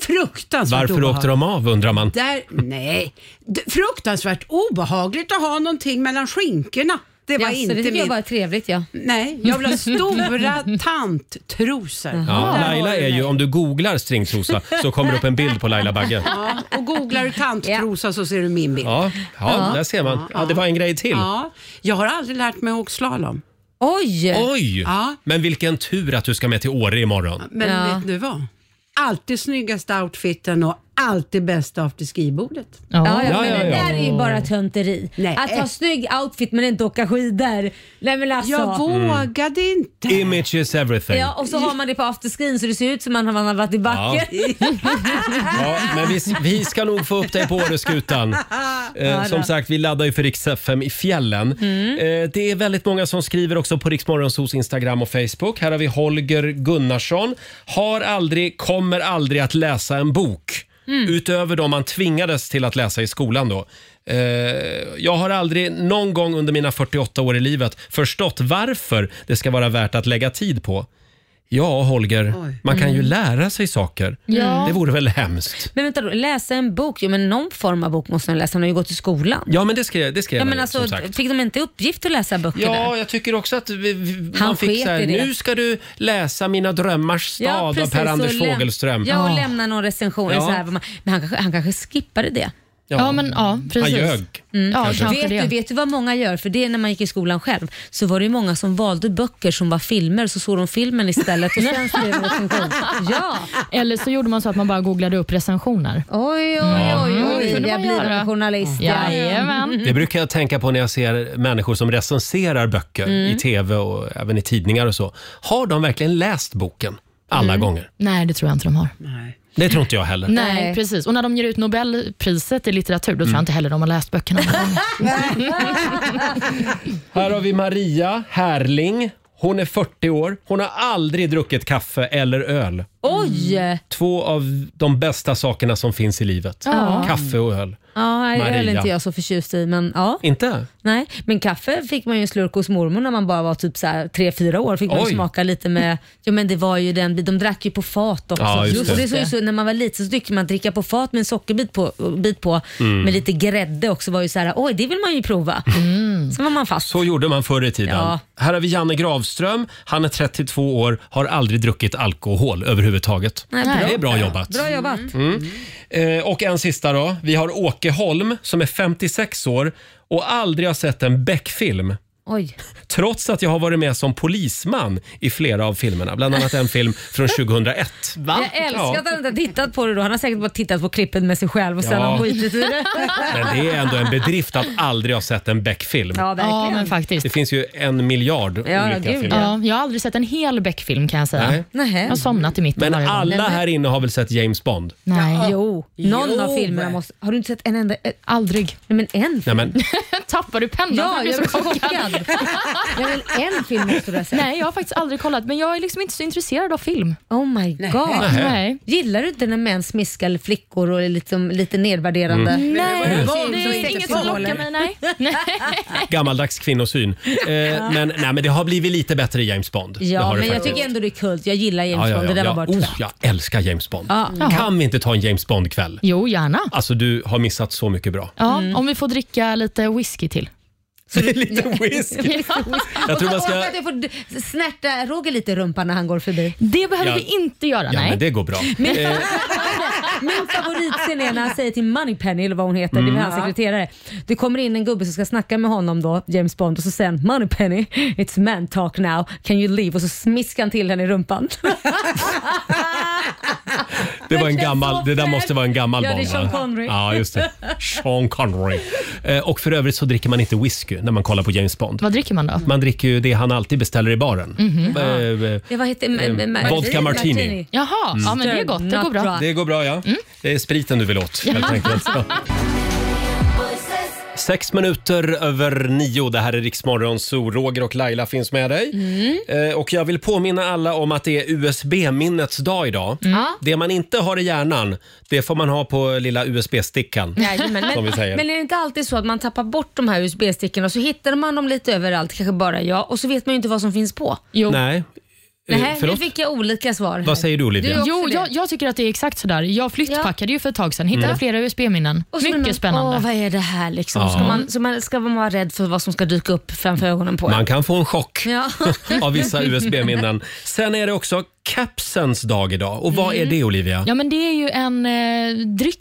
Speaker 9: Fruktansvärt
Speaker 1: Mm. Varför åkte de av undrar man?
Speaker 9: Där, nej. D- Fruktansvärt obehagligt att ha någonting mellan skinkorna. Det var
Speaker 2: Jaså,
Speaker 9: inte
Speaker 2: det tycker jag
Speaker 9: min-
Speaker 2: bara är trevligt. Ja.
Speaker 9: Nej, jag vill ha stora tanttrosor.
Speaker 1: Ja,
Speaker 9: Där har
Speaker 1: Laila
Speaker 9: du
Speaker 1: är ju,
Speaker 9: mig.
Speaker 1: om du googlar stringtrosa så kommer det upp en bild på Laila Bagge.
Speaker 9: Ja, och googlar du tanttrosa så ser du min bild.
Speaker 1: Ja, ja, där ser man. Ja, det var en grej till.
Speaker 9: Ja, jag har aldrig lärt mig att åka slalom.
Speaker 2: Oj!
Speaker 1: Oj!
Speaker 9: Ja,
Speaker 1: Men vilken tur att du ska med till Åre imorgon.
Speaker 9: men vet du vad? Alltid snyggaste outfiten och alltid bästa afterski-bordet.
Speaker 2: Ja, ja, men det där är ju bara tönteri.
Speaker 9: Nej.
Speaker 2: Att ha snygg outfit men inte åka skidor. Nej, men alltså.
Speaker 9: Jag vågade inte.
Speaker 1: Image is everything.
Speaker 2: Ja, och så har man det på afterscreen så det ser ut som att man har varit i backen.
Speaker 1: Ja, men vi, vi ska nog få upp dig på Åreskutan. Eh,
Speaker 2: Ja,
Speaker 1: som
Speaker 2: då.
Speaker 1: sagt, vi laddar ju för Rix FM i fjällen.
Speaker 2: Mm.
Speaker 1: Eh, det är väldigt många som skriver också på Riksmorgonsos Instagram och Facebook. Här har vi Holger Gunnarsson. Har aldrig, kommer aldrig att läsa en bok.
Speaker 2: Mm.
Speaker 1: Utöver de man tvingades till att läsa i skolan då. Eh, jag har aldrig någon gång under mina 48 år i livet förstått varför det ska vara värt att lägga tid på. Ja, Holger,
Speaker 2: Oj.
Speaker 1: man kan ju
Speaker 2: Mm.
Speaker 1: lära sig saker.
Speaker 2: Ja.
Speaker 1: Mm. Det vore väl hemskt?
Speaker 2: Men vänta då, läsa en bok? Jo, men någon form av bok måste de läsa. De har ju gått i skolan.
Speaker 1: Ja, men det skrev, det skrev
Speaker 2: Ja,
Speaker 1: han
Speaker 2: men
Speaker 1: ju,
Speaker 2: alltså,
Speaker 1: som sagt.
Speaker 2: fick de inte i uppgift att läsa böcker
Speaker 1: Ja,
Speaker 2: där?
Speaker 1: jag tycker också att vi, vi,
Speaker 2: Han
Speaker 1: man fick
Speaker 2: sket
Speaker 1: så här,
Speaker 2: i det.
Speaker 1: nu ska du läsa Mina drömmars
Speaker 2: Ja,
Speaker 1: stad av
Speaker 2: precis, och
Speaker 1: Per-Anders
Speaker 2: läm-
Speaker 1: Fogelström.
Speaker 2: Ja, och lämna någon recension.
Speaker 1: Ja.
Speaker 2: Så här, vad man- men han kanske, han kanske skippade det.
Speaker 1: Ja. Ja, men
Speaker 3: ja,
Speaker 1: precis. Han ljög,
Speaker 2: Mm.
Speaker 1: Ja, kanske. kanske
Speaker 2: vet,
Speaker 1: det.
Speaker 2: du, vet du vad många gör? För det är när man gick i skolan själv så var det ju många som valde böcker som var filmer så såg de filmen istället och sen skrev de recension. Ja.
Speaker 3: Eller så gjorde man så att man bara googlade upp recensioner.
Speaker 2: Oj, oj, oj, jag blir en journalist. ja. Mm.
Speaker 3: Jajamän.
Speaker 1: Det brukar jag tänka på när jag ser människor som recenserar böcker
Speaker 3: Mm.
Speaker 1: i tv och även i tidningar och så. Har de verkligen läst boken alla
Speaker 2: Mm.
Speaker 1: gånger?
Speaker 3: Nej, det tror jag inte de har.
Speaker 1: Det tror inte jag heller.
Speaker 3: Nej, precis. Och när de ger ut Nobelpriset i litteratur, då tror
Speaker 1: Mm.
Speaker 3: jag inte heller de har läst böckerna.
Speaker 1: Här har vi Maria Härling. Hon är 40 år. Hon har aldrig druckit kaffe eller öl.
Speaker 2: Oj!
Speaker 1: Två av de bästa sakerna som finns i livet.
Speaker 2: Ja.
Speaker 1: Kaffe och öl.
Speaker 2: Ja, nej, öl är
Speaker 1: Maria.
Speaker 2: inte jag så förtjust i, men ja.
Speaker 1: Inte?
Speaker 2: Nej, men kaffe fick man ju en slurk hos mormor när man bara var typ så här 3-4 år. Fick man ju
Speaker 1: Oj.
Speaker 2: smaka lite med, ja men det var ju den, de drack ju på fat också.
Speaker 1: Ja, just
Speaker 2: Och det
Speaker 1: det.
Speaker 2: såg ju så, när man var liten så tyckte man att dricka på fat med en sockerbit på, bit på
Speaker 1: Mm.
Speaker 2: med lite grädde också var ju så här, oj det vill man ju prova. Så var man fast.
Speaker 1: Så gjorde man förr i tiden.
Speaker 2: Ja.
Speaker 1: Här har vi Janne Gravström. Han är 32 år, har aldrig druckit alkohol överhuvudtaget.
Speaker 2: Nej, bra.
Speaker 1: Det är bra jobbat.
Speaker 2: Bra jobbat.
Speaker 1: Mm. Eh, och en sista då. Vi har Åke Holm som är 56 år och aldrig har sett en Beck-film.
Speaker 2: Oj.
Speaker 1: Trots att jag har varit med som polisman i flera av filmerna. Bland annat en film från 2001.
Speaker 2: Jag älskar
Speaker 1: Ja.
Speaker 2: att han inte har tittat på det då. Han har säkert bara tittat på klippet med sig själv och sen
Speaker 1: Ja.
Speaker 2: har han skitit i det.
Speaker 1: Men det är ändå en bedrift att aldrig ha sett en Beck-film.
Speaker 2: Ja, verkligen. Ja, men
Speaker 3: faktiskt.
Speaker 1: Det finns ju en miljard olika filmer.
Speaker 3: ja, jag har aldrig sett en hel Beck-film kan jag säga.
Speaker 2: Nej. Jag
Speaker 3: har somnat i mitten
Speaker 1: Men
Speaker 3: varje gång.
Speaker 1: alla här inne har väl sett James Bond?
Speaker 3: Nej.
Speaker 2: Jo, någon av filmerna måste... Har du inte sett en enda? eh,
Speaker 3: Aldrig.
Speaker 2: Nej, men en?
Speaker 1: Nej, men,
Speaker 3: Tappar du pennan?
Speaker 2: Ja,
Speaker 3: blir
Speaker 2: jag
Speaker 3: så
Speaker 2: blir så
Speaker 3: chockad.
Speaker 2: chockad. Jag vill en film måste du ha sett.
Speaker 3: Nej, jag har faktiskt aldrig kollat, men jag är liksom inte så intresserad av film.
Speaker 2: Oh my God.
Speaker 3: Nej. Nej.
Speaker 2: Gillar du inte när män smiskar ljuckor och är lite, lite nedvärderande?
Speaker 3: Mm. Nej,
Speaker 2: Film
Speaker 3: det
Speaker 2: som
Speaker 3: är
Speaker 2: inte
Speaker 3: inget som
Speaker 2: förhåller.
Speaker 3: lockar mig, nej. nej.
Speaker 1: gammaldags kvinnosyn. Eh, men, nej, men det har blivit lite bättre i James Bond. det
Speaker 2: Ja,
Speaker 1: har
Speaker 2: men
Speaker 1: det
Speaker 2: jag tycker ändå det är kult. Jag gillar
Speaker 1: Ja,
Speaker 2: James
Speaker 1: ja,
Speaker 2: Bond.
Speaker 1: ja,
Speaker 2: Det där
Speaker 1: ja.
Speaker 2: var bara ett
Speaker 1: oh,
Speaker 2: skämt.
Speaker 1: jag älskar James Bond.
Speaker 2: Ja. Jaha.
Speaker 1: Kan vi inte ta en James Bond-kväll?
Speaker 3: Jo, gärna.
Speaker 1: Alltså, du har missat så mycket bra.
Speaker 3: Ja, Om vi får dricka lite whisky till.
Speaker 1: lite whisky. Jag tror man ska-
Speaker 2: Och att jag får d- snärta Roger lite i rumpan när han går förbi.
Speaker 3: Det behöver
Speaker 1: Ja.
Speaker 3: vi inte göra,
Speaker 1: Ja,
Speaker 3: nej.
Speaker 1: men det går bra.
Speaker 2: Men-
Speaker 1: Eh,
Speaker 2: Min favoritscen är när han säger till Moneypenny, eller vad hon heter, det
Speaker 1: Mm.
Speaker 2: är hans
Speaker 1: Ja.
Speaker 2: sekreterare. Det kommer in en gubbe som ska snacka med honom då, James Bond, och så säger han Moneypenny, it's man talk now, can you leave? Och så smiskar han till henne i rumpan.
Speaker 1: det, var en gammal, det där måste vara en gammal
Speaker 2: Ja, det är
Speaker 1: Bond.
Speaker 2: Sean
Speaker 1: va?
Speaker 2: Connery.
Speaker 1: Ja, just det. Sean Connery. Eh, och för övrigt så dricker man inte whisky när man kollar på James Bond.
Speaker 3: Vad dricker man då?
Speaker 1: Man dricker ju det han alltid beställer i baren.
Speaker 3: Mhm.
Speaker 1: Eh, eh,
Speaker 2: Ja, vad heter
Speaker 1: Eh,
Speaker 2: ma- ma-
Speaker 1: vodka martini.
Speaker 3: Jaha,
Speaker 1: Mm.
Speaker 3: ja, men det är gott. Det går bra.
Speaker 1: Det går bra, ja.
Speaker 2: Mm.
Speaker 1: Det är spriten du vill åt, helt enkelt. Sex minuter över nio. Det här är Riksmorgon Zoo. Roger och Laila finns med dig.
Speaker 2: Mm.
Speaker 1: Eh, och jag vill påminna alla om att det är USB-minnets dag idag.
Speaker 2: Mm.
Speaker 1: Det man inte har i hjärnan, det får man ha på lilla USB-stickan.
Speaker 2: Jajamän,
Speaker 1: som
Speaker 2: men,
Speaker 1: vi säger.
Speaker 2: men är det inte alltid så att man tappar bort de här USB-stickorna och så hittar man dem lite överallt, kanske bara jag, och så vet man ju inte vad som finns på.
Speaker 1: Nej. Eh,
Speaker 2: Nej, nu
Speaker 1: förlåt?
Speaker 2: fick jag olika svar. här.
Speaker 1: Vad säger du, Olivia? Du också
Speaker 3: Jo,
Speaker 2: det?
Speaker 3: jag, jag tycker att det är exakt sådär. Jag flyttpackade ju för ett tag sedan, hittade
Speaker 1: Mm.
Speaker 3: flera USB-minnen.
Speaker 2: Och så blir
Speaker 3: Mycket
Speaker 2: man,
Speaker 3: spännande.
Speaker 2: Åh, vad är det här liksom? Ska,
Speaker 1: Ja.
Speaker 2: man, så man, ska man vara rädd för vad som ska dyka upp framför ögonen på en?
Speaker 1: Man kan få en chock
Speaker 2: Ja.
Speaker 1: av vissa USB-minnen. Sen är det också kapsens dag idag. Och vad är
Speaker 2: Mm.
Speaker 1: det, Olivia?
Speaker 3: Ja, men det är ju en eh,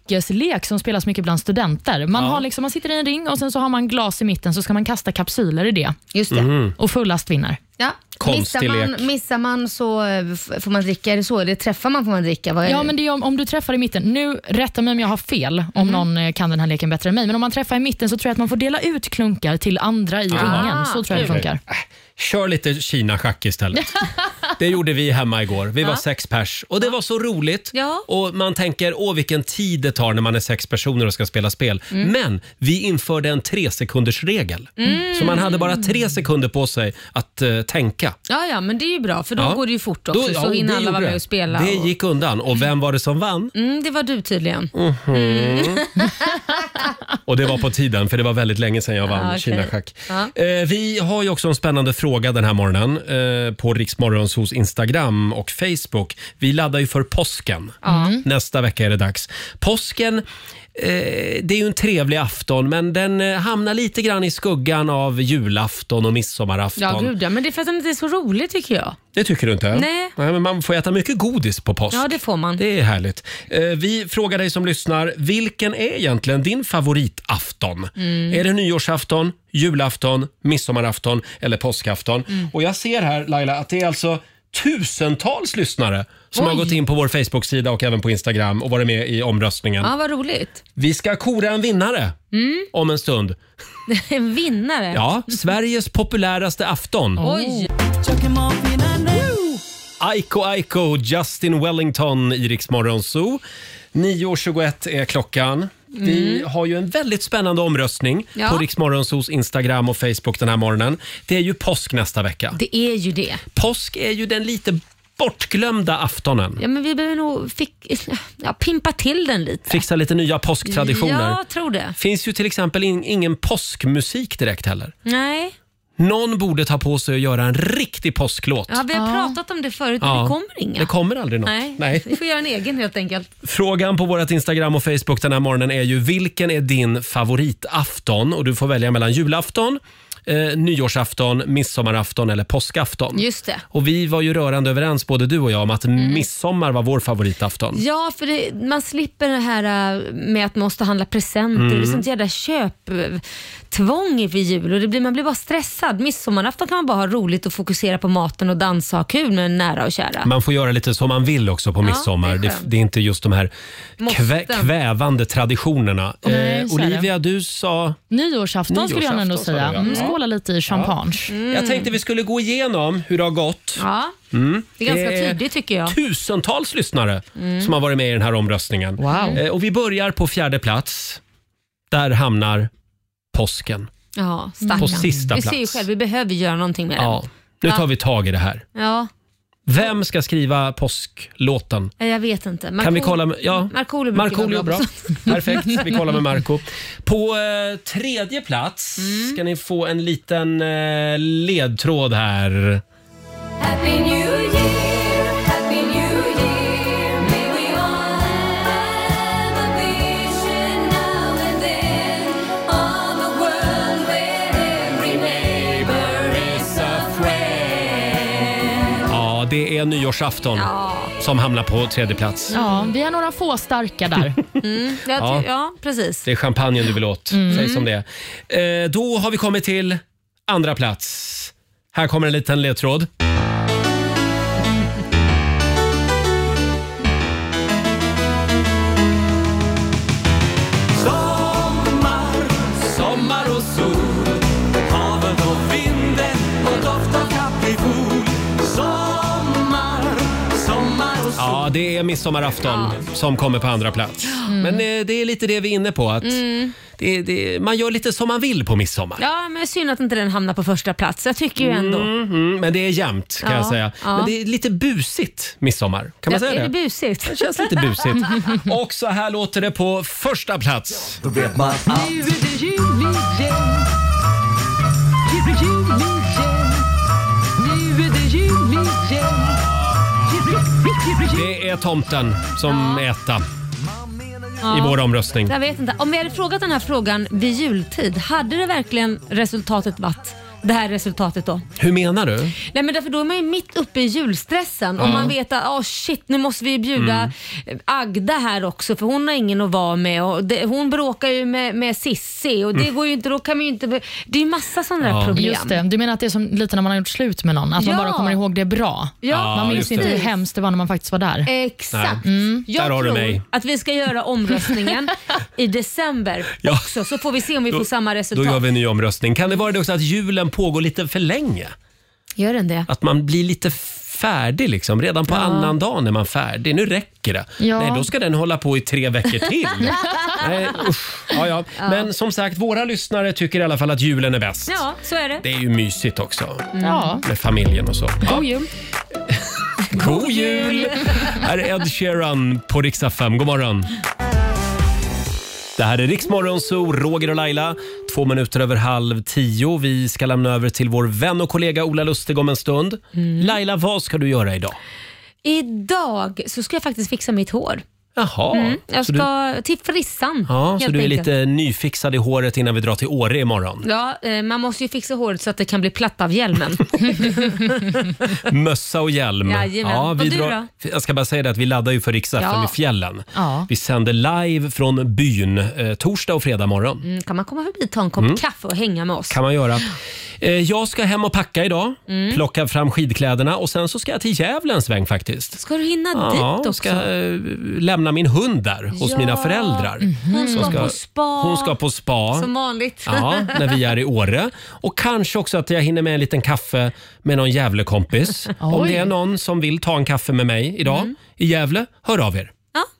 Speaker 3: dryckeslek som spelas mycket bland studenter. Man,
Speaker 1: Ja.
Speaker 3: har liksom, man sitter i en ring och sen så har man glas i mitten så ska man kasta kapsyler i det.
Speaker 2: Just
Speaker 1: det. Mhm.
Speaker 3: Och fullast vinner.
Speaker 2: Ja.
Speaker 3: Konstig
Speaker 2: missar, man,
Speaker 3: lek.
Speaker 2: missar man så eh, f- får man dricka, är det så? Eller träffar man får man dricka? Vad är
Speaker 3: Ja,
Speaker 2: det?
Speaker 3: men det är om, om du träffar i mitten. Nu, rätta mig om jag har fel, om
Speaker 2: Mm.
Speaker 3: någon eh, kan den här leken bättre än mig. Men om man träffar i mitten så tror jag att man får dela ut klunkar till andra i
Speaker 2: Ah,
Speaker 3: ringen. Så tror jag det funkar.
Speaker 1: Äh, Kör lite Kina-schack istället. Det gjorde vi hemma igår. Vi var
Speaker 2: Ja.
Speaker 1: sex pers och det var så roligt.
Speaker 2: Ja.
Speaker 1: Och Man tänker, åh vilken tid det tar när man är sex personer och ska spela spel.
Speaker 2: Mm.
Speaker 1: Men vi införde en tre sekunders regel
Speaker 2: Mm.
Speaker 1: Så man hade bara tre sekunder på sig att eh, tänka.
Speaker 2: Ja, ja, men det är ju bra för då
Speaker 1: Ja.
Speaker 2: går det ju fort också
Speaker 1: Då- ja,
Speaker 2: så hinner
Speaker 1: det
Speaker 2: alla
Speaker 1: gjorde
Speaker 2: vara med
Speaker 1: det.
Speaker 2: och spela.
Speaker 1: Det
Speaker 2: och...
Speaker 1: gick undan. Och vem var det som vann?
Speaker 2: Mm, det var du tydligen.
Speaker 1: Mhm.
Speaker 2: Mm.
Speaker 1: Och det var på tiden, för det var väldigt länge sedan jag vann
Speaker 14: Ja,
Speaker 2: Ah,
Speaker 14: okej.
Speaker 1: Kinaschack.
Speaker 14: Ja.
Speaker 1: Eh, vi har ju också en spännande fråga den här morgonen eh, på Riksmorgons hos Instagram och Facebook. Vi laddar ju för påsken.
Speaker 14: Ja.
Speaker 2: Mm.
Speaker 1: Nästa vecka är det dags. Påsken, eh, det är ju en trevlig afton, men den eh, hamnar lite grann i skuggan av julafton och midsommarafton.
Speaker 2: Ja, gud ja. Men det är för att den inte är så rolig tycker jag.
Speaker 1: Det tycker du inte?
Speaker 2: Nej.
Speaker 1: men man får äta mycket godis på påsk.
Speaker 2: Ja, det får man.
Speaker 1: Det är härligt. Eh, Vi frågar dig som lyssnar, vilken är egentligen din favoritafton?
Speaker 14: Mm.
Speaker 1: Är det nyårsafton, julafton, midsommarafton eller påskafton?
Speaker 2: Mm.
Speaker 1: Och jag ser här Laila att det är alltså tusentals lyssnare som
Speaker 2: Oj.
Speaker 1: har gått in på vår Facebook-sida och även på Instagram och varit med i omröstningen.
Speaker 2: Ja, vad roligt.
Speaker 1: Vi ska kora en vinnare
Speaker 2: Mm.
Speaker 1: om en stund.
Speaker 2: En vinnare.
Speaker 1: Ja, Sveriges populäraste afton.
Speaker 2: Oj.
Speaker 1: Aiko Aiko, Justin Wellington i Rix Morgon Zoo. 9.21 är klockan. Vi har ju en väldigt spännande omröstning
Speaker 2: Mm. Ja.
Speaker 1: på Rix Morgon Zoos Instagram och Facebook den här morgonen. Det är ju påsk nästa vecka.
Speaker 2: Det är ju det.
Speaker 1: Påsk är ju den lite bortglömda aftonen.
Speaker 2: Ja, men vi behöver nog fick, ja, pimpa till den lite.
Speaker 1: Fixa lite nya påsktraditioner.
Speaker 2: Jag tror det.
Speaker 1: Finns ju till exempel in, ingen påskmusik direkt heller.
Speaker 2: Nej.
Speaker 1: Någon borde ta på sig och göra en riktig påsklåt.
Speaker 2: Ja, vi har pratat om det förut, men
Speaker 1: Ja.
Speaker 2: det kommer inga.
Speaker 1: Det kommer aldrig något.
Speaker 2: Nej.
Speaker 1: Nej.
Speaker 2: vi får göra en egen helt enkelt.
Speaker 1: Frågan på vårt Instagram och Facebook den här morgonen är ju vilken är din favoritafton? Och du får välja mellan julafton, eh, nyårsafton, midsommarafton eller påskafton.
Speaker 2: Just det.
Speaker 1: Och vi var ju rörande överens både du och jag om att midsommar var vår favoritafton.
Speaker 2: Mm. Ja, för det, man slipper det här äh, med att man måste handla presenter.
Speaker 1: Mm.
Speaker 2: Det är sånt jävla köptvång inför jul och det blir, man blir bara stressad. Midsommarafton kan man bara ha roligt och fokusera på maten och dansa och ha kul med nära och kära.
Speaker 1: Man får göra lite som man vill också på
Speaker 2: Ja,
Speaker 1: midsommar.
Speaker 2: det är
Speaker 1: det, är
Speaker 2: skönt.
Speaker 1: det är inte just de här kvä,
Speaker 2: Måsten.
Speaker 1: kvävande traditionerna. Eh,
Speaker 3: Nej, så är det.
Speaker 1: Olivia, du sa...
Speaker 3: Nyårsafton, skulle jag ändå
Speaker 1: Nyårsafton sa du,
Speaker 3: säga.
Speaker 1: ja.
Speaker 3: Mm,
Speaker 1: Ja. Mm.
Speaker 3: skåla lite i champagne.
Speaker 2: Mm.
Speaker 1: Jag tänkte vi skulle gå igenom hur det har gått.
Speaker 2: Ja,
Speaker 1: Mm.
Speaker 2: det är ganska
Speaker 1: Eh,
Speaker 2: tydligt tycker jag.
Speaker 1: tusentals lyssnare
Speaker 2: Mm.
Speaker 1: som har varit med i den här omröstningen.
Speaker 2: Wow.
Speaker 1: Eh, Och vi börjar på fjärde plats. Där hamnar påsken.
Speaker 2: Ja, stackarn.
Speaker 1: På sista
Speaker 2: Vi ser ju
Speaker 1: plats.
Speaker 2: själv, vi behöver göra någonting med
Speaker 1: Ja. Nu tar vi tag i det här.
Speaker 2: den. Ja,
Speaker 1: Vem ska skriva påsklåten?
Speaker 2: nej, jag vet inte.
Speaker 1: Kan vi kolla med, ja.
Speaker 2: Markoolio brukar
Speaker 1: Markoolio
Speaker 2: vara
Speaker 1: är bra.
Speaker 2: bra.
Speaker 1: Perfekt, vi kollar med Marco. På eh, tredje plats
Speaker 2: Mm.
Speaker 1: ska ni få en liten eh, ledtråd här.
Speaker 14: Happy New Year, Happy New Year. May we all have a vision now and then of a world where every neighbor is a friend.
Speaker 1: Ja, det är nyårsafton
Speaker 3: Ja.
Speaker 1: som hamnar på tredje plats.
Speaker 3: Ja, vi är några få starka där.
Speaker 1: jag ty- Ja.
Speaker 2: precis.
Speaker 1: Det är champagnen du vill åt.
Speaker 3: Mm.
Speaker 1: Säg som det är. eh, Då har vi kommit till andra plats. Här kommer en liten ledtråd.
Speaker 14: Sommar, sommar och sol Havet och vinden och doft av kaprifol Sommar, sommar och sol
Speaker 1: Ja, det är midsommarafton som kommer på andra plats.
Speaker 14: Mm.
Speaker 1: Men eh, det är lite det vi är inne på. Att
Speaker 2: Mm.
Speaker 1: det, det, man gör lite som man vill på midsommar.
Speaker 2: Ja, men synd att inte den hamnar på första plats. Jag tycker ju ändå.
Speaker 1: Mm, mm, men det är jämnt kan
Speaker 2: Ja,
Speaker 1: jag säga.
Speaker 2: ja.
Speaker 1: Men det är lite busigt midsommar. Kan man
Speaker 2: Ja,
Speaker 1: säga
Speaker 2: är det? busigt?
Speaker 1: Det känns lite busigt. Och så här låter det på första plats. Då vet man
Speaker 14: Nu är det jul igen Jul, jul igen Nu är det jul igen Jul, jul, jul, jul.
Speaker 1: Det är tomten som är etta
Speaker 2: Ja.
Speaker 1: i vår omröstning.
Speaker 2: Jag vet inte. Om vi hade frågat den här frågan vid jultid, hade det verkligen resultatet varit det här resultatet då?
Speaker 1: Hur menar du?
Speaker 2: Nej men därför då är man ju mitt uppe i julstressen och
Speaker 1: Ja. Mm.
Speaker 2: man vet att oh shit nu måste vi bjuda Agda här också för hon har ingen att vara med och det, hon bråkar ju med, med Sissi och det
Speaker 3: Mm.
Speaker 2: går ju inte, då kan vi ju inte, det är ju massa sådana där problem.
Speaker 3: Just det. Du menar att det är som lite när man har gjort slut med någon, att
Speaker 2: Ja.
Speaker 3: man bara kommer ihåg det bra.
Speaker 2: Ja,
Speaker 3: man
Speaker 2: just
Speaker 3: minns inte
Speaker 2: det.
Speaker 3: hur hemskt det var när man faktiskt var där.
Speaker 2: Exakt.
Speaker 3: Nej. Mm.
Speaker 2: Jag
Speaker 3: Där har du
Speaker 2: tror
Speaker 3: mig.
Speaker 2: att vi ska göra omröstningen i december
Speaker 1: Ja.
Speaker 2: också så får vi se om vi får samma
Speaker 1: Då
Speaker 2: resultat.
Speaker 1: gör vi en ny omröstning. Kan det vara det också att julen pågår lite för länge?
Speaker 2: Gör den det?
Speaker 1: Att man blir lite färdig liksom. Redan på
Speaker 2: Ja.
Speaker 1: annan dag är man färdig. Nu räcker det.
Speaker 2: Ja.
Speaker 1: Nej, då ska den hålla på i tre veckor till. Nej, usch. Ja, ja. Men som sagt, våra lyssnare tycker i alla fall att julen är bäst.
Speaker 2: Ja, så är det.
Speaker 1: Det är ju mysigt också.
Speaker 2: Ja.
Speaker 1: Med familjen och så. Ja.
Speaker 3: God jul.
Speaker 1: God jul! Här är Ed Sheeran på riksdag 5. God morgon. Det här är Riksmorgon Zoo, Roger och Laila. Två minuter över halv tio. Vi ska lämna över till vår vän och kollega Ola Lustig om en stund.
Speaker 2: Mm.
Speaker 1: Laila, vad ska du göra idag?
Speaker 2: Idag så ska jag faktiskt fixa mitt hår.
Speaker 1: Jaha.
Speaker 2: Mm, jag
Speaker 1: så du,
Speaker 2: ska till frissan.
Speaker 1: ja, så
Speaker 2: helt
Speaker 1: du är
Speaker 2: enkelt.
Speaker 1: lite nyfixad i håret innan vi drar till Åre imorgon.
Speaker 2: Ja, eh, man måste ju fixa håret så att det kan bli platt av hjälmen.
Speaker 1: Mössa och hjälm.
Speaker 2: Jajamän.
Speaker 1: vi
Speaker 2: Och du
Speaker 1: drar,
Speaker 2: då?
Speaker 1: jag ska bara säga det att vi laddar ju för riks
Speaker 2: Ja.
Speaker 1: i fjällen.
Speaker 2: Ja.
Speaker 1: Vi sänder live från byn eh, torsdag och fredag morgon.
Speaker 2: Mm, kan man komma förbi, ta en kopp
Speaker 1: Mm.
Speaker 2: kaffe och hänga med oss?
Speaker 1: kan man göra. Eh, jag ska hem och packa idag,
Speaker 2: Mm.
Speaker 1: plocka fram skidkläderna och sen så ska jag till Gävle en sväng faktiskt.
Speaker 2: Ska du hinna
Speaker 1: Ja,
Speaker 2: dit också?
Speaker 1: ska eh, lämna min hund där hos
Speaker 2: Ja.
Speaker 1: mina föräldrar.
Speaker 2: Hon
Speaker 1: Så
Speaker 2: ska på spa.
Speaker 1: Hon ska på spa.
Speaker 2: Som vanligt.
Speaker 1: Ja, när vi är i Åre. Och kanske också att jag hinner med en liten kaffe med någon Gävlekompis. Om
Speaker 2: Oj.
Speaker 1: det är någon som vill ta en kaffe med mig idag i Gävle, hör av er.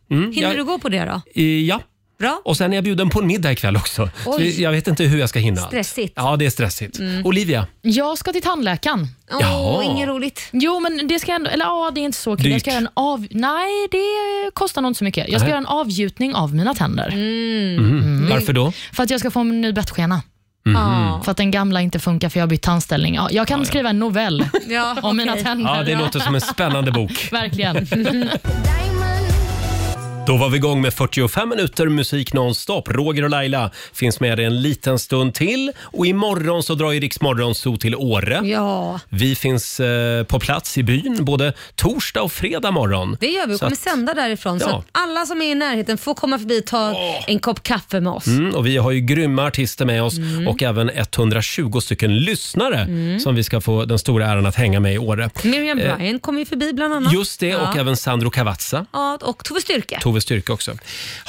Speaker 2: Ja.
Speaker 1: Mm,
Speaker 2: Hinner
Speaker 1: jag-
Speaker 2: du gå på det då?
Speaker 1: Eh, Ja.
Speaker 2: Bra.
Speaker 1: Och sen är jag bjuden på en middag ikväll också. Så
Speaker 3: Oj.
Speaker 1: jag vet inte hur jag ska hinna. allt.
Speaker 3: Stressigt.
Speaker 1: Ja, det är stressigt. Olivia,
Speaker 3: Jag ska till tandläkaren.
Speaker 1: Åh, Jaha. inget
Speaker 2: roligt.
Speaker 3: Jo, men det ska jag ändå, eller ja, det är inte så kul. Jag ska
Speaker 1: Dyrt.
Speaker 3: göra en av, nej, det kostar nog inte så mycket. Jag ska
Speaker 1: Nej.
Speaker 3: göra en avgjutning av mina tänder.
Speaker 1: Mm. varför då?
Speaker 3: För att jag ska få en ny bettskena.
Speaker 1: Mhm. Ah.
Speaker 3: För att den gamla inte funkar för jag har bytt tandställning. Ja, jag kan skriva en novell
Speaker 2: om
Speaker 3: mina tänder.
Speaker 1: Ja, det låter som en spännande bok.
Speaker 3: Verkligen.
Speaker 1: Då var vi igång med 45 minuter musik nonstop. Roger och Laila finns med dig en liten stund till. Och imorgon så drar ju Rix Morgonzoo till Åre.
Speaker 2: Ja.
Speaker 1: Vi finns eh, på plats i byn både torsdag och fredag morgon.
Speaker 2: Det gör vi. Vi
Speaker 1: Så
Speaker 2: kommer
Speaker 1: att-
Speaker 2: sända därifrån. Så
Speaker 1: Ja.
Speaker 2: att alla som är i närheten får komma förbi och ta en kopp kaffe med oss.
Speaker 1: Mm, och vi har ju grymma artister med oss
Speaker 2: Mm.
Speaker 1: och även 120 stycken lyssnare
Speaker 2: Mm.
Speaker 1: som vi ska få den stora äran att hänga med i Åre.
Speaker 2: Miriam
Speaker 1: Eh,
Speaker 2: Bryant kommer ju förbi bland annat.
Speaker 1: Just det, och
Speaker 2: ja.
Speaker 1: även Sandro Cavazza.
Speaker 2: Ja, och Tove Styrka.
Speaker 1: Tove Styrke också.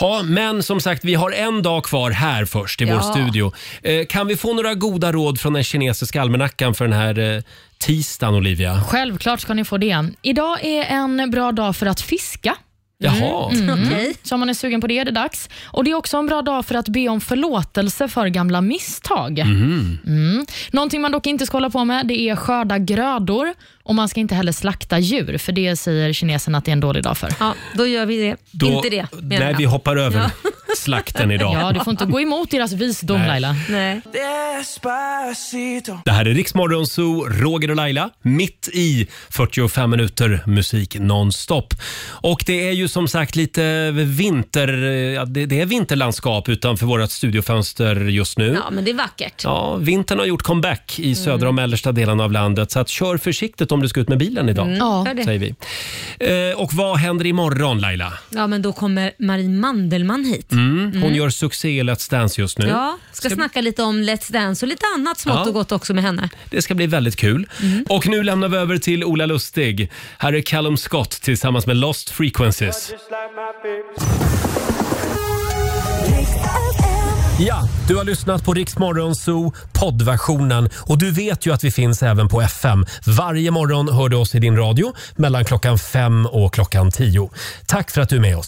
Speaker 1: Ja, men som sagt, vi har en dag kvar här först i vår
Speaker 2: Ja.
Speaker 1: studio. Eh, kan vi få några goda råd från den kinesiska almanackan för den här eh, tisdagen,
Speaker 2: Mm.
Speaker 1: Olivia?
Speaker 3: Självklart ska ni få det. Idag är en bra dag för att fiska.
Speaker 1: Jaha.
Speaker 3: Mm.
Speaker 1: Okej.
Speaker 3: Så om man är sugen på det är det dags. Och Det är också en bra dag för att be om förlåtelse för gamla misstag.
Speaker 14: Mhm.
Speaker 3: Mm. Någonting man dock inte ska hålla på med det är skörda grödor och man ska inte heller slakta djur, för det säger kineserna att det är en dålig dag för.
Speaker 2: Ja, då gör vi det.
Speaker 1: Då-
Speaker 2: inte det, menar
Speaker 1: Nej,
Speaker 2: jag.
Speaker 1: vi hoppar över slakten idag.
Speaker 3: Ja, du får inte gå emot deras visdom
Speaker 1: Nej.
Speaker 3: Laila.
Speaker 2: Nej.
Speaker 1: Mm. Det här är Riksmorgon Zoo, Roger och Laila, mitt i 45 minuter musik nonstop. Och det är ju som sagt lite vinter, ja, det, det är vinterlandskap utanför vårt studiofönster just nu.
Speaker 2: Ja, Mm. men det är vackert.
Speaker 1: Ja, vintern har gjort comeback i södra och mellersta delen av landet. Så att kör försiktigt om du ska ut med bilen idag.
Speaker 2: Mm, Ja. gör det.
Speaker 1: säger vi. Eh, och vad händer imorgon Laila?
Speaker 2: Ja, men då kommer Marie Mandelmann hit.
Speaker 1: Mm, hon
Speaker 2: Mm.
Speaker 1: gör succé i Let's Dance just nu.
Speaker 2: Ja, ska, snacka lite om Let's Dance och lite annat smått
Speaker 1: Ja.
Speaker 2: och gott också med henne.
Speaker 1: Det ska bli väldigt kul. Och nu lämnar vi över till Ola Lustig. Här är Callum Scott tillsammans med Lost Frequencies. Ja, du har lyssnat på Rix Morgon Zoo poddversionen och du vet ju att vi finns även på FM. Varje morgon hör du oss i din radio mellan klockan fem och klockan tio. Tack för att du är med oss.